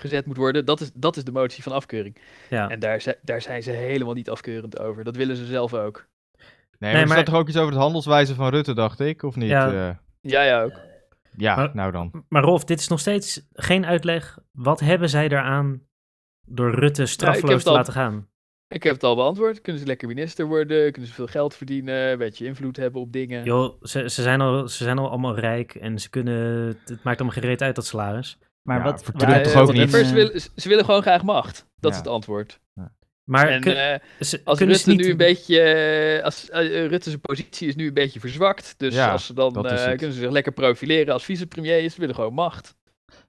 gezet moet worden. Dat is, dat is de motie van afkeuring.
Ja.
En daar, zi- daar zijn ze helemaal niet afkeurend over. Dat willen ze zelf ook.
Nee,
Nee,
maar er
maar-
staat toch ook iets over de handelswijze van Rutte, dacht ik, of niet?
Ja.
Ja,
Ja, ja ook.
ja
Maar-
nou dan.
Maar Rolf, dit is nog steeds geen uitleg. Wat hebben zij eraan door Rutte straffeloos
heb het
te
al-
laten gaan?
Ik heb het al beantwoord. Kunnen ze lekker minister worden? Kunnen ze veel geld verdienen? Een beetje invloed hebben op dingen?
Joh, ze, ze, zijn al, ze zijn al allemaal rijk en ze kunnen, het maakt allemaal geen reet uit dat salaris.
Maar
Ja,
wat...
verdrukt
waar-
toch
Eh,
ook
want
niet?
Weffers willen- ze, ze willen gewoon graag macht. Dat
Ja.
is het antwoord.
Maar
en
kun-
eh,
ze-
als
kunnen
Rutte
ze niet...
nu een beetje... eh, als, eh, Rutte zijn positie is nu een beetje verzwakt. Dus
Ja,
als ze dan
dat is
eh,
het.
kunnen ze zich lekker profileren als vicepremier. Ze willen gewoon macht.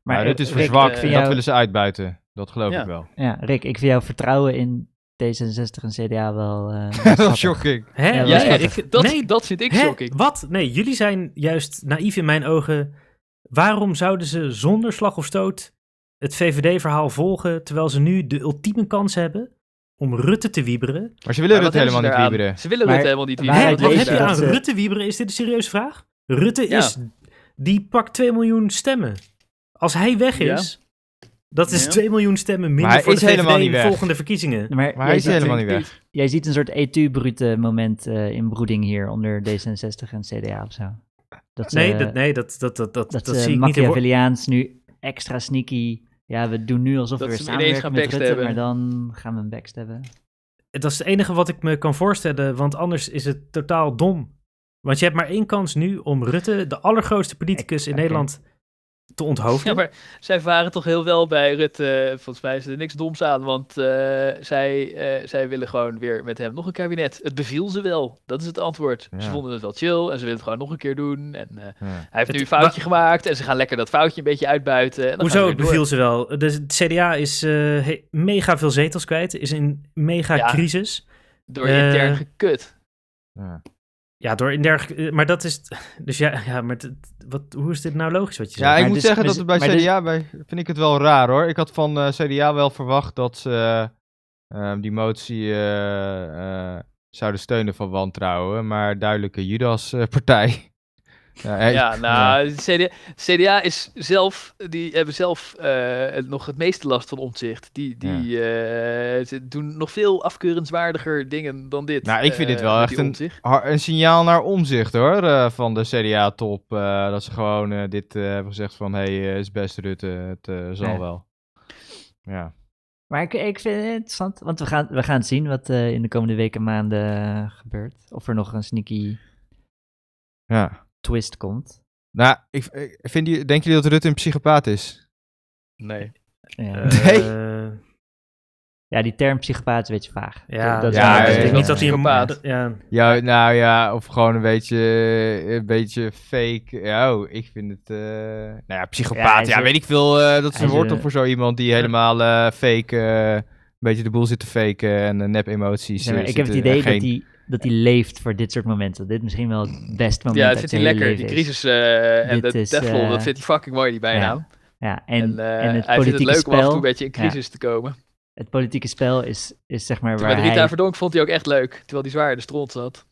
Maar Nou, dit is
Rick,
verzwakt
ik eh,
en
vind
dat
jou-
willen ze uitbuiten. Dat geloof
Ja.
ik wel.
Ja, Rick, ik vind jouw vertrouwen in D66 en CDA wel... eh,
dat
schattig.
is shocking.
Hè?
Ja,
Nee,
dat
ik-
Dat,
nee,
dat vind ik
Hè?
shocking.
Wat? Nee, jullie zijn juist naïef in mijn ogen. Waarom zouden ze zonder slag of stoot het VVD-verhaal volgen, terwijl ze nu de ultieme kans hebben om Rutte te wieberen?
Maar ze willen
Maar
het
wat hebben
helemaal
ze
niet
daaraan?
wieberen.
Ze willen
Maar
het helemaal niet
waar
Hè,
Ja,
wieberen.
ik
wat
lees
heb je
dat,
aan
eh,
Rutte wieberen? Is dit een serieuze vraag? Rutte
Ja.
is... Die pakt 2 miljoen stemmen. Als hij weg
Ja.
is, dat is
Ja.
2 miljoen stemmen minder
hij
voor
is
de VVD
helemaal niet
in de
weg.
volgende verkiezingen.
Maar,
Maar
jij,
hij is
ziet,
helemaal niet weg.
jij ziet een soort etu-brute moment eh, in broeding hier onder D66 en CDA of zo. Dat ze-
Nee, dat, nee, dat, dat, dat, dat,
dat, eh,
dat,
ze
zie ik niet. in wo-
Machiavelliaans nu extra sneaky. Ja, we doen nu alsof
Dat
we weer
ze hem ineens
samenwerken
gaan
met Rutte,
backstabben.
maar dan gaan we hem backstabben.
Dat is het enige wat ik me kan voorstellen, want anders is het totaal dom. Want je hebt maar één kans nu om Rutte, de allergrootste politicus in
Oké.
Nederland, te onthoofden.
Ja, maar zij varen toch heel wel bij Rutte. Volgens mij is er niks doms aan, want eh, zij, eh, zij willen gewoon weer met hem nog een kabinet. Het beviel ze wel, dat is het antwoord. Ze
Ja.
vonden het wel chill en ze willen het gewoon nog een keer doen. En, eh,
Ja.
hij heeft nu
Het-
een foutje gemaakt en ze gaan lekker dat foutje een beetje uitbuiten. En dan
Hoezo?
gaan
Het
ze weer door.
beviel ze wel. Dus De CDA is eh, he- mega veel zetels kwijt, is in mega
Ja.
crisis.
Door
Eh,
intern gekut.
Ja.
Ja, door in dergelijke. Maar dat is. Dus ja, ja maar dit- wat, hoe is dit nou logisch wat je
Ja,
zegt?
ik
Maar
moet
dus-
zeggen dat
dus-
het bij
maar dus-
CDA bij, vind ik het wel raar hoor. Ik had van eh, CDA wel verwacht dat ze eh, ehm, die motie eh, eh, zouden steunen van wantrouwen, maar duidelijke Judas-partij. ja, eh,
Ja, nou, CDA, CDA is zelf, die hebben zelf eh, het- nog het meeste last van omzicht. Die, die eh, ze doen nog veel afkeurenswaardiger dingen dan dit.
Nou, ik vind dit
eh,
wel
met
echt
die
een-
Omtzigt.
Har- een signaal naar omzicht hoor, eh, van de CDA-top. eh, dat ze gewoon eh, dit eh, hebben gezegd van, hé, hey, eh, is best Rutte, het eh, zal
Ja.
wel. Ja.
Maar ik, ik vind het interessant, want we gaan, we gaan zien wat eh, in de komende weken en maanden eh, gebeurt. Of er nog een sneaky
ja.
twist komt.
Nou, ik, ik- vind je, denken jullie dat Rutte een psychopaat is?
Nee.
Ja,
Nee.
Eh,
ja die term psychopaat is een beetje vaag.
ja, dat,
is
Ja,
wel-
ja,
is
ja.
niet dat hij een
Psychopaat.
Ja.
Ja, nou ja, of gewoon een beetje, een beetje fake. Ja, oh, ik vind het, eh, nou ja,
Ja, hij
psychopaat.
is
Ja,
een-
weet ik veel, eh, dat is
hij
een
is
woord
een-
toch voor zo iemand die helemaal eh, fake, eh, een beetje de boel zit te faken en eh, nep emoties.
Zeg maar,
eh,
ik heb het
zitten- en
idee dat
geen-
hij, dat hij leeft voor dit soort momenten. Dit is misschien wel het beste moment
Ja, dat
uit
vindt
zijn
hij
hele
lekker. Die
leven is.
crisis eh, en
Dit
de
is,
Teflon,
eh,
dat vindt hij fucking mooi, die bijnaam.
Ja,
En,
en, en,
eh,
het
hij vindt het
politieke
leuk om af en toe
spel...
een beetje in crisis te komen.
Het politieke spel is, is zeg maar
Terwijl
waar
Rita
hij...
Verdonk vond hij ook echt leuk, terwijl die zwaar in de stront zat.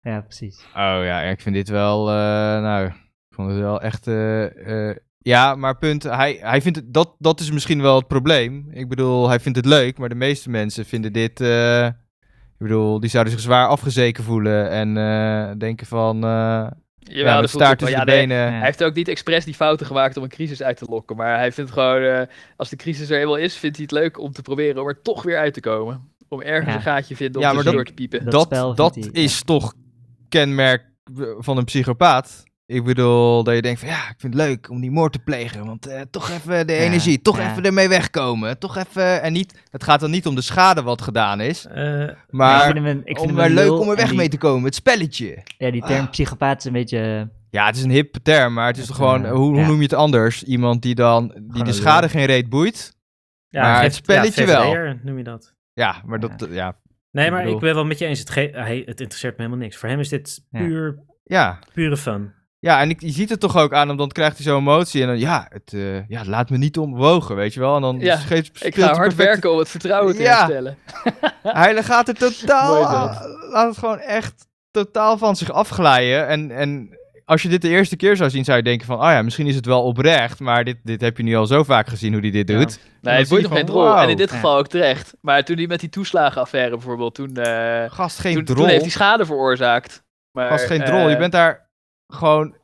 Ja, precies.
Oh ja, ik vind dit wel. eh, nou, ik vond het wel echt. eh, eh, ja, maar punt. Hij, hij vindt het, dat, dat is misschien wel het probleem. Ik bedoel, hij vindt het leuk, maar de meeste mensen vinden dit. eh, ik bedoel, die zouden zich zwaar afgezeken voelen en eh, denken van. eh,
Jawel,
ja,
dat
met
voelt hij
staart
wel.
tussen
ja,
de
nee,
benen.
Ja.
Hij heeft ook niet expres die fouten gemaakt om een crisis uit te lokken. Maar hij vindt gewoon, eh, als de crisis er eenmaal is, vindt hij het leuk om te proberen om er toch weer uit te komen. Om ergens
Ja.
een gaatje te vinden om
Ja,
ja,
maar dat-
door te piepen.
dat
Dat,
spel
dat,
vindt hij, ja.
is toch kenmerk van een psychopaat. Ik bedoel, dat je denkt van ja, ik vind het leuk om die moord te plegen. Want eh, toch even de
Ja,
energie, toch
ja.
even ermee wegkomen. Toch even, en niet, het gaat dan niet om de schade wat gedaan is.
Eh,
Maar
ik vind hem, een- ik vind
om
hem
maar
een
leuk
lul
om er
en
weg
die-
mee te komen, het spelletje.
Ja, die term
Ah.
psychopaat is een beetje...
Ja, het is een hip term, maar het is toch
Het,
gewoon,
eh,
hoe, hoe
ja.
noem je het anders? Iemand die dan, die
Gewoon
de
een
schade geen reet boeit.
ja,
Maar het spelletje wel.
VVD'er noem je dat.
Ja, maar dat, ja,
Nee,
Ik
maar
bedoel-
ik ben wel met je eens. Het, ge- hij, het interesseert me helemaal niks. Voor hem is dit
Ja.
puur,
ja.
pure fun.
Ja, en ik, je ziet het toch ook aan hem, dan krijgt hij zo'n emotie en dan, ja, het eh, ja, laat me niet omwogen, weet je wel. En dan
Ja,
scheet-
Ik
speelt hij
ga hard
perfect-
werken om het vertrouwen te
Ja.
herstellen.
Hij gaat er totaal,
Mooi dat.
ah, laat het gewoon echt totaal van zich afglijden. En, en als je dit de eerste keer zou zien, zou je denken van, oh ja, misschien is het wel oprecht, maar dit, dit heb je nu al zo vaak gezien hoe hij dit
Ja.
doet.
Nee, het
zie je
boeit nog
gewoon,
geen rol. En
wauw.
in dit
Ja.
geval ook terecht. Maar toen hij met die toeslagenaffaire bijvoorbeeld, toen... eh,
Gast, geen
toen, toen
drol.
heeft hij schade veroorzaakt. Maar,
Gast, geen
eh,
drol. je bent daar gewoon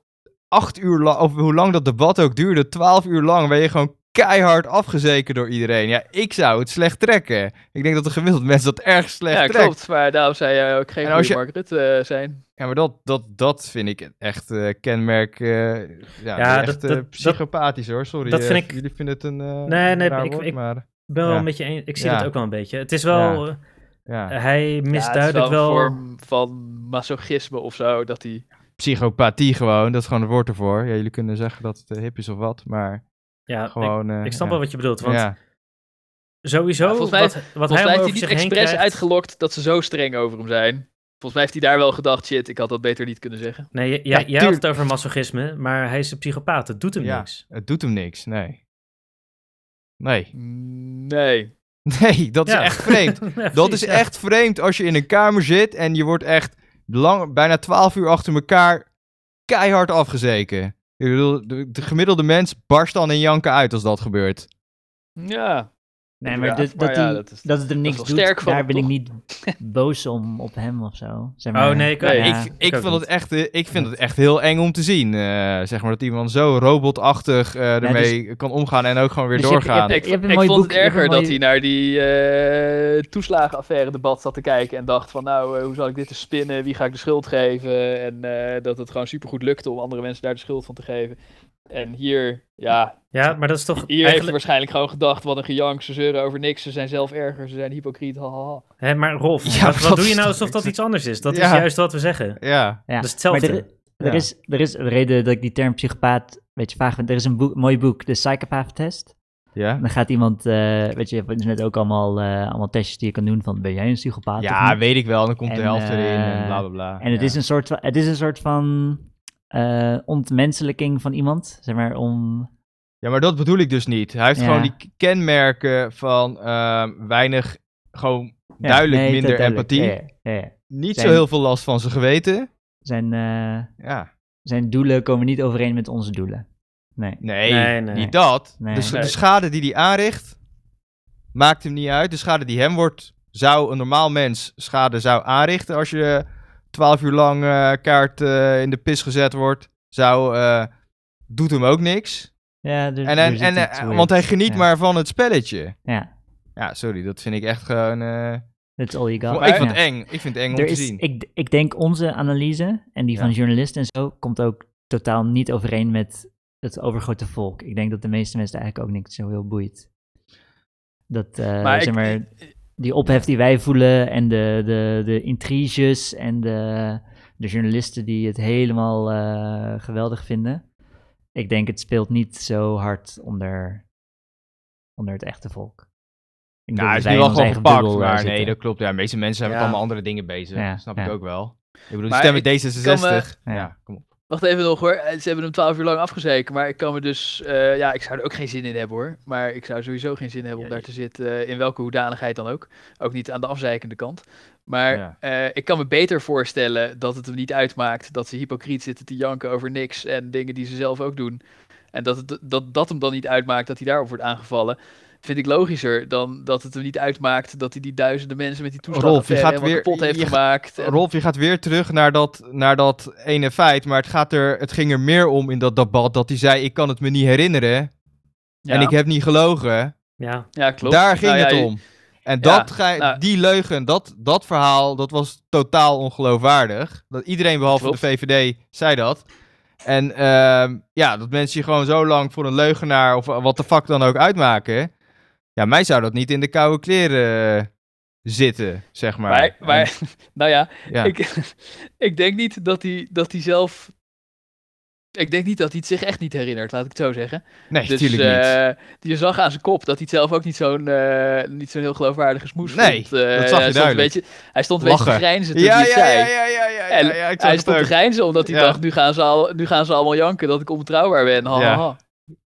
acht uur lang, of hoe lang dat debat ook duurde, twaalf uur lang, ben je gewoon keihard afgezeken door iedereen. Ja, ik zou het slecht trekken. Ik denk dat de gemiddeld mens dat erg slecht
Ja,
trekt.
klopt. Maar daarom zei je ook geen
En als
goede Mark Rutte eh, zijn.
Ja, maar dat, dat, dat vind ik echt eh, kenmerk. eh, ja,
Ja,
echt
dat-
eh,
dat-
psychopathisch hoor. Sorry.
dat
eh,
vind ik-
Jullie vinden het een. eh,
Nee, nee,
raar
ik-
woord,
ik-
maar,
Ik ben wel
Ja.
een beetje een- ik zie
Ja.
dat ook wel een beetje. Het is wel,
ja.
eh, hij
ja, het is
misduidelijk
wel.
wel.
Een vorm van masochisme of zo. Dat hij.
Psychopathie gewoon, dat is gewoon het woord ervoor. Ja, jullie kunnen zeggen dat het eh, hip is of wat, maar
ja, ik-
gewoon.
ik,
eh,
snap
ja.
wel wat je bedoelt. Want
Ja.
sowieso,
Ja, volgens mij-
wat, wat
Volgens
hij
mij heeft
allemaal
hij
over
niet
zich heen
expres
krijgt.
uitgelokt dat ze zo streng over hem zijn. Volgens mij heeft hij daar wel gedacht: shit, ik had dat beter niet kunnen zeggen.
Nee, j-
Ja,
jij, jij had
tuurlijk.
het over masochisme, maar hij is een psychopaat. Het doet hem
Ja.
niks.
Het doet hem niks, nee. Nee.
Nee.
Nee, dat
Ja.
is echt vreemd.
Ja,
Dat
precies,
is
ja.
echt vreemd als je in een kamer zit en je wordt echt lang, bijna twaalf uur achter elkaar keihard afgezeken. Ik bedoel, de, de gemiddelde mens barst dan in janken uit als dat gebeurt.
Ja.
Nee, maar,
Ja,
dat,
maar
dat,
ja,
hij-
dat is-
dat het hem niks
wel
doet,
sterk van
daar
hem,
ben ik
toch?
niet boos om op hem of zo. Zeg
Oh,
maar,
nee, ik-
Nee,
ja,
ik, ik,
ook
vind het
niet.
echt, eh, ik vind het echt heel eng om te zien. eh, zeg maar dat iemand zo robotachtig eh ermee kan omgaan en ook gewoon weer
Dus je hebt- je
doorgaan.
hebt-
Ik,
Je hebt een
ik
mooi
vond
boek,
het
je hebt
erger
een
dat hij
mooi-
naar die eh toeslagenaffaire debat zat te kijken en dacht van nou, eh, hoe zal ik dit te spinnen, wie ga ik de schuld geven en eh, dat het gewoon supergoed lukte om andere mensen daar de schuld van te geven. En hier, ja,
Ja, maar dat is toch
hier heeft hij
eigenlijk...
waarschijnlijk gewoon gedacht, wat een gejank, ze zeuren over niks, ze zijn zelf erger, ze zijn hypocriet, haha.
Hè, maar Rolf,
Ja,
wat, wat
dat
doe je
is
nou
toch
alsof dat
niks.
iets anders is? Dat is
Ja.
juist wat we zeggen.
Ja,
Ja,
Dat is hetzelfde.
Maar er,
Ja.
er is, er is een reden dat ik die term psychopaat een beetje vaag vind. Er is een boek, mooi boek, de Psychopath Test.
ja.
Dan gaat iemand, eh, weet je, je hebt net ook allemaal, eh, allemaal testjes die je kan doen van ben jij een psychopaat of
ja
niet?
weet ik wel. Dan komt de
En,
helft
eh,
erin en bla bla bla.
En het,
Ja.
is een soort van, het is een soort van eh, ontmenselijking van iemand, zeg maar, om...
Ja, maar dat bedoel ik dus niet. Hij heeft
Ja.
gewoon die k- kenmerken van ehm, weinig, gewoon
ja,
duidelijk
nee,
minder
duidelijk.
empathie.
Ja, ja, ja, ja.
Niet
Zijn-
zo heel veel last van zijn geweten.
Zijn, eh,
Ja.
zijn doelen komen niet overeen met onze doelen. Nee.
Nee,
Nee, nee.
niet dat.
Nee.
De, s-
Nee.
de schade die hij aanricht, maakt hem niet uit. De schade die hem wordt, zou een normaal mens schade zou aanrichten als je twaalf uur lang eh, kaart eh, in de pis gezet wordt, zou, eh, doet hem ook niks.
Ja, er- er
En, en,
zit
en,
iets
eh,
weirds.
want hij geniet
Ja.
maar van het spelletje.
Ja,
Ja, sorry, dat vind ik echt gewoon... eh,
that's all you got.
Maar ik vind
Ja.
het eng. Ik vind het eng om
Er
te
is,
zien.
ik, ik denk onze analyse en die van
Ja.
journalisten en zo komt ook totaal niet overeen met het overgrote volk. Ik denk dat de meeste mensen eigenlijk ook niks zo heel boeit. Dat, eh,
Maar ik-
zeg maar, die ophef die wij voelen en de, de, de intriges en de, de journalisten die het helemaal eh, geweldig vinden. Ik denk het speelt niet zo hard onder, onder het echte volk. Ik
Nou, hij is
dat
nu
wij
wel
in onze
gewoon
eigen
gepakt,
bubbel, eh,
maar
zitten.
nee, dat klopt. Ja, de meeste mensen zijn met
Ja.
allemaal andere dingen bezig.
Ja,
snap
ja.
ik ook wel. Ik bedoel, die
Maar
stemmen
ik kan
D66.
me-
Ja, kom op.
Wacht even nog hoor, Eh, ze hebben hem twaalf uur lang afgezeken, maar ik kan me dus, eh, ja, ik zou er ook geen zin in hebben hoor. Maar ik zou sowieso geen zin hebben om
Ja,
daar te zitten, eh, in welke hoedanigheid dan ook. Ook niet aan de afzeikende kant. Maar
Ja.
eh, ik kan me beter voorstellen dat het hem niet uitmaakt dat ze hypocriet zitten te janken over niks en dingen die ze zelf ook doen. En dat, het, dat dat hem dan niet uitmaakt dat hij daarop wordt aangevallen. Vind ik logischer dan dat het hem niet uitmaakt dat hij die duizenden mensen met die
Rolf, je
toeslagenaffaire
gaat
helemaal
weer-
kapot heeft
je gaat-
gemaakt. En-
Rolf, je gaat weer terug naar dat, naar dat ene feit. Maar het, gaat er, het ging er meer om in dat debat dat hij zei: Ik kan het me niet herinneren.
ja,
En ik heb niet gelogen.
Ja,
ja, klopt.
Daar ging
Nou ja,
het
je-
om. En
Ja,
dat ga,
nou-
die leugen, dat, dat verhaal, dat was totaal ongeloofwaardig. Dat iedereen behalve
Klopt.
de VVD zei dat. En ehm, ja, dat mensen je gewoon zo lang voor een leugenaar of wat de fuck dan ook uitmaken. Ja, mij zou dat niet in de koude kleren eh, zitten, zeg maar.
Maar, maar nou ja,
En- ja.
Ik, ik denk niet dat hij, dat hij zelf. Ik denk niet dat hij het zich echt niet herinnert, laat ik het zo zeggen.
nee,
dus
natuurlijk niet.
eh, je zag aan zijn kop dat hij het zelf ook niet zo'n eh, niet zo'n heel geloofwaardige smoes
Nee,
vond.
dat zag je
Eh, hij stond een
duidelijk.
beetje, Hij stond een beetje te
Lachen.
grijnzen toen
Ja,
hij het
ja,
zei.
ja, ja, ja, ja,
En
ja, ja, ik zag
hij
het
stond te
ook.
grijnzen omdat hij
Ja.
dacht, nu gaan, ze al, nu gaan ze allemaal janken dat ik onbetrouwbaar ben. Ha, ha,
Ja.
ha.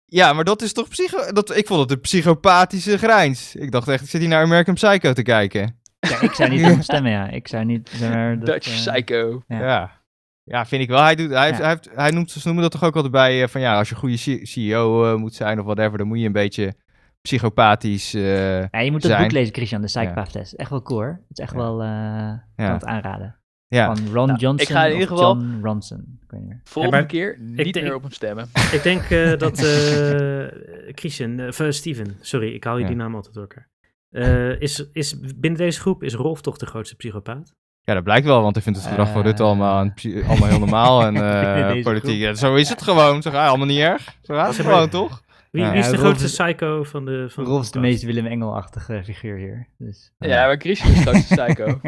Ja, maar dat is toch psycho... Dat, ik vond het een psychopathische grijns. Ik dacht echt, ik zit hier naar American Psycho te kijken.
Ja, ik zou niet op hem stemmen, ja. Ik zou niet... Zeg maar, dat,
Dutch
eh,
psycho.
Ja.
Ja. ja. vind ik wel. Hij, doet, hij, heeft-
Ja.
hij, heeft, hij noemt, ze noemen dat toch ook altijd bij eh, van ja, als je een goede C- CEO eh, moet zijn of whatever, dan moet je een beetje psychopathisch. eh,
ja, je moet dat
zijn.
boek lezen, Christian, de Psychopath Test. Echt wel cool, hoor. Het is echt
Ja.
wel... eh, ik kan
Ja.
het aanraden.
Ja.
Van Ron
Nou,
Johnson
ik ga in
of
ieder geval-
John Ronson. Ik weet niet meer.
Volgende
Ja, maar
keer niet
denk-
meer op hem stemmen.
Ik denk eh, dat eh Christian, eh, of, eh, Steven, sorry, ik haal je
Ja.
die naam altijd door elkaar. Eh, is, is, binnen deze groep is Rolf toch de grootste psychopaat?
Ja, dat blijkt wel, want hij vindt het gedrag van Rutte
Eh.
allemaal, een psy- allemaal heel normaal en
Binnen
eh
deze
politiek.
groep.
Ja, zo is het gewoon, zeg hij, allemaal niet erg. Zo gaat het
Zeg maar-
gewoon, toch?
Wie,
Ja,
wie is
ja,
de
Rolf
grootste
is-
psycho van de... Van
Rolf is de
podcast?
meest Willem Engel-achtige figuur hier. Dus.
Ja, maar Christian is straks een psycho.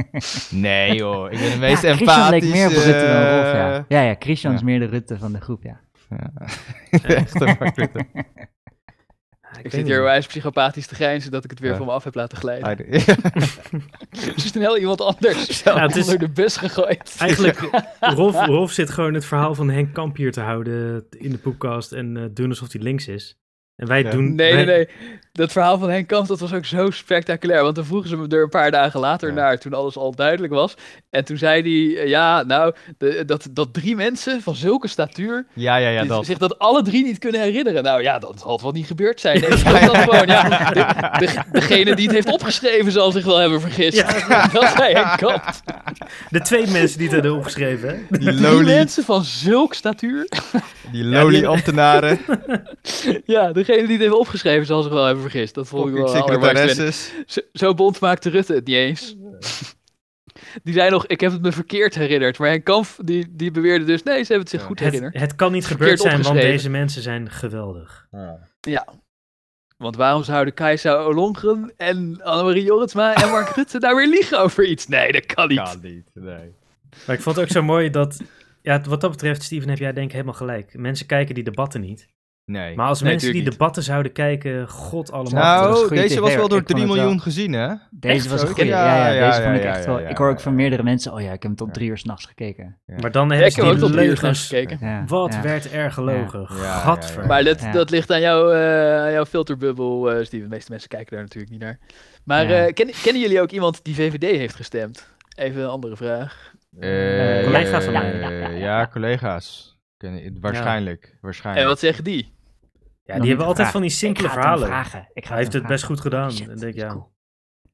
Nee joh, ik ben de meest
Ja, Christian
empathische... eh,
leek meer op Rutte dan Rolf, ja. Ja, ja Christian is
ja.
meer de Rutte van de groep, ja.
Echt een Mark Rutte.
Ja,
Ik
weet
zit hier
niet.
wijs psychopathisch te grijnzen dat ik het weer
Ja.
van me af heb laten glijden.
Ja.
Er zit een heel iemand anders
Ja, het is-
onder de bus gegooid.
Eigenlijk, Rolf, Rolf zit gewoon het verhaal van Henk Kamp hier te houden in de podcast en eh, doen alsof hij links is. En wij
Ja.
doen...
Nee,
wij-
nee, nee. Dat verhaal van Henk Kamp, dat was ook zo spectaculair. Want dan vroegen ze me er een paar dagen later
Ja.
naar, toen alles al duidelijk was. En toen zei hij, eh, ja, nou, de- dat, dat drie mensen van zulke statuur
ja, ja, ja,
die
dat.
zich dat alle drie niet kunnen herinneren. Nou ja, dat zal het wel niet gebeurd zijn. Nee, dat is dan gewoon, ja, de- de- degene die het heeft opgeschreven zal zich wel hebben vergist. Dat zei Henk Kamp.
De twee mensen die het hadden opgeschreven, hè?
Die
Drie
lowly,
mensen van zulk statuur.
die lowly
die-
ambtenaren,
Ja, degene die het heeft opgeschreven zal zich wel hebben vergist. Dat vond ik wel een allermooiste
secretaresses.
Zo, zo bond maakte Rutte het niet eens. Die zei nog, ik heb het me verkeerd herinnerd. Maar Henk Kamp, die, die beweerde dus, nee, ze hebben het zich
Ja.
goed
het,
herinnerd.
het kan niet
Verkeerd
gebeurd zijn, want
opgeschreven.
deze mensen zijn geweldig.
Want waarom zouden Kajsa Olongren en Annemarie Jorritsma en Mark Rutte nou weer liegen over iets? Nee, dat kan niet.
Kan niet, nee.
Maar ik vond het ook zo mooi dat... Ja, het- wat dat betreft, Steven, heb jij denk ik helemaal gelijk. Mensen kijken die debatten niet.
Nee.
Maar als
Nee,
mensen die
tuurlijk niet.
debatten zouden kijken, god allemaal.
dat was
nou,
goede
deze
tv
was wel
hoor.
door
Ik vond
3
het wel.
miljoen gezien, hè?
Deze was
zo?
een goede.
Ja,
Ja, ja,
ja,
deze
ja,
vond ik
ja,
echt
ja,
wel.
ja,
Ik hoor ook
ja,
van
ja.
meerdere mensen, oh ja, ik heb hem tot
Ja.
drie uur s'nachts gekeken.
Maar dan
Ja,
hebben
ik
ze
heb ook
die
tot drie uur s'nachts
leugens.
gekeken.
Ja,
Wat
ja.
werd er gelogen.
Ja, ja, ja.
Gadver.
Maar dat,
Ja.
dat ligt aan jouw, eh, aan jouw filterbubbel, eh Steven. De meeste mensen kijken daar natuurlijk niet naar. Maar
Ja.
eh, ken- kennen jullie ook iemand die VVD heeft gestemd? Even een andere vraag.
Eh,
collega's van mij.
eh, Ja, collega's. Kennen- Waarschijnlijk, waarschijnlijk.
En Eh, wat zeggen die?
Ja,
Nog
die
niet
hebben altijd
gevraagd.
van die simpele
Ik ga het hem
verhalen.
vragen. Ik ga
Hij heeft het
hem
best goed gedaan.
Shit,
en ik denk,
dat
ja,
is cool.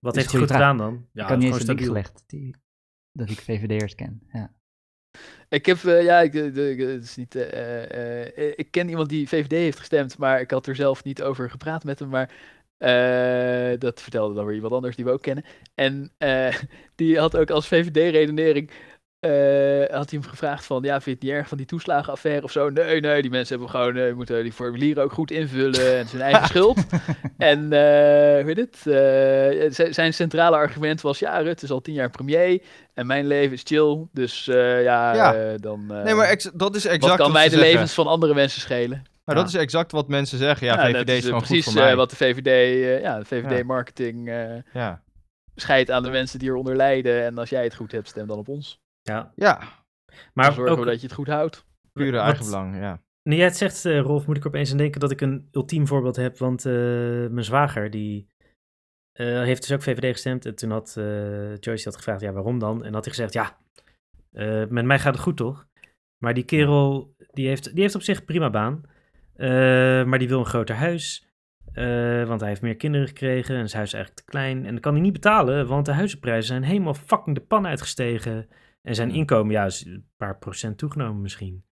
Wat
is
heeft hij
een
goed
goede
gedaan dan? Ja,
ik had niet eens
gewoon
de link
stabiel.
gelegd die, dat ik VVD'ers ken. Ja.
Ik heb, eh, ja, ik, eh, ik- eh, het is niet, eh, eh, eh, ik ken iemand die VVD heeft gestemd, maar ik had er zelf niet over gepraat met hem. Maar eh, dat vertelde dan weer iemand anders die we ook kennen. En eh, die had ook als VVD-redenering, eh, had hij hem gevraagd van, ja, vind je het niet erg van die toeslagenaffaire of zo? Nee, nee, die mensen hebben gewoon, eh, moeten die formulieren ook goed invullen en zijn eigen schuld. En eh, hoe heet het? Eh, z- zijn centrale argument was: ja, Rutte is al tien jaar premier. En mijn leven is chill. Dus eh, ja,
Ja.
eh, dan. eh,
Nee, maar ex- dat is exact
wat kan
wat
mij
ze
de
zeggen.
levens van andere mensen schelen?
Maar dat is exact wat mensen zeggen. Ja,
Nou,
VVD
dat
is
is eh,
gewoon
precies
goed voor mij.
eh, wat de VVD, eh, ja, de
Ja.
VVD-marketing
Ja.
scheidt aan de mensen die eronder lijden. En als jij het goed hebt, stem dan op ons.
Ja,
ja,
Maar
maar
zorgen
ook,
we dat je het goed houdt.
pure
wat-
eigenbelang, ja.
Nu jij het zegt, eh, Rolf, moet ik opeens aan denken dat ik een ultiem voorbeeld heb. Want eh, mijn zwager, die eh, heeft dus ook VVD gestemd. En toen had eh, Joyce die had gevraagd, ja, waarom dan? En had hij gezegd, ja, eh, met mij gaat het goed, toch? Maar die kerel, die heeft, die heeft op zich een prima baan. Eh, maar die wil een groter huis. eh, want hij heeft meer kinderen gekregen en zijn huis is eigenlijk te klein. En dat kan hij niet betalen, want de huizenprijzen zijn helemaal fucking de pan uitgestegen. En zijn inkomen, ja, is een paar procent toegenomen misschien.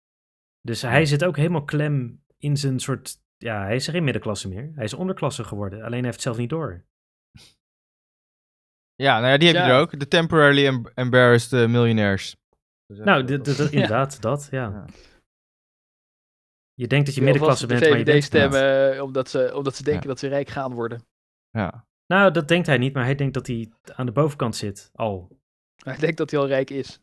Dus hij zit ook helemaal klem in zijn soort. Ja, hij is geen middenklasse meer. Hij is onderklasse geworden. Alleen hij heeft het zelf niet door.
Ja, nou ja, die heb je
Ja.
er ook. De temporarily em- embarrassed eh, millionaires. Dus
nou, d- d- d- inderdaad, dat, ja.
Ja.
Je denkt dat je
Of als
middenklasse
de
bent, maar je
VVD
bent het niet.
stemmen eh, omdat ze, omdat ze denken dat ze rijk gaan worden.
Ja.
Nou, dat denkt hij niet, maar hij denkt dat hij aan de bovenkant zit al.
Maar Ik denk dat hij al rijk is.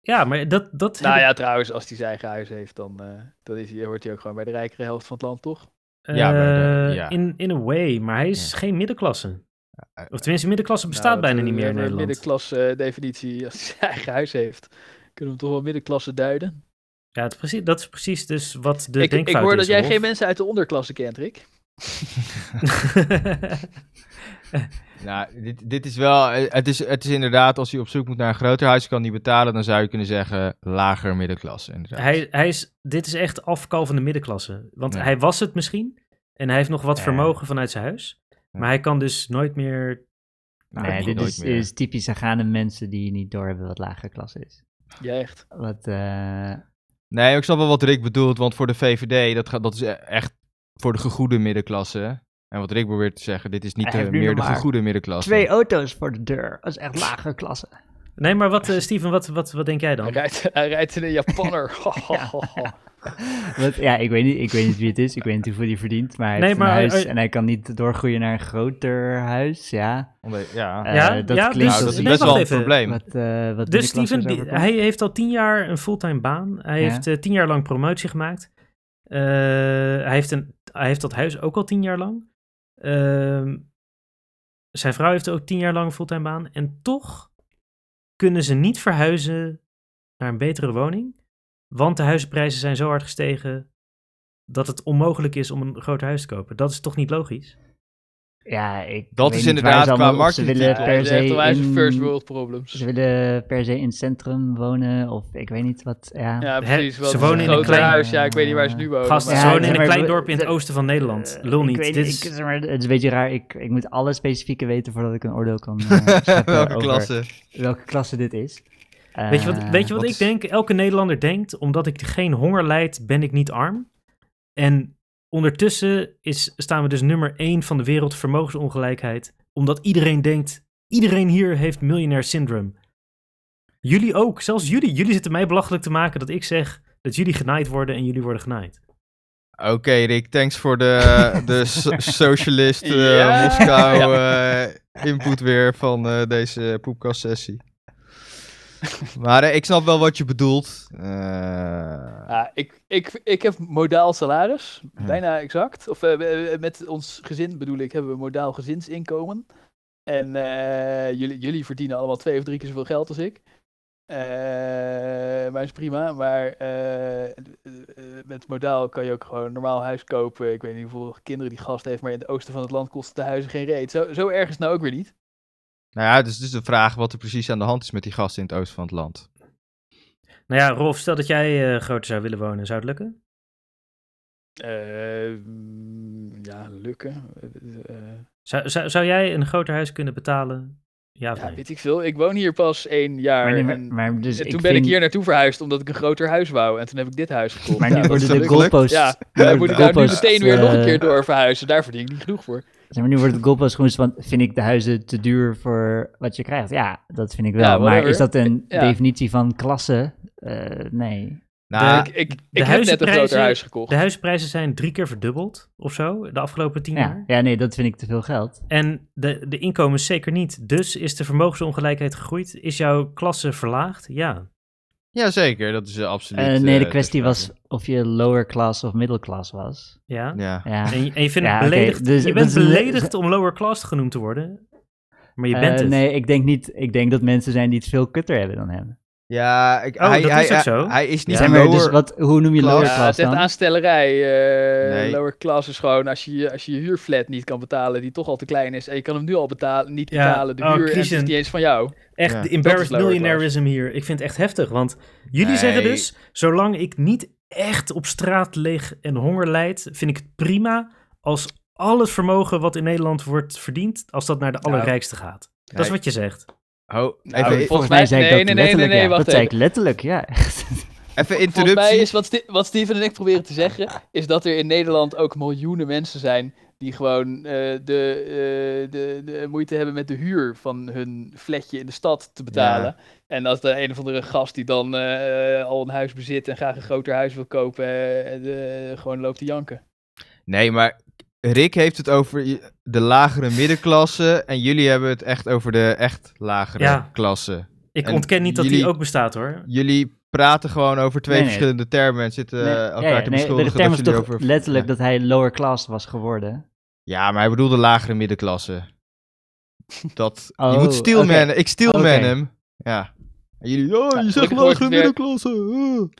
Ja, maar dat... dat
Nou ja, trouwens, als hij zijn eigen huis heeft, dan, eh, dan is hij, hoort hij ook gewoon bij de rijkere helft van het land, toch? Nou,
Ja, maar de-
eh,
ja.
In, in a way, maar hij is geen middenklasse. Of tenminste, middenklasse bestaat
eh, Nou, dat
bijna
we
niet meer in
hebben een
Nederland.
middenklasse eh, definitie, als hij zijn eigen huis heeft, kunnen we hem toch wel middenklasse duiden.
Ja, het is precies, dat is precies dus wat de
ik, ik
denkfout
hoor
is.
dat jij
Rolf.
geen mensen uit de onderklasse kent, Rick.
Nou, dit, dit is wel... eh, Het is, het is inderdaad, als je op zoek moet naar een groter huis kan niet betalen, dan zou je kunnen zeggen lager middenklasse. Inderdaad.
Hij, hij is, dit is echt afkal van de middenklasse. Want
dus- Ja.
hij was het misschien. En hij heeft nog wat
Ja.
vermogen vanuit zijn huis. Maar hij kan dus nooit meer
Nou,
nee,
dat
dit
nooit
is,
meer.
is typisch Agane mensen die niet doorhebben wat lagere klasse is.
Ja, echt.
Wat, eh,
Nee, ik snap wel wat Rick bedoelt, want voor de VVD, dat, gaat, dat is e- echt voor de gegoede middenklasse. En wat Rick probeert te zeggen, dit is niet
Hij
de,
heeft nu
meer de
nog maar
gegoede middenklasse.
twee auto's voor de deur. Dat is echt lagere klasse.
Nee, maar wat, eh, Steven, wat, wat, wat denk jij
Hij
dan?
rijdt, hij rijdt in een Japanner.
Wat, ja, ik weet, niet, ik weet niet wie het is. Ik weet niet hoeveel hij verdient. Maar hij
Nee,
heeft
maar-
een huis
eh, eh.
en hij kan niet doorgroeien naar een groter huis. Ja,
Omdat- ja.
Eh,
Ja,
dat
ja,
klinkt
dus-
nou, dat
als
is
nee,
best
wacht
wel een
even.
probleem.
wat, eh wat
Dus
middenklasse
Steven,
is
die-
overkomt.
hij heeft al tien jaar een fulltime baan. Hij
Ja.
heeft eh, tien jaar lang promotie gemaakt. Eh, hij, heeft een, hij heeft dat huis ook al tien jaar lang. Ehm, zijn vrouw heeft ook tien jaar lang een fulltime baan. En toch kunnen ze niet verhuizen naar een betere woning. Want de huizenprijzen zijn zo hard gestegen dat het onmogelijk is om een groot huis te kopen. Dat is toch niet logisch?
Ja, ik
Dat
weet
is
niet
inderdaad
waar ze
qua
allemaal op- Ze
marketing-
willen
Ja,
per
Hij
se
zegt wel, hij is een
in-
first world problems.
Ze willen per se in het centrum wonen of ik weet niet wat. Ja,
Ja, precies.
Hè,
wel,
ze
het is
wonen in een
groter
klein-
huis. Ja, ik weet niet waar ze nu wonen.
Gast,
maar-
Eh, Ja,
ze wonen
nee,
in een
maar
klein
we-
dorp in het
de-
oosten van Nederland. Lul
Eh, Ik
niet.
weet
Dit
niet,
is-
ik- zeg maar, het is een beetje raar. Ik, ik moet alle specifieke weten voordat ik een oordeel kan eh, scheppen
Welke
over
klasse?
welke klasse dit is.
Weet je wat,
Eh,
weet je wat, ik
wat is-
denk? Elke Nederlander denkt, omdat ik geen honger lijd, ben ik niet arm. En ondertussen is, staan we dus nummer één van de wereld vermogensongelijkheid. Omdat iedereen denkt, iedereen hier heeft miljonair syndrome. Jullie ook, zelfs jullie. Jullie zitten mij belachelijk te maken dat ik zeg dat jullie genaaid worden en jullie worden genaaid.
Oké, Rick, thanks voor de, de so- socialist eh,
Ja.
Moskou eh, input weer van eh, deze poepkast-sessie. Maar eh, ik snap wel wat je bedoelt. Eh,
Ja, Ah, ik, ik, ik heb modaal salaris, bijna exact. Of eh, eh, met ons gezin bedoel ik, hebben we modaal gezinsinkomen. En eh, jullie, jullie verdienen allemaal twee of drie keer zoveel geld als ik. Eh, maar is prima. Maar eh, eh, met modaal kan je ook gewoon een normaal huis kopen. Ik weet niet hoeveel kinderen die gast heeft, maar in het oosten van het land kosten de huizen geen reet. Zo, zo erg is het nou ook weer niet.
nou ja, dus het is de vraag wat er precies aan de hand is met die gasten in het oosten van het land.
Nou ja, Rolf, stel dat jij eh, groter zou willen wonen, zou het lukken?
Eh, mm, ja, lukken. Eh, eh,
Zou, zou, zou jij een groter huis kunnen betalen? Ja, of
ja,
nee?
weet ik veel. Ik woon hier pas één jaar.
Maar, nu-
en-
maar dus
En
ik
toen ben
vind-
ik hier naartoe verhuisd omdat ik een groter huis wou. En toen heb ik dit huis gekocht.
Maar
Ja,
nu
dat
worden
is
het
de
natuurlijk-
gelukt.
goalposts...
Ja,
nu worden
dan moet
de
ik daar nu
goalposts,
meteen weer nog een keer
eh,
door verhuizen. Daar verdien ik niet genoeg voor.
Zeg maar, nu wordt het goalpost gewoon zo van, vind ik de huizen te duur voor wat je krijgt? Ja, dat vind ik wel.
Ja,
maar
whatever.
is dat een
Ja.
definitie van klasse? Eh, nee.
Nou,
ik ik,
de
ik heb net een
huizenprijzen-
groter huis gekocht.
De huizenprijzen zijn drie keer verdubbeld of zo de afgelopen tien jaar.
Ja. ja, nee, dat vind ik te veel geld.
En de, de inkomens zeker niet. Dus is de vermogensongelijkheid gegroeid? Is jouw klasse verlaagd? Ja.
ja, zeker, dat is eh, absoluut.
Eh, nee, de
eh,
kwestie
ter
was
sprake.
of je lower class of middle class was.
ja.
Ja.
Ja.
En, je- en je, vindt
Ja,
het
oké,
beledigd,
dus
je
dat
bent
is een-
beledigd om lower class genoemd te worden. Maar je
Eh,
bent het.
Nee, ik denk niet. Ik denk dat mensen zijn die het veel kutter hebben dan hem.
Ja, ik,
Oh,
hij,
dat
hij,
is ook
hij-
zo.
hij is niet
Zijn
lower.
we, dus wat, hoe noem je
class.
lower
Ja, het
class
is echt
dan?
aanstellerij. eh,
Nee.
Lower class is gewoon als je, als je je huurflat niet kan betalen, die toch al te klein is. En je kan hem nu al betalen, niet
Ja,
betalen, de
oh,
huur. En het
Christian.
is niet eens van jou.
Echt, de
Ja.
Dat is
embarrassed
lower class.
millionairism hier. Ik vind het echt heftig. Want jullie
Nee.
zeggen dus, zolang ik niet echt op straat lig en honger lijd, vind ik het prima als al het vermogen wat in Nederland wordt verdiend, als dat naar de allerrijkste gaat. Dat is
Nee.
wat je zegt.
Ho,
Nou,
even,
volgens
Volgens mij
mij-
zei ik
nee,
dat
nee, nee,
letterlijk.
nee,
ja.
wacht
dat zei ik
even.
letterlijk, ja.
even
Volgens
interruptie.
mij is wat, Ste- wat Steven en ik proberen te zeggen, is dat er in Nederland ook miljoenen mensen zijn die gewoon eh, de, eh, de, de moeite hebben met de huur van hun flatje in de stad te betalen. En als de een of andere gast die dan eh, al een huis bezit en graag een groter huis wil kopen, eh, en, eh, gewoon loopt te janken.
Nee, maar Rick heeft het over i- de lagere middenklasse. En jullie hebben het echt over de echt lagere
Ja.
klasse.
Ik
En
ontken niet dat die
jullie-
ook bestaat hoor.
Jullie praten gewoon over twee
Nee, nee.
verschillende termen en zitten
Nee,
eh,
ja,
elkaar
ja,
te
nee, de
beschuldigen.
term
dat
is toch
jullie over...
letterlijk
Ja.
dat hij lower class was geworden.
Ja, maar hij bedoelde lagere middenklasse. Dat, je
Oh,
moet steelmannen. Ik steelman
Oké.
hem. Ja. En jullie, oh, je
Oh, Ja,
zegt
gelukkig wordt
lagere
het weer-
middenklasse. oh.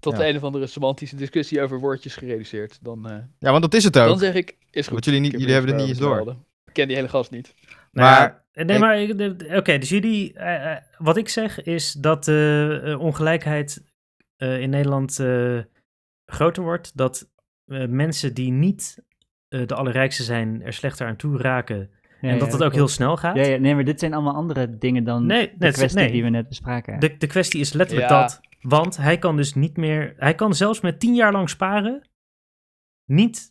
Tot
Ja.
de een of andere semantische discussie over woordjes gereduceerd. Dan, eh,
Ja, want dat is het ook.
dan zeg ik, is goed.
Want jullie niet-
Ik heb
jullie hebben
niks
er niet
meer
eens
over te melden. Ik ken die hele gast niet.
Nou
Maar-
ja, nee,
ik-
maar ik- de- de- oké, dus jullie, eh, eh, wat ik zeg is dat eh, eh, ongelijkheid eh, in Nederland eh, groter wordt. Dat eh, mensen die niet eh, de allerrijkste zijn er slechter aan toe raken. en dat het ook heel
klopt.
snel gaat.
Ja, ja, nee, maar dit zijn allemaal andere dingen dan
Nee,
de
net-
kwestie
nee.
die we net bespraken.
De, de kwestie is letterlijk
Ja.
dat. Want hij kan dus niet meer. Hij kan zelfs met tien jaar lang sparen. niet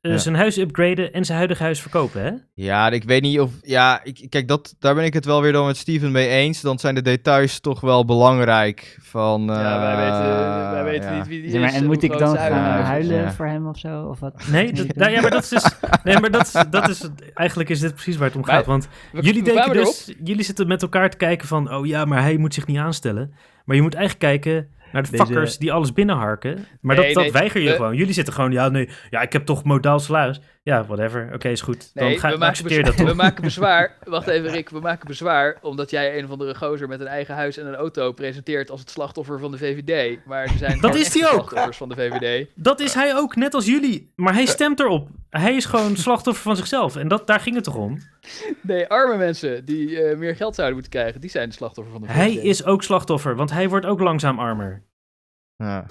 eh,
Ja.
zijn huis upgraden en zijn huidig huis verkopen. Hè?
Ja, ik weet niet of. Ja, ik, kijk, dat, daar ben ik het wel weer dan met Steven mee eens. Dan zijn de details toch wel belangrijk. Van,
ja, wij
eh,
weten, wij weten
ja.
niet wie die
Zeg
is. eh,
maar, en
hoe
moet ik
groot
dan
zijn
gaan
huizen.
huis
Ja.
is.
huilen
Ja.
voor hem of zo? Of wat?
Nee, dat, nou ja, maar dat is dus. Nee, maar dat is, dat is, eigenlijk is dit precies waar het om
Maar
gaat. Want
We-
jullie
we
denken
kwamen erop.
dus. Jullie zitten met elkaar te kijken van. Oh ja, maar hij moet zich niet aanstellen. Maar je moet eigenlijk kijken. Naar de
Deze-
fuckers die alles binnenharken. Maar
Nee,
dat, dat
nee,
weiger je
we-
gewoon. Jullie zitten gewoon, ja, nee, ja, ik heb toch modaal salaris. Ja, whatever. Oké, is goed. Dan
Nee,
ga,
we, maken
accepteer
bezwaar,
dat toch.
we maken bezwaar. Wacht even, Rick. We maken bezwaar omdat jij een of andere gozer met een eigen huis en een auto presenteert als het slachtoffer van de VVD. Maar er zijn gewoon
is
echt
die ook.
slachtoffers van de VVD.
Dat is hij ook, net als jullie. Maar hij stemt erop. Hij is gewoon slachtoffer van zichzelf. En dat, daar ging het toch om?
Nee, arme mensen die eh, meer geld zouden moeten krijgen, die zijn de slachtoffer van de VVD.
Hij is ook slachtoffer, want hij wordt ook langzaam armer.
Ja.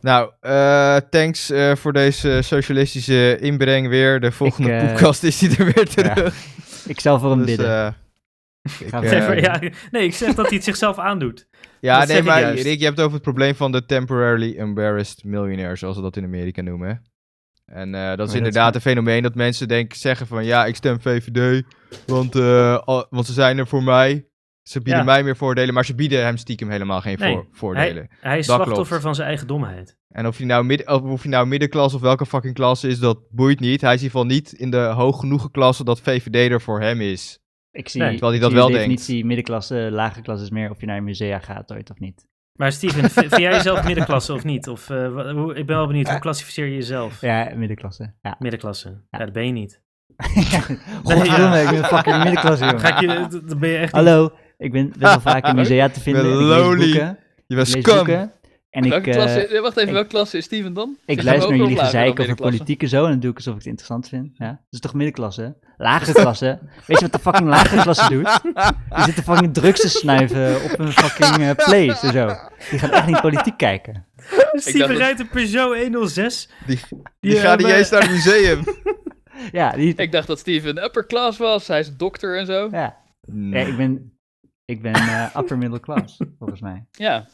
Nou, eh, thanks eh, voor deze socialistische inbreng weer. De volgende
eh,
podcast is hij er weer terug.
Ik zal voor hem
Dus,
bidden.
eh, ik,
Gaan we
eh,
Nee, maar
verder.
ja, nee, ik zeg dat hij het zichzelf aandoet.
ja,
dat zeg
nee,
ik
maar
juist.
Rick, je hebt het over het probleem van de temporarily embarrassed millionaire, zoals ze dat in Amerika noemen. hè. En
Oh,
eh, dat is
dat
inderdaad
is-
een fenomeen dat mensen denk, zeggen van ja, ik stem VVD, want, eh, al- want ze zijn er voor mij. Ze bieden
Ja.
mij meer voordelen, maar ze bieden hem stiekem helemaal geen
Nee,
voor- voordelen.
Hij is
Dat
slachtoffer
klopt.
van zijn eigen domheid.
En of je nou, midden, of, of je nou middenklasse of welke fucking klasse is, dat boeit niet. Hij is in ieder geval niet in de hoog genoegen klasse dat VVD er voor hem is.
ik zie,
nee,
terwijl hij
ik
dat
zie
wel
de
denkt.
definitie middenklasse, lage klasse is meer of je naar een musea gaat ooit of niet.
Maar Steven, v- vind jij jezelf middenklasse of niet? Of, eh, wa- hoe, ik ben wel benieuwd, hoe klassificeer je jezelf?
Ja, middenklasse. Ja.
Middenklasse. Ja, dat ben je niet.
Godverdomme, ik ben fucking middenklasse, jongen.
Ga ik je, d- dat ben je echt niet.
Hallo, ik ben best wel vaak in musea te vinden. en Ik lees
Lowly.
boeken.
Je bent
Ik lees
scum.
boeken. En ik,
Welke
eh,
klasse, nee, wacht even,
ik-
welke klasse is Steven dan? Zit
ik
hij
luister
ook
naar
nog
jullie
lager dan
gezeik over
middenklasse?
politiek en zo en dan doe ik alsof ik het interessant vind. Ja, dat is toch middenklasse? Lage klasse? Weet je wat de fucking lage klasse doet? Die zitten fucking drugs te snuiven op een fucking eh, place en zo. Die gaan echt niet politiek kijken.
Steven
dat-
rijdt een Peugeot 106.
Die,
Die,
die gaat niet
eh,
eens naar het museum.
Ja, die,
Ik dacht dat Steven upper class was. Hij is dokter en zo.
ja. Ja, ik ben, ik ben eh, upper middle class, volgens mij.
Ja,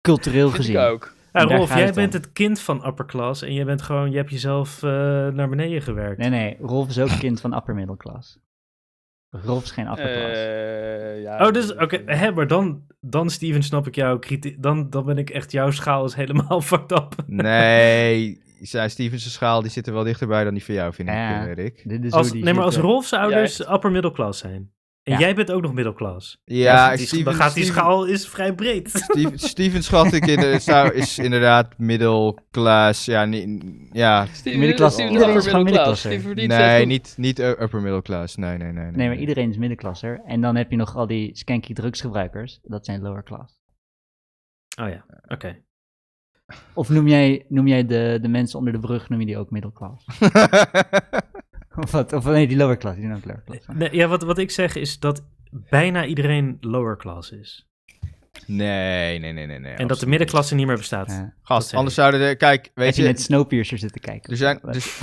Cultureel
vind
gezien.
ik ook.
Ja,
En daar
Rolf,
gaat
jij
het om.
bent het kind van upper class en jij bent gewoon, je hebt jezelf eh, naar beneden gewerkt.
Nee, nee, Rolf is ook kind van upper middle class. Rolf is geen upper class.
Eh, ja,
Oh, dus, oké, hè, maar dan, dan Steven, snap ik jouw kritiek. Dan, dan ben ik echt, jouw schaal is helemaal fucked up.
Nee, zijn Steven's schaal die zit er wel dichterbij dan die van jou, vind ik,
Ja.
eh, Rick.
Dit is
Als,
hoe die eh,
nee, maar als
zitten.
Rolf's ouders
Ja,
upper middelklas zijn. En
Ja.
jij bent ook nog middelklas.
Ja,
dan, gaat die-
Steven,
dan gaat die
Steven-
schaal is vrij breed.
Steven, Steven schat ik in de, zou, is inderdaad middelklass. Ja, niet, ja
Steven,
Middenklasse.
Steven
Iedereen
upper
is gewoon
middle class.
middenklasse.
Steven verdient steeds
nee,
goed.
niet, niet u- upper middle class. Nee, nee, nee. nee,
Nee, maar iedereen is middenklasser. En dan heb je nog al die skanky drugsgebruikers. Dat zijn lower class.
Oh ja, oké.
Of noem jij, noem jij de, de mensen onder de brug, noem je die ook middelklas? of wat? Of nee, die lower class. Die zijn ook lower class.
Nee, ja, wat, wat ik zeg is dat bijna iedereen lower class is.
nee, nee, nee, nee, nee.
en dat de
absoluut
middenklasse niet meer bestaat.
Ja.
niet.
dat
Gast,
zeg
anders
ik.
zouden de... Kijk, weet
Heb je
je...
net Snowpiercer zitten kijken?
Er zijn...
Wat?
Dus...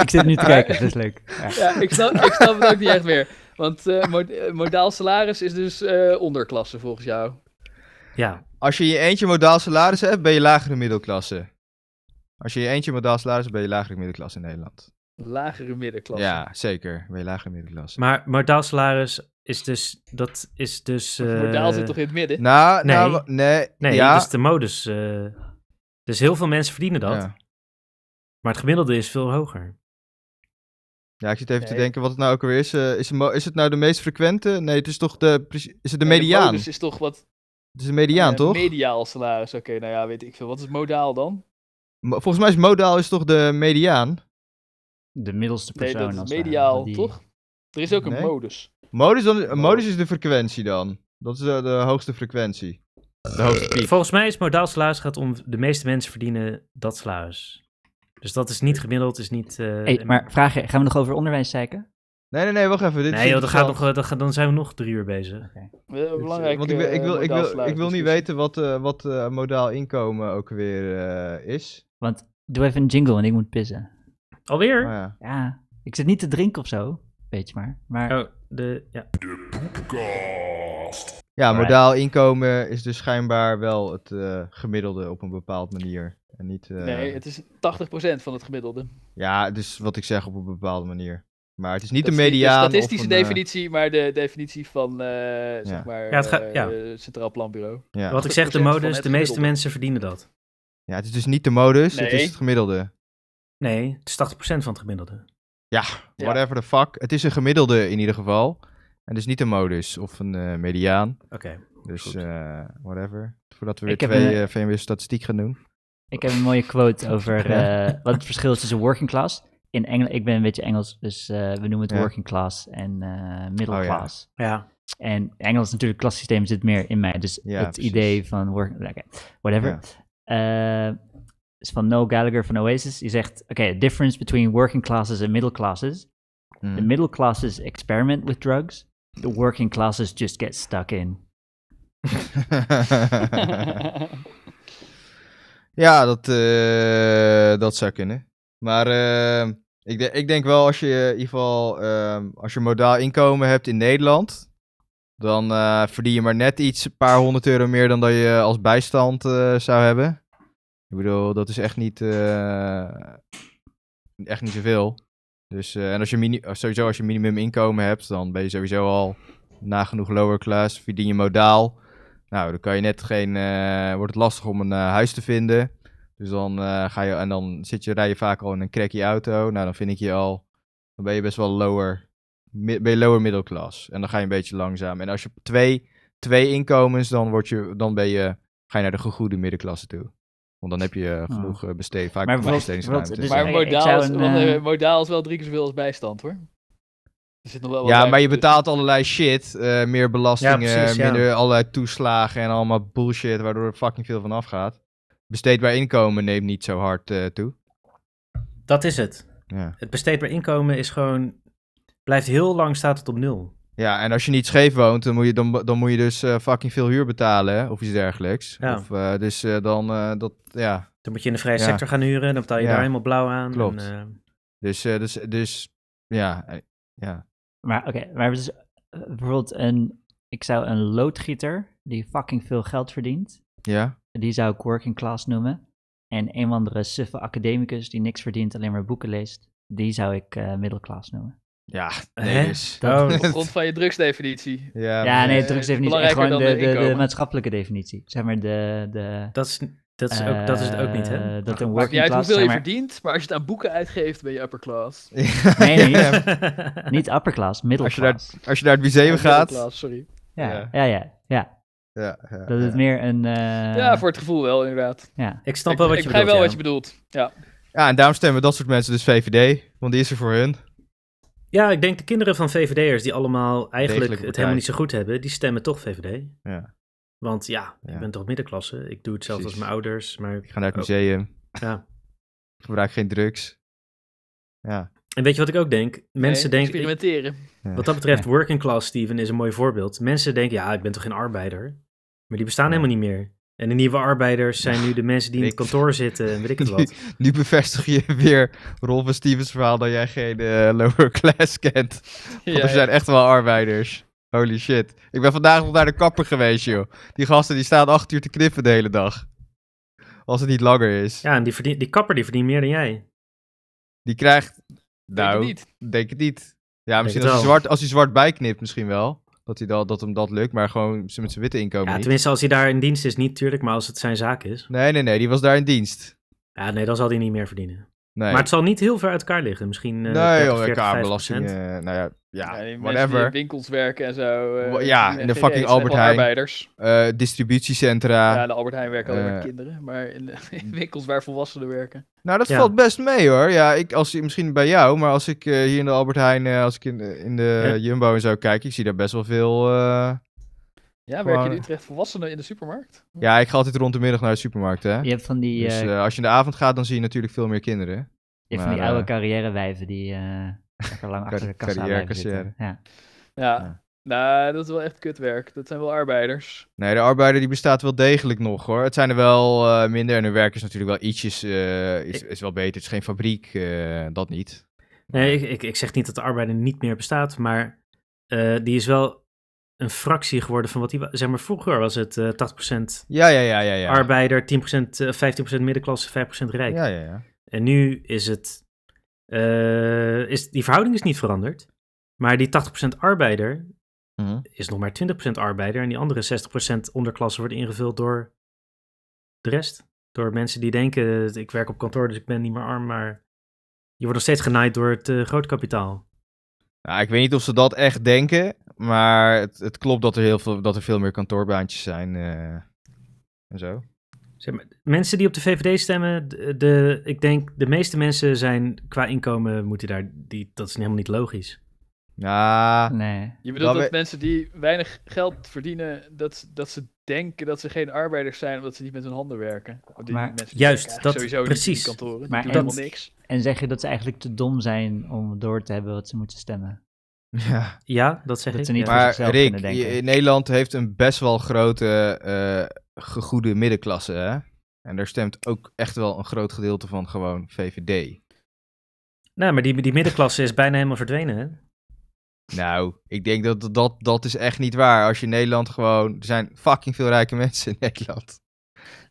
Ik zit nu te kijken, dat is leuk. Ja.
Ja, ik snap, ik snap het ook niet echt meer. Want eh, mo- eh, modaal salaris is dus eh, onderklasse volgens jou.
Ja,
Als je in je eentje modaal salaris hebt, ben je lagere middelklasse. Als je in je eentje modaal salaris hebt, ben je lagere middelklasse in Nederland.
Lagere middenklasse.
Ja, zeker. Ben je lagere middelklasse.
maar modaal salaris is dus, dat is dus... eh,
Modaal zit toch in het midden?
Nou,
Nee.
nou, wa- nee.
Nee,
ja.
dat is de modus. eh. dus heel veel mensen verdienen dat.
Ja.
Maar het gemiddelde is veel hoger.
Ja, ik zit even
Nee.
te denken wat het nou ook weer is. Eh, is, het mo- is het nou de meest frequente? Nee, het is toch de... preci- Is het de
Nee,
mediaan?
modus is toch wat...
Het is de mediaan,
eh,
toch?
Mediaal salaris. Oké, nou ja, weet ik veel. Wat is modaal dan?
Mo- Volgens mij is modaal is toch de mediaan?
De middelste
Nee,
persoon.
dat is
eh,
als het ware,
mediaal,
die-
toch? Er is ook een
Nee.
modus.
Modus, dan,
Oh.
modus is de frequentie dan. Dat is de, de hoogste frequentie. De hoogste piek.
Volgens mij is modaal salaris gaat om de meeste mensen verdienen dat salaris. Dus dat is niet gemiddeld, is niet... eh,
Hey, maar vraag je, gaan we nog over onderwijs zeiken?
Nee, nee, nee, wacht even. Dit
nee joh, dan,
is
gaat
interessant.
nog, eh, dan, gaat- dan zijn we nog drie uur bezig.
Eh,
Dit is, eh,
Belangrijk.
Want ik, wil-
eh, dus-
ik, wil, ik,
modaal
wil, ik wil niet
salarisdiscussie.
weten wat, eh, wat eh, modaal inkomen ook weer eh, is.
Want Doe even een jingle, en ik moet pissen.
Alweer?
Oh, ja.
Ja, ik zit niet te drinken of zo. Weet je maar. Maar
Oh, de, ja.
ja,
Alright.
modaal inkomen is dus schijnbaar wel het eh, gemiddelde op een bepaald manier. En niet, eh,
Nee, het is 80% van het gemiddelde.
Ja, dus wat ik zeg op een bepaalde manier. Maar het is niet
Dat
de
is niet
mediaan.
De
of
statistische
een, eh,
definitie, maar de definitie van, eh, zeg maar,
Ja, het gaat-
eh,
ja.
Centraal Planbureau.
ja.
Wat ik zeg, de
80% van
modus,
het
de meeste
gemiddelde.
mensen verdienen dat.
ja, het is dus niet de modus, het is
Nee.
het gemiddelde.
Nee, het is 80% van het gemiddelde.
Ja, whatever the fuck. Het is een gemiddelde in ieder geval. En dus niet de modus of een eh, mediaan.
Oké.
Dus
Goed.
eh, whatever. Voordat we weer
Ik heb
twee
een-
eh, VMW-statistiek gaan doen.
ik heb een mooie quote over eh, wat het verschil is tussen working class. In Engeland, ik ben een beetje Engels, dus eh, we noemen het
Ja.
working class en eh middle
Oh ja.
class.
Ja.
En Engels natuurlijk, klassysteem zit meer in mij. Dus
Ja,
het
precies.
idee van work, oké, whatever. Eh, is van Noel Gallagher van Oasis. Die zegt, oké, difference between working classes and middle classes.
Mm.
The middle classes experiment with drugs. The working classes just get stuck in.
ja, dat, eh, dat zou kunnen. Maar eh, ik, de- ik denk wel als je eh, in ieder geval ehm, als je modaal inkomen hebt in Nederland, dan eh, verdien je maar net iets, een paar honderd euro meer dan dat je als bijstand eh, zou hebben. Ik bedoel, dat is echt niet, eh, echt niet zoveel. Dus, eh, en als je mini- eh, sowieso als je minimum inkomen hebt, dan ben je sowieso al nagenoeg lower class, verdien je modaal. Nou, dan kan je net geen. eh, wordt het lastig om een eh, huis te vinden. Dus dan eh, ga je. En dan zit je, rij je vaak al in een cracky auto. Nou, dan vind ik je al. Dan ben je best wel lower. mi- ben je lower middle class. En dan ga je een beetje langzaam. En als je twee, twee inkomens. Dan, word je, dan ben je, ga je naar de gegoede middenklasse toe. Want dan heb je eh,
Oh.
genoeg eh, besteed. Vaak
Maar wat-
bestedingsruimte.
wat- dus-
maar
ik- ik
modaal
zou
is,
een,
want,
eh,
eh, modaal is wel drie keer zoveel als bijstand, hoor. Er zit nog wel wat
Ja,
ruimte
maar je
tussen.
betaalt allerlei shit. eh, meer belastingen,
Ja, precies, ja.
minder allerlei toeslagen en allemaal bullshit, waardoor er fucking veel van afgaat. Besteedbaar inkomen neemt niet zo hard eh, toe.
Dat is het.
Ja.
Het besteedbaar inkomen is gewoon... Blijft heel lang staat het op nul.
ja, en als je niet scheef woont, dan moet je, dan, dan moet je dus eh, fucking veel huur betalen hè, of iets dergelijks.
Ja.
Of, eh, dus eh, dan, eh, dat, ja,
Dan moet je in de vrije
Ja.
sector gaan huren. Dan betaal je
Ja.
daar helemaal blauw aan.
Klopt.
En, eh,
dus, eh, dus, dus, ja, eh, ja.
Maar oké, maar dus, eh, bijvoorbeeld een, ik zou een loodgieter die fucking veel geld verdient,
Ja,
die zou ik working class noemen. En een of andere suffe academicus die niks verdient, alleen maar boeken leest, die zou ik eh middelklas noemen.
ja, nee
Hè? Oh,
dus.
Dat-
Op grond van je drugsdefinitie.
Ja,
ja,
maar-
nee,
eh,
drugs heeft
het is
niet echt
belangrijker
gewoon de,
dan de
de, de
inkomen.
maatschappelijke definitie. Zeg maar de... de
dat, is, dat, is ook, dat is het ook niet, hè?
eh, Dat een
Maakt
working
niet uit
class...
hoeveel
zeg
je
maar,
verdient, maar als je het aan boeken uitgeeft, ben je upper class.
Nee, nee,
Ja,
niet upper class,
Als je,
middelklas.
naar, als je naar het museum
Middle
gaat.
class, sorry.
Ja,
Ja.
ja, ja, ja,
Ja, ja,
Dat
ja.
het meer een... eh,
ja, voor het gevoel wel, inderdaad.
ja.
Ik snap
ik
wel wat
ik
je
begrijp
bedoelt,
wel
ja.
wat je bedoelt. Ja.
Ja, en daarom stemmen dat soort mensen dus VVD, want die is er voor hun.
Ja, ik denk de kinderen van VVD'ers die allemaal eigenlijk
Degelijke
het
partij.
helemaal niet zo goed hebben, die stemmen toch VVD.
Ja.
Want ja,
Ja.
ik ben toch middenklasse. Ik doe hetzelfde
Precies.
als mijn ouders, maar
Ik ga naar het
Oh.
museum,
ja.
ik gebruik geen drugs. Ja,
En weet je wat ik ook denk? Mensen
Nee,
denken,
Experimenteren.
wat dat betreft, working class Steven is een mooi voorbeeld. Mensen denken, ja, ik ben toch geen arbeider? Maar die bestaan
Ja.
helemaal niet meer. En de nieuwe arbeiders zijn nu de mensen die in het
Ik-
kantoor zitten en weet ik het wat.
nu bevestig je weer Rolf en Stevens verhaal dat jij geen eh, lower class kent. Want
Ja,
er zijn
ja.
echt wel arbeiders. Holy shit. Ik ben vandaag nog naar de kapper geweest, joh. Die gasten die staan acht uur te knippen de hele dag. Als het niet langer is.
Ja, en die, verdien, die kapper die verdient meer dan jij.
Die krijgt,
Denk het
nou,
niet.
Denk het niet. Ja, misschien
het
als hij,
wel.
zwart, als hij zwart bijknipt, misschien wel. Dat, hij dat, dat hem dat lukt, maar gewoon ze met zijn witte inkomen
Ja,
niet.
tenminste, als hij daar in dienst is, niet tuurlijk, maar als het zijn zaak is.
Nee, nee, nee, die was daar in dienst.
Ja, nee, dan zal hij niet meer verdienen.
Nee,
Maar het zal niet heel ver uit elkaar liggen. Misschien eh
nee
30,
joh,
40,
kamerbelasting.
50%.
eh, nou ja, ja,
Ja, die mensen die in
whatever.
winkels werken en zo. eh,
Wa- ja,
die-
in de
geen
fucking
idee,
Albert
het zijn gewoon
Heijn.
Arbeiders.
Eh, distributiecentra.
Ja, de Albert Heijn werken alleen
Eh.
maar kinderen, maar in, de- in winkels waar volwassenen werken.
nou, dat
Ja.
valt best mee hoor. Ja, ik, als, misschien bij jou, maar als ik eh, hier in de Albert Heijn, eh, als ik in, de- in de
Ja.
Jumbo en zo kijk, ik zie daar best wel veel... eh,
Ja,
Waar-
werken in Utrecht volwassenen in de supermarkt?
Ja, ik ga altijd rond de middag naar de supermarkt, hè.
Je hebt van die,
Dus
eh,
eh, als je in de avond gaat, dan zie je natuurlijk veel meer kinderen.
je hebt van die
maar,
oude
eh,
carrièrewijven die eh lekker lang achter de kassa blijven
carrière-
zitten. Ja.
Ja.
Ja.
Nou, dat is wel echt kutwerk. Dat zijn wel arbeiders.
Nee, de arbeider die bestaat wel degelijk nog hoor. Het zijn er wel eh, minder en hun werk is natuurlijk wel ietsjes, eh, is, is wel beter. Het is geen fabriek, eh, dat niet.
Nee, ik, ik, ik zeg niet dat de arbeider niet meer bestaat, maar eh, die is wel een fractie geworden van wat die... wa- Zeg maar, vroeger was het eh 80%
Ja, ja, ja, ja. ja.
arbeider, 10%, eh, 15% middenklasse, 5% rijk.
Ja, ja, ja.
En nu is het... eh, is, die verhouding is niet veranderd, maar die 80% arbeider
Mhm.
is nog maar 20% arbeider en die andere 60% onderklasse wordt ingevuld door de rest. Door mensen die denken, eh, ik werk op kantoor, dus ik ben niet meer arm, maar je wordt nog steeds genaaid door het eh, grootkapitaal.
Nou, ik weet niet of ze dat echt denken, maar het, het klopt dat er, heel veel, dat er veel meer kantoorbaantjes zijn eh, en zo.
Zeg maar, mensen die op de VVD stemmen, de, de- ik denk de meeste mensen zijn qua inkomen, moeten daar, die, dat is helemaal niet logisch.
Ja,
Nee.
Je bedoelt
we-
dat mensen die weinig geld verdienen, dat, dat ze denken dat ze geen arbeiders zijn omdat ze niet met hun handen werken. Want Die
Maar
mensen die
juist,
werken
dat-
eigenlijk sowieso
precies.
niet in die kantoren.
Maar
Maar die
en-
doen helemaal niks.
En zeg je dat ze eigenlijk te dom zijn om door te hebben wat ze moeten stemmen.
ja.
Ja, dat zeg
Dat
ik.
ze niet
ja.
voor
Maar
zichzelf
Rick,
kunnen denken.
je- in Nederland heeft een best wel grote, eh gegoede middenklasse. Hè? En daar stemt ook echt wel een groot gedeelte van gewoon VVD.
Nou, maar die, die middenklasse is bijna helemaal verdwenen. Hè?
Nou, ik denk dat dat, dat is echt niet waar. Als je in Nederland gewoon... Er zijn fucking veel rijke mensen in Nederland.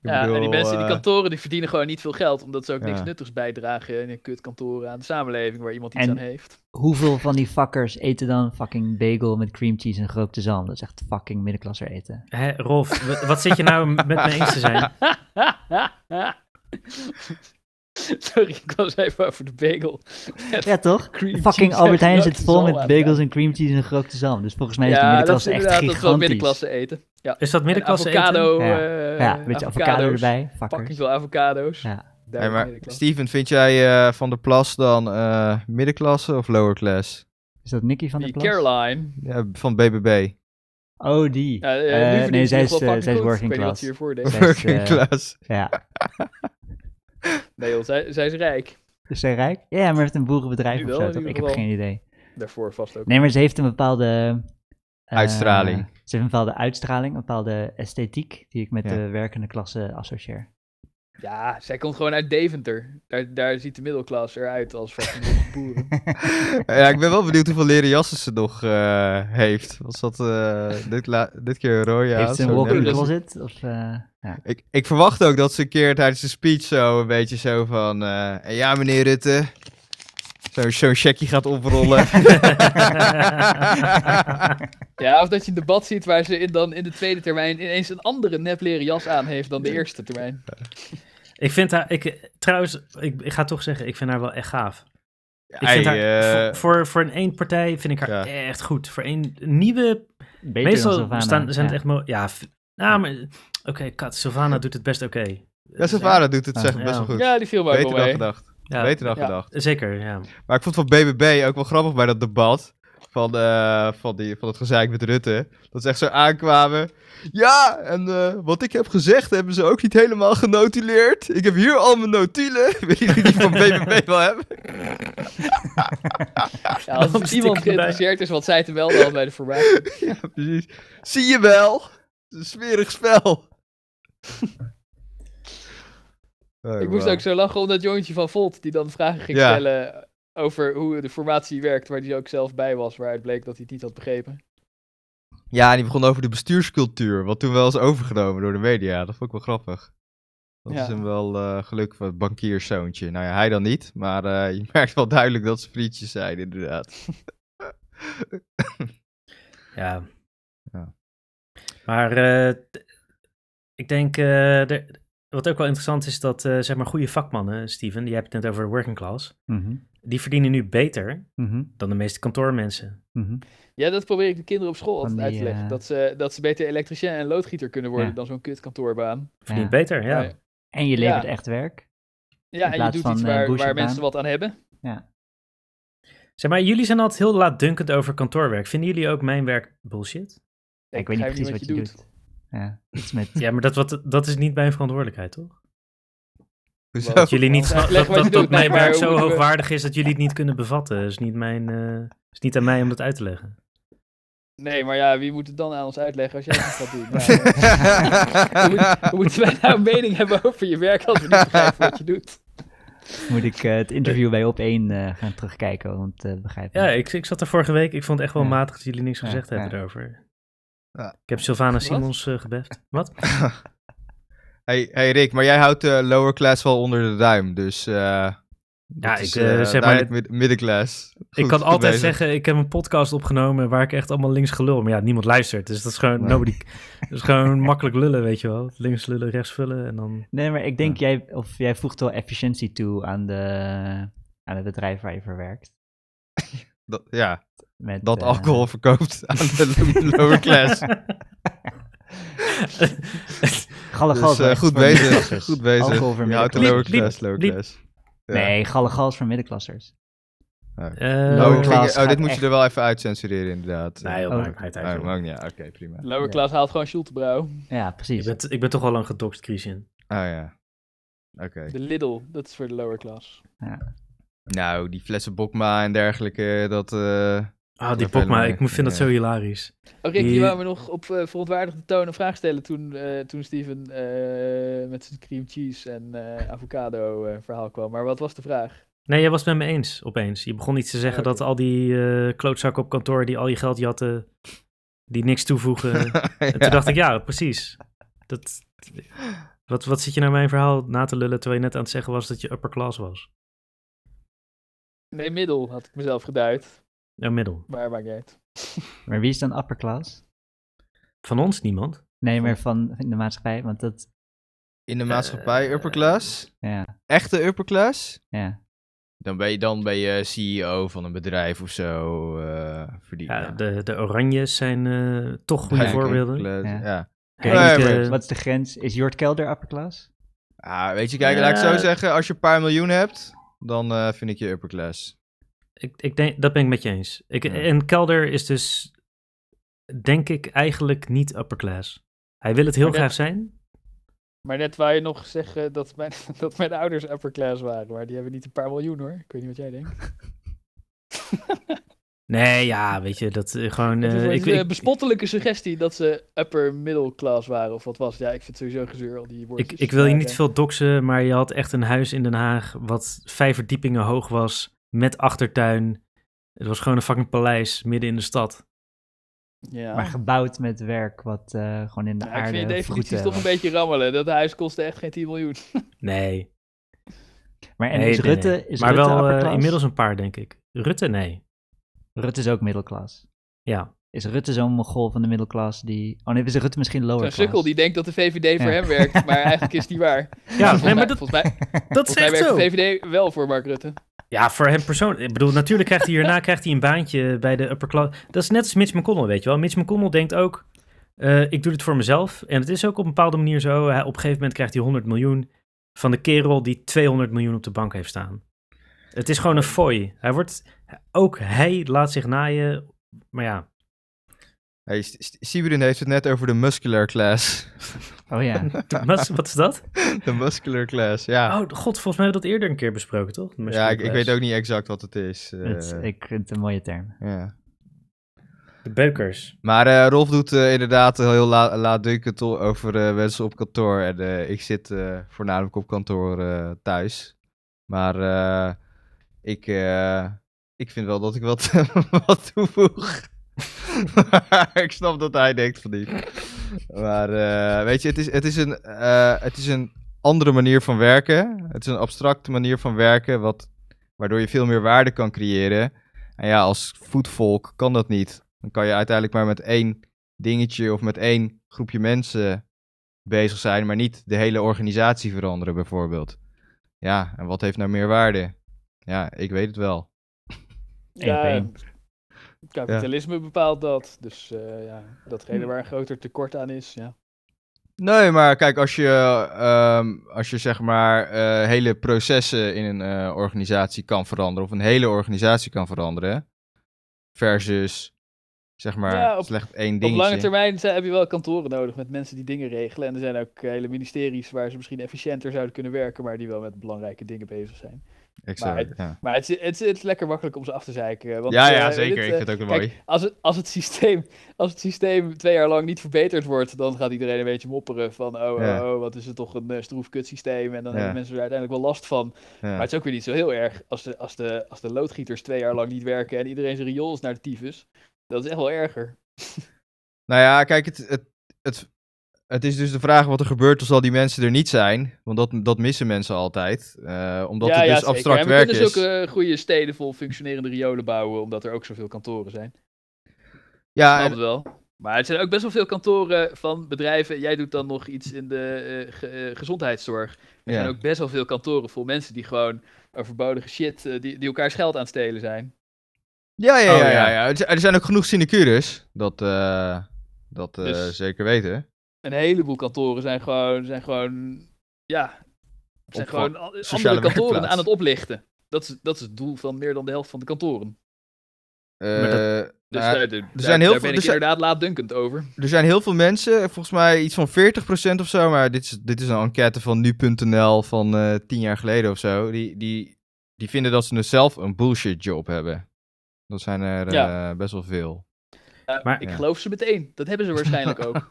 Ik
Ja, en die
bedoel,
mensen in die
eh,
kantoren die verdienen gewoon niet veel geld, omdat ze ook niks
ja.
nuttigs bijdragen in een kutkantoren aan de samenleving waar iemand iets
En-
aan heeft.
Hoeveel van die fuckers eten dan fucking bagel met cream cheese en gerookte zalm? Dat is echt fucking middenklasser eten.
Hè, Rolf, w- wat zit je nou met me eens te zijn?
Sorry, ik was even over de bagel.
Ja, toch?
Cream
Fucking
cheese en
Albert Heijn zit
gerookte
vol
zalm
met
aan.
bagels en cream cheese en gerookte zalm. Dus volgens mij is de
Ja, dat is
middenklasse echt
inderdaad dat is wel
gigantisch.
middenklasse eten. Ja.
Is dat
En
middenklasse eten?
avocado.
Ja.
eh,
ja, een beetje avocado
avocado's.
erbij.
Fucking
Fuckers.
veel avocado's.
Ja.
Daar
hey,
is
maar
middenklasse.
Steven, vind jij eh, Van der Plas dan eh, middenklasse of lower class?
Is dat Nicky van der
Die
Plas?
Caroline.
Ja, van BBB.
Oh, die.
Ja, eh,
Eh,
nu verdient
nee,
ze
zij
nog
is,
wel
eh,
fucking
zij is
goed.
working
Ik weet niet wat
class.
ze hiervoor deed.
Zij is,
Working
eh,
class.
Ja.
Nee joh, zij, zij is rijk.
Is zij rijk? Ja, maar heeft een boerenbedrijf
Nu
of
wel,
zo.
in
toch?
ieder
Ik heb
geval.
geen idee.
Daarvoor vast ook.
Nee, maar ze heeft een bepaalde... eh,
Uitstraling.
Ze heeft een bepaalde uitstraling, een bepaalde esthetiek die ik met
Ja.
de werkende klasse associeer.
Ja, zij komt gewoon uit Deventer. Daar, daar ziet de middelklasse eruit als fucking boeren.
ja, ik ben wel benieuwd hoeveel leren jassen ze nog eh, heeft. Was dat eh, dit, la- dit keer een rode aan,
heeft ze een
zo
walk-in
net.
dus-
closet? Of, eh, ja.
Ik, ik verwacht ook dat ze een keer tijdens de speech zo een beetje zo van... eh, "En ja, meneer Rutte. Zo- Zo'n checkje gaat oprollen.
Ja, of dat je een debat ziet waar ze in, dan in de tweede termijn ineens een andere nep leren jas aan heeft dan de eerste termijn.
ik vind haar, ik, trouwens, ik, ik ga toch zeggen, ik vind haar wel echt gaaf. Ik
Ei,
vind haar,
eh,
voor, voor, voor een één partij vind ik haar
ja.
echt goed. Voor een nieuwe,
Beter dan
meestal
Sylvana,
staan, zijn
ja.
het echt, mo- ja, v- nou, maar, oké, Kat, Sylvana doet het best oké. Dus,
ja, Savara doet het
Ah,
zeg, best wel goed.
Ja, die viel mij ook
Beter
wel
dan
mee.
gedacht.
Ja,
Beter dan
Ja.
gedacht.
eh, Zeker, ja.
Maar ik vond van BBB ook wel grappig bij dat debat. Van, eh, van, die, van het gezeik met Rutte. Dat ze echt zo aankwamen. Ja, en eh, wat ik heb gezegd hebben ze ook niet helemaal genotuleerd. Ik heb hier al mijn notulen. Weet je die van BBB wel hebben?
Ja, als
Waarom
er
stikken
iemand
we bij?
geïnteresseerd is wat zij te melden had bij de voorbij.
Ja, precies. Zie je wel? Het is een smerig spel. Oh,
Ik moest
wauw.
ook zo lachen om dat jongetje van Volt die dan vragen ging
Ja.
stellen over hoe de formatie werkt, waar hij ook zelf bij was, waaruit bleek dat hij het niet had begrepen.
Ja, en die begon over de bestuurscultuur, wat toen wel is overgenomen door de media. Dat vond ik wel grappig. Dat
Ja.
is hem wel eh geluk van het bankierszoontje. Nou ja, hij dan niet, maar eh, je merkt wel duidelijk dat ze frietjes zijn, inderdaad.
Ja.
Ja.
Maar eh, d- ik denk, eh, er- wat ook wel interessant is, dat eh, zeg maar goede vakmannen, Steven, die hebt het net over working class,
Mhm,
die verdienen nu beter
mhm,
dan de meeste kantoormensen.
mhm.
Ja, dat probeer ik de kinderen op school
Van
altijd
die,
uit te leggen.
eh,
Dat, ze, dat ze beter elektricien en loodgieter kunnen worden
Ja.
dan zo'n kut kantoorbaan.
Verdient
Ja.
beter, ja.
Ja.
En je levert
Ja.
echt werk.
Ja, en je
plaats
doet
van,
iets
eh,
waar, waar
bullshitbaan.
mensen wat aan hebben.
Zeg maar, jullie zijn altijd heel laatdunkend over kantoorwerk. Vinden jullie ook mijn werk bullshit?
Ik, weet niet
begrijp
precies wat je doet. Ja, iets met...
Ja, maar dat, wat, dat is niet mijn verantwoordelijkheid, toch?
Hoezo?
Wat
Dat jullie niet,
Leg
dat,
wat
dat,
je doet,
dat
nee,
mijn
maar
werk
hoe
zo
moeten we-
hoogwaardig is dat jullie het niet kunnen bevatten. is niet, mijn, eh, is niet aan mij om dat uit te leggen.
Nee, maar ja, wie moet het dan aan ons uitleggen als jij het gaat doen? Nou, eh, hoe, moet- hoe moeten wij nou een mening hebben over je werk als we niet begrijpen wat je doet?
Moet ik eh, het interview bij Op1 eh, gaan terugkijken, want eh begrijp
Ja,
me.
ik, ik zat er vorige week. Ik vond het echt wel
Ja.
matig dat jullie niks
Ja,
gezegd
ja.
hebben erover.
Ja.
Ik heb Sylvana Simons eh, gebeft. Wat?
hey, hey Rick, maar jij houdt de lower class wel onder de duim, dus... eh, dat
ik,
is,
eh,
eh,
zeg maar-
duidelijk mid- middenclass.
ik
Goed,
kan
goed
altijd
bezig.
zeggen, ik heb een podcast opgenomen waar ik echt allemaal links gelul. Maar ja, niemand luistert. Dus dat is gewoon,
Nee.
nobody, dat is gewoon makkelijk lullen, weet je wel. Links lullen, rechts vullen en dan...
Nee, maar ik denk, jij, of jij voegt wel efficiëntie toe aan, de, aan het bedrijf waar je voor werkt.
Dat, ja,
Met,
dat
eh,
alcohol verkoopt aan de lower class.
Gallegals
Dus eh,
wel echt
goed
voor
bezig,
middenklassers.
goed bezig.
Alcohol voor
Je houdt de
middenklassers.
Bliep,
lower class, lower
bliep,
class. eh, Ja.
Nee, gallegals voor middenklassers.
Eh,
Oh,
Lower
ik
class
ging- oh,
gaat
dit moet
echt-
je er wel even uitcensureren, inderdaad.
Nee, joh,
Oh.
maakt niet uit,
Oh,
joh.
mag niet, ja, oké, prima. Oh
Lower class haalt gewoon Schultebrouw.
Ja,
ik,
precies.
ben, ik ben toch al lang gedoxt, Christian.
Oh, ja, oké.
De Lidl, dat is voor de lower class.
Nou, die flessen Bokma en dergelijke, dat... eh,
Ah, die
Dat
Bokma,
helemaal
ik moet- vind dat zo
niet,
hilarisch.
Oh, Rick,
Die-
die wou me nog op eh, verontwaardigde toon een vraag stellen toen, eh, toen Steven eh, met zijn cream cheese en eh, avocado eh, verhaal kwam. Maar wat was de vraag?
Nee, jij was het met me eens, opeens. Je begon iets te zeggen
Ja, oké.
dat al die eh, klootzakken op kantoor die al je geld jatten, die niks toevoegen.
ja.
En toen dacht ik, ja, precies. Dat, wat, wat zit je naar mijn verhaal na te lullen terwijl je net aan het zeggen was dat je upper class was?
Nee, middel had ik mezelf geduid.
Nou, middel.
Maar maakt niet uit.
Maar wie is dan upper class?
Van ons niemand.
Nee, maar van in de maatschappij, want dat,
In de maatschappij, upper class?
ja,
Echte upper class?
ja.
Dan ben je, dan ben je CEO van een bedrijf of zo. eh verdien,
Ja, de, de Oranjes zijn eh, toch goede
Ja,
voorbeelden.
upper
Ja.
class, Ja.
Henk,
maar-
eh,
Wat is de grens? Is Jort Kelder upper class?
Ah, weet je, kijk, laat ik
Ja.
zo zeggen, als je een paar miljoen hebt, dan eh, vind ik je upper class.
Ik, ik denk, dat ben ik met je eens. Ik,
Ja.
En Kelder is dus, denk ik, eigenlijk niet upper class. Hij wil het heel
Maar dat-
graag zijn.
Maar net wou je nog zeggen dat mijn, dat mijn ouders upper class waren, maar die hebben niet een paar miljoen hoor. Ik weet niet wat jij denkt.
Nee, ja, weet je, dat eh, gewoon...
Het is
eh,
een
ik,
eh,
ik-
bespottelijke suggestie dat ze upper middle class waren of wat was. het? Ja, ik vind sowieso gezeur al die
ik,
woordjes.
ik wil je niet
Ja,
veel doxen, maar je had echt een huis in Den Haag wat vijf verdiepingen hoog was, met achtertuin. Het was gewoon een fucking paleis midden in de stad.
Ja.
Maar gebouwd met werk wat eh, gewoon in de
Ja, ik
aarde
vind je definities
vroeten
toch een
was.
beetje rammelen. Dat huis kostte echt geen 10 miljoen.
Nee.
Maar en
nee,
is
nee, nee.
Rutte, is
maar
Rutte
wel eh,
upper class?
inmiddels een paar, denk ik. Rutte, nee.
Rutte is ook middelklas.
Ja.
Is Rutte zo'n mogol van de middelklas die... Oh nee, is Rutte misschien lower
Zo'n
class?
sukkel die denkt dat de VVD voor
Ja.
hem werkt, maar eigenlijk is die waar.
Ja, nee,
volgens,
maar
mij,
dat,
volgens, mij,
dat is
volgens mij
echt
werkt
zo.
de VVD wel voor Mark Rutte.
Ja, voor hem persoonlijk. Ik bedoel, natuurlijk krijgt hij hierna krijgt hij een baantje bij de upper class. Dat is net als Mitch McConnell, weet je wel. Mitch McConnell denkt ook, eh, ik doe dit voor mezelf. En het is ook op een bepaalde manier zo. Hij, op een gegeven moment krijgt hij 100 miljoen van de kerel die 200 miljoen op de bank heeft staan. Het is gewoon een fooi. Hij wordt, ook hij laat zich naaien. Maar ja,
Hey, St- St- Sibrin heeft het net over de muscular class.
Oh ja.
wat, wat is dat?
de muscular class, ja.
Oh god, volgens mij hebben we dat eerder een keer besproken, toch? De
ja, ik, ik
muskelclass.
weet ook niet exact wat het is. eh,
Het, ik vind het een mooie term.
ja.
De beukers.
Maar eh, Rolf doet eh, inderdaad heel la laatdunkend o- over eh, mensen op kantoor. En eh, ik zit eh, voornamelijk op kantoor eh, thuis. Maar eh, ik, eh, ik vind wel dat ik wat, wat toevoeg. Maar ik snap dat hij denkt van niet. Maar eh, weet je, het is, het, is een, eh, het is een andere manier van werken. Het is een abstracte manier van werken, wat, waardoor je veel meer waarde kan creëren. En ja, als voetvolk kan dat niet. Dan kan je uiteindelijk maar met één dingetje of met één groepje mensen bezig zijn, maar niet de hele organisatie veranderen, bijvoorbeeld. Ja, en wat heeft nou meer waarde? Ja, ik weet het wel.
Eén op één.
eh, Kapitalisme bepaalt dat. Dus eh, ja, datgene waar een groter tekort aan is. Ja.
Nee, maar kijk, als je, ehm, als je zeg maar eh, hele processen in een eh, organisatie kan veranderen, of een hele organisatie kan veranderen, versus zeg maar
Ja, op-
slecht één
Op
dingetje.
lange termijn zijn- heb je wel kantoren nodig met mensen die dingen regelen. En er zijn ook eh, hele ministeries waar ze misschien efficiënter zouden kunnen werken, maar die wel met belangrijke dingen bezig zijn.
Exact, ja.
Maar het, is- het, is- het is lekker makkelijk om ze af te zeiken. Want,
Ja, ja,
eh,
zeker.
dit,
Ik
eh,
vind het ook
kijk,
mooi.
Als het, als, het systeem, als het systeem twee jaar lang niet verbeterd wordt, dan gaat iedereen een beetje mopperen van oh, oh,
Ja.
oh, wat is het toch een eh, stroef kutsysteem. En dan
Ja.
hebben mensen er uiteindelijk wel last van. Maar
Ja.
het is ook weer niet zo heel erg als de, als, de, als de loodgieters twee jaar lang niet werken en iedereen zijn riool is naar de tyfus. Dat is echt wel erger.
Nou ja, kijk, het, het, het, het is dus de vraag wat er gebeurt als al die mensen er niet zijn. Want dat, dat missen mensen altijd. eh, omdat het dus
zeker.
abstract
en we
werk
kunnen dus
is.
ook eh, goede steden vol functionerende riolen bouwen, omdat er ook zoveel kantoren zijn.
ja,
Snap
en-
het wel. Maar het zijn ook best wel veel kantoren van bedrijven. Jij doet dan nog iets in de eh, ge- eh, gezondheidszorg. Er
ja.
zijn ook best wel veel kantoren vol mensen die gewoon overbodige shit, eh, die, die elkaars geld aan het stelen zijn.
Ja, ja,
Oh,
ja,
ja.
ja. ja. Er zi- Er zijn ook genoeg sinecures. Dat, eh, dat eh,
Dus-
zeker weten.
Een heleboel kantoren zijn gewoon, zijn gewoon ja, zijn
Opva-
gewoon al- andere
sociale
kantoren
werkplaats.
aan het oplichten. Dat is, dat is het doel van meer dan de helft van de kantoren.
Maar dat-
Eh,
Dus
nou,
daar, daar-
zijn heel veel-
daar ben
er
ik
zijn-
inderdaad laatdunkend over.
er zijn heel veel mensen, volgens mij iets van 40% of zo, maar dit is, dit is een enquête van nu.nl van eh tien jaar geleden of zo. Die, die, die vinden dat ze dus zelf een bullshit job hebben. Dat zijn er eh,
Ja.
best wel veel.
Eh,
Maar-
ik
Ja.
geloof ze meteen. Dat hebben ze waarschijnlijk ook.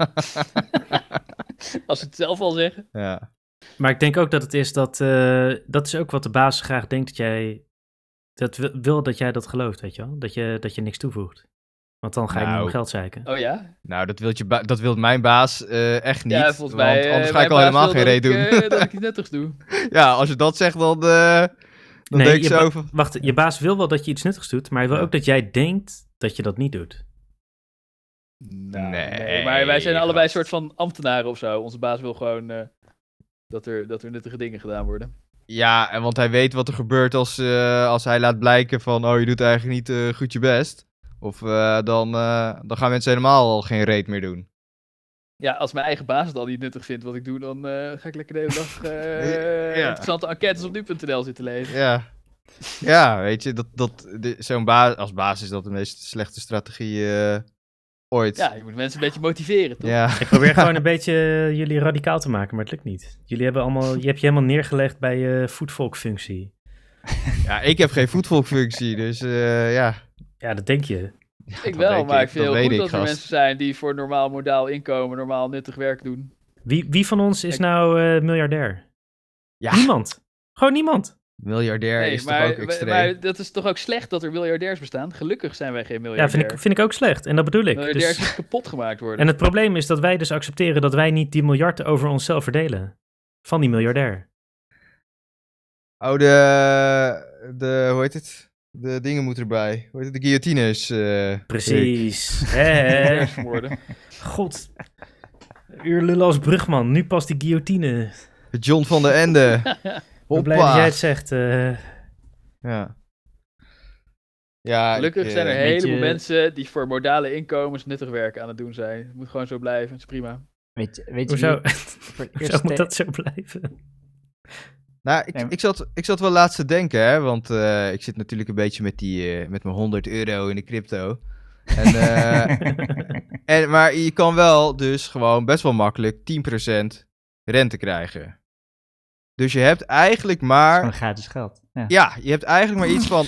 Als ze het zelf al zeggen.
Ja,
Maar ik denk ook dat het is dat, eh, dat is ook wat de baas graag denkt dat jij, dat wil, wil dat jij dat gelooft, weet je wel? Dat je, dat je niks toevoegt. Want dan ga je niet
Nou.
om geld zeiken.
Oh ja?
nou, dat, wilt je ba- dat wil mijn baas eh, echt niet.
ja, volgens mij.
want
eh,
anders ga
mijn
ik al
baas
helemaal
wil
geen
dat
reet
ik,
doen.
eh, dat ik iets nuttigs doe.
ja, als je dat zegt, dan, eh, dan
Nee,
denk ik
je
zo
ba-
van...
Wacht, je baas wil wel dat je iets nuttigs doet, maar hij wil
Ja.
ook dat jij denkt dat je dat niet doet.
nee,
Nou, maar wij zijn allebei
gast.
soort van ambtenaren of zo. Onze baas wil gewoon eh, dat, er, dat er nuttige dingen gedaan worden.
Ja, en want hij weet wat er gebeurt als, eh, als hij laat blijken van... oh, je doet eigenlijk niet eh, goed je best. Of eh, dan, eh, dan gaan mensen helemaal al geen reet meer doen.
Ja, als mijn eigen baas het al niet nuttig vindt wat ik doe, dan eh, ga ik lekker de hele dag eh,
Ja.
interessante enquêtes op nu.nl zitten lezen.
Ja, ja weet je, dat, dat, de- zo'n baas als baas is dat de meest slechte strategie eh, ooit.
Ja, je moet mensen een beetje motiveren, toch?
ja.
Ik probeer gewoon een beetje eh, jullie radicaal te maken, maar het lukt niet. Jullie hebben allemaal, je hebt je helemaal neergelegd bij je voetvolkfunctie.
Ja, ik heb geen voetvolkfunctie, dus eh, ja.
Ja, dat denk je.
ik
dat
wel,
weet
maar
ik,
ik vind
dat weet
heel goed
ik,
dat er
gast.
mensen zijn die voor normaal modaal inkomen, normaal nuttig werk doen.
Wie, wie van ons is
Ik-
nou eh, miljardair?
Ja.
Niemand. Gewoon niemand.
Miljardair
Nee,
is
maar,
toch ook extreem.
maar dat is toch ook slecht dat er miljardairs bestaan? Gelukkig zijn wij geen
Ja,
miljardairs.
vind ik, vind ik ook slecht. En dat bedoel ik.
Miljardairs
Dus,
moeten kapot gemaakt worden.
en het probleem is dat wij dus accepteren dat wij niet die miljarden over onszelf verdelen. Van die miljardair.
Oh, de, de, hoe heet het? De dingen moeten erbij. Hoe heet het? De guillotine is... eh,
Precies. Hè?
Miljardairs vermoorden.
God. Uur lullen als brugman. Nu pas die guillotine.
John van der Ende.
Ik ben blij dat jij het zegt. eh.
Ja. Ja,
Gelukkig
ik,
zijn er
eh,
een heleboel
beetje-
mensen die voor modale inkomens nuttig werk aan het doen zijn. Het moet gewoon zo blijven, het is prima.
Weet, je- weet je
hoezo
wie voor het eerst
hoezo moet
te-
dat zo blijven?
Nou, ik,
Nee, maar-
ik, zat, ik zat wel laatst te denken, hè. Want eh, ik zit natuurlijk een beetje met, die, eh, met mijn 100 euro in de crypto. En, eh, en, maar je kan wel dus gewoon best wel makkelijk 10% rente krijgen. Dus je hebt eigenlijk maar...
Gewoon gratis geld. Ja.
Ja, je hebt eigenlijk maar iets van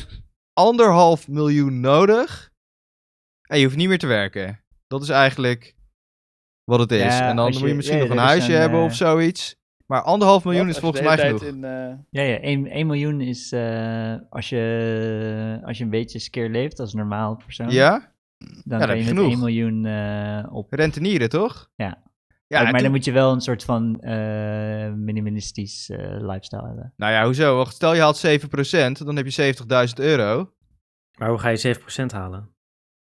anderhalf miljoen nodig. En je hoeft niet meer te werken. Dat is eigenlijk wat het is.
Ja,
en dan
als
moet je
je-
misschien
ja,
nog een
er is
huisje
een,
hebben
eh,
of zoiets. Maar anderhalf miljoen
Wat?
is
Als je
volgens mij
de hele
genoeg.
tijd in, eh,
Ja, ja 1, miljoen is eh, als, je, als je een beetje skeer leeft als een normaal persoon.
Ja?
Dan
heb
kan
je
je met
genoeg.
1 miljoen eh, op.
Rentenieren, toch?
Ja.
Ja,
maar
en
dan
toen-
moet je wel een soort van eh, minimalistisch eh, lifestyle hebben.
Nou ja, hoezo? Wacht, Stel je haalt 7%, dan heb je 70.000 euro.
Maar hoe ga je 7% halen?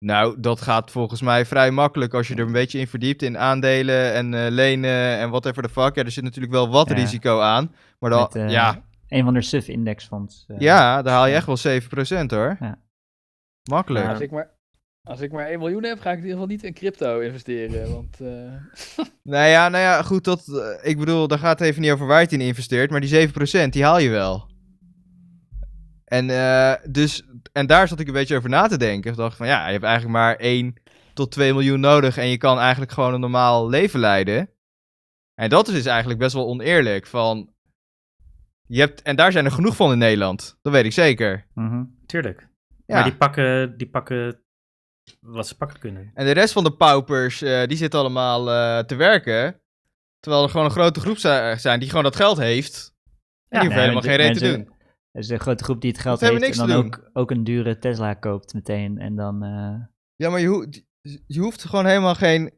Nou, dat gaat volgens mij vrij makkelijk als je er een beetje in verdiept. In aandelen en eh, lenen en whatever the fuck. Ja, er zit natuurlijk wel wat
Ja.
risico aan. Maar dan,
Met, eh,
ja,
Een van de sub-indexfonds. eh.
Ja, daar haal je
ja.
echt wel 7% hoor.
Ja.
Makkelijk.
Ja.
als, ik maar, als ik maar 1 miljoen heb, ga ik in ieder geval niet in crypto investeren. Want eh,
Nou ja, nou ja, goed, dat, eh, ik bedoel, daar gaat het even niet over waar je het in investeert, maar die 7% die haal je wel. En, eh, dus, en daar zat ik een beetje over na te denken. Ik dacht van ja, je hebt eigenlijk maar 1 tot 2 miljoen nodig en je kan eigenlijk gewoon een normaal leven leiden. En dat is dus eigenlijk best wel oneerlijk van... Je hebt, en daar zijn er genoeg van in Nederland. Dat weet ik zeker.
Mhm.
Tuurlijk.
Ja.
Maar die pakken, die pakken wat ze pakken kunnen.
En de rest van de paupers, eh, die zitten allemaal eh, te werken. Terwijl er gewoon een grote groep zi- zijn die gewoon dat geld heeft. En die hoeven
Nee,
helemaal
maar
geen
de-
reet te
mensen-
doen.
Er is een grote groep die het geld
Dat hebben
heeft
we
en dan
niks te
ook, ook een dure Tesla koopt meteen. En dan, eh,
Ja, maar je, hoe- je hoeft gewoon helemaal geen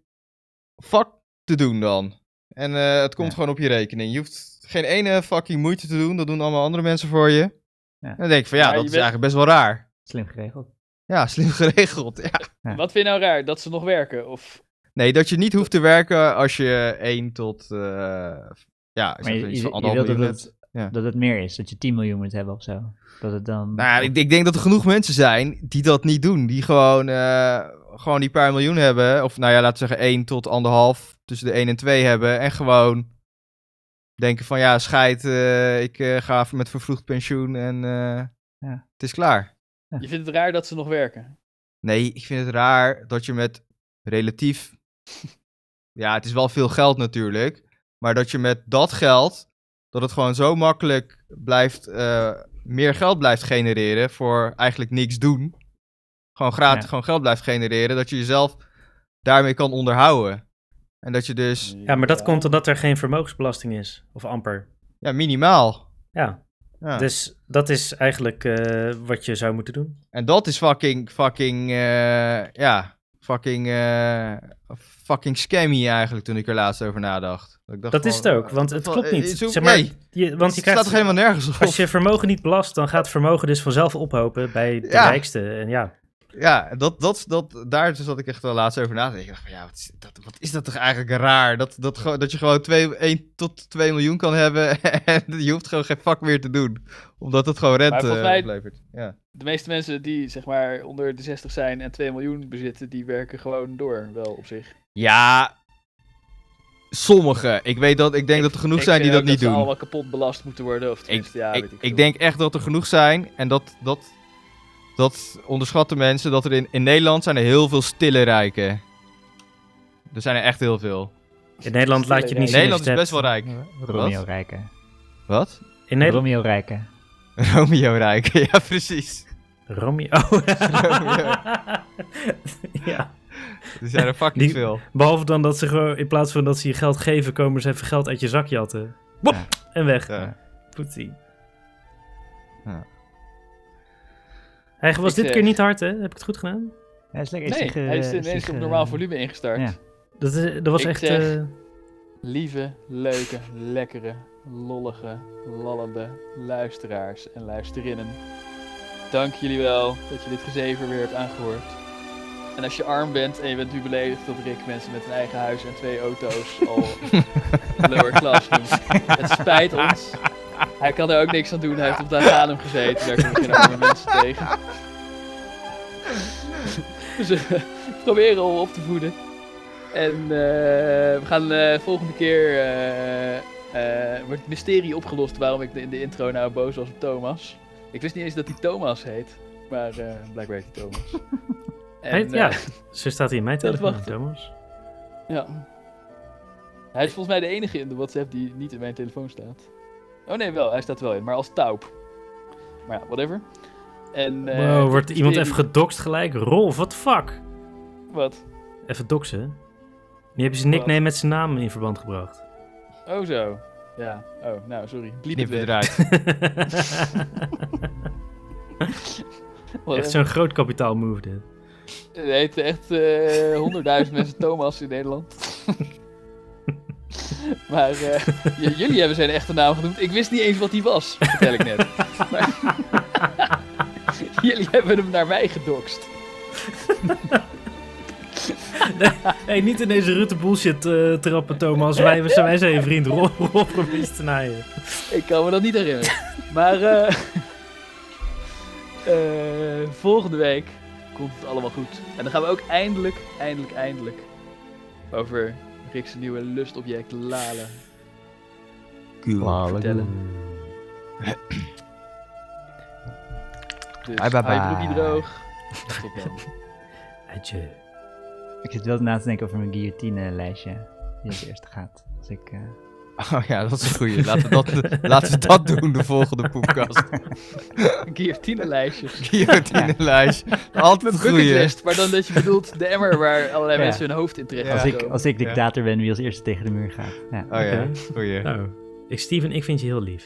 vak te doen dan. En eh, het komt
Ja.
gewoon op je rekening. Je hoeft geen ene fucking moeite te doen. Dat doen allemaal andere mensen voor je. En dan denk ik van ja,
Maar
dat
je
is
bent-
eigenlijk best wel raar.
slim geregeld.
Ja, slim geregeld. Ja.
Ja.
Wat vind je nou raar? Dat ze nog werken? Of
Nee, dat je niet hoeft te werken als je 1 tot. eh, ja,
Maar
is dat
je,
iets
je,
van
je
anderhalf
wilt dat
miljoen hebt.
het,
Ja.
dat het meer is, dat je 10 miljoen moet hebben of zo. Dat het dan...
Nou, ja, ik, ik denk dat er genoeg mensen zijn die dat niet doen. Die gewoon, eh, gewoon die paar miljoen hebben. Of nou ja, laten we zeggen 1 tot anderhalf. Tussen de 1 en 2 hebben. En gewoon denken van ja, scheid. eh, ik eh, ga even met vervroegd pensioen en eh,
Ja.
het is klaar.
je vindt het raar dat ze nog werken?
Nee, ik vind het raar dat je met relatief... ja, het is wel veel geld natuurlijk. Maar dat je met dat geld, dat het gewoon zo makkelijk blijft... eh, meer geld blijft genereren voor eigenlijk niks doen. Gewoon gratis,
Ja.
gewoon geld blijft genereren. Dat je jezelf daarmee kan onderhouden. En dat je
Mm.
dus,
Ja, maar dat komt omdat er geen vermogensbelasting is. Of amper.
ja, minimaal...
Ja.
Ja.
Dus dat is eigenlijk eh, wat je zou moeten doen.
En dat is fucking, fucking, eh, ja, fucking, eh, fucking scammy eigenlijk toen ik er laatst over nadacht. Dat, ik dacht
Dat is
van,
het ook, want
eh,
het
van,
klopt
eh,
niet.
het is ook-
Zeg maar,
nee,
je,
het
want je
staat
krijgt,
toch helemaal nergens op?
als je vermogen niet belast, dan gaat vermogen dus vanzelf ophopen bij de
Ja.
rijkste. En ja,
Ja, dat, dat, dat, daar zat ik echt wel laatst over na te denken. Ik dacht van, ja, wat is dat, wat is dat toch eigenlijk raar? Dat, dat, gewoon- dat je gewoon 2, 1 tot 2 miljoen kan hebben en je hoeft gewoon geen fuck meer te doen. Omdat het gewoon rente
volgens mij-
oplevert. Ja.
De meeste mensen die zeg maar onder de 60 zijn en 2 miljoen bezitten, die werken gewoon door, wel op zich.
ja, sommigen. Ik weet dat, ik denk dat er genoeg zijn die
vind
dat
ook
niet
ze
doen.
allemaal kapot belast moeten worden, of tenminste, ja,
ik,
weet ik
ik
veel.
denk echt dat er genoeg zijn. En dat, dat, dat onderschatten mensen. Dat er in, in Nederland zijn er heel veel stille rijken. Er zijn er echt heel veel.
in Nederland laat je het niet zien.
Nederland
als je het
is best wel rijk.
Romeo Rijken.
Wat?
hebt. In Nederland.
Romeo Rijken.
Romeo rijk. ja, precies.
Romeo. Oh. ja.
Er zijn er fucking
Die-
veel.
Behalve dan dat ze gewoon, in plaats van dat ze je geld geven, komen ze even geld uit je zak jatten. Bop,
Ja.
En weg.
Ja.
Poetsie.
Ja.
Hij was
Ik eh,
dit
zeg-
keer niet hard, hè? Heb ik het goed gedaan?
Hij is lekker.
Nee,
is zich,
hij is
eh, is
ineens
zich,
op
eh,
normaal volume ingestart.
ja.
Dat, is, dat was
Ik
echt...
zeg-
eh,
Lieve, leuke, lekkere, lollige, lallende luisteraars en luisterinnen. Dank jullie wel dat je dit gezever weer hebt aangehoord. En als je arm bent en je bent nu beledigd dat Rick mensen met een eigen huis en twee auto's al lower class noemt. Het spijt ons. Hij kan er ook niks aan doen. Hij heeft op de adem gezeten. Daar komen geen arme mensen tegen. Dus eh, proberen om op te voeden. En eh, we gaan eh, volgende keer. eh, eh, wordt het mysterie opgelost waarom ik in de intro nou boos was op Thomas. Ik wist niet eens dat hij Thomas heet. Maar eh, blijkbaar heet hij Thomas.
hij-
eh,
ja, zo staat hij in mijn
dat
telefoon,
wacht.
Thomas.
ja. Hij is volgens mij de enige in de WhatsApp die niet in mijn telefoon staat. Oh nee, wel, hij staat er wel in, maar als taup. Maar ja, whatever. En, eh,
wow, wordt
dit
iemand
mysterie-
even gedokst gelijk? Rolf, what the fuck?
Wat?
Even doxen. Nu hebben ze een nickname met zijn naam in verband gebracht.
Oh zo. Ja, oh, nou, sorry. Bliep het
Knip
weg.
eruit.
Whatever.
echt zo'n groot kapitaal move dit.
Er heten echt eh, honderdduizend mensen Thomas in Nederland. maar eh, j- jullie hebben zijn echte naam genoemd. Ik wist niet eens wat die was, vertel ik net. Maar- jullie hebben hem naar mij gedokst.
Hey, niet in deze Rutte bullshit eh, trappen, Thomas. Wij, zijn, wij zijn je vriend. Rolf, Rolf probeert te naaien.
Ik kan me dat niet herinneren. Maar eh, eh, volgende week komt het allemaal goed. En dan gaan we ook eindelijk, eindelijk, eindelijk over Rick's nieuwe lustobject Lalen vertellen. Dus
Bye, bye,
hou Dus je broekie
bye.
droog. Tot dan.
Adieu.
Ik zit wel na te denken over mijn guillotine lijstje. Die als eerste gaat. Als ik eh,
Oh ja, dat is een goeie. Laten we dat, laten we dat doen, de volgende podcast.
Guillotinelijstjes.
Guillotine-lijst. Altijd
Met
een goeie.
bucketlist, maar dan dat je bedoelt de emmer waar allerlei
Ja.
mensen hun hoofd in terecht
Ja.
Als,
gaan
ik,
komen.
als ik dictator ben, wie als eerste tegen de muur gaat. Ja,
Oh ja,
oké.
goeie.
Nou, ik, Steven, ik vind je heel lief.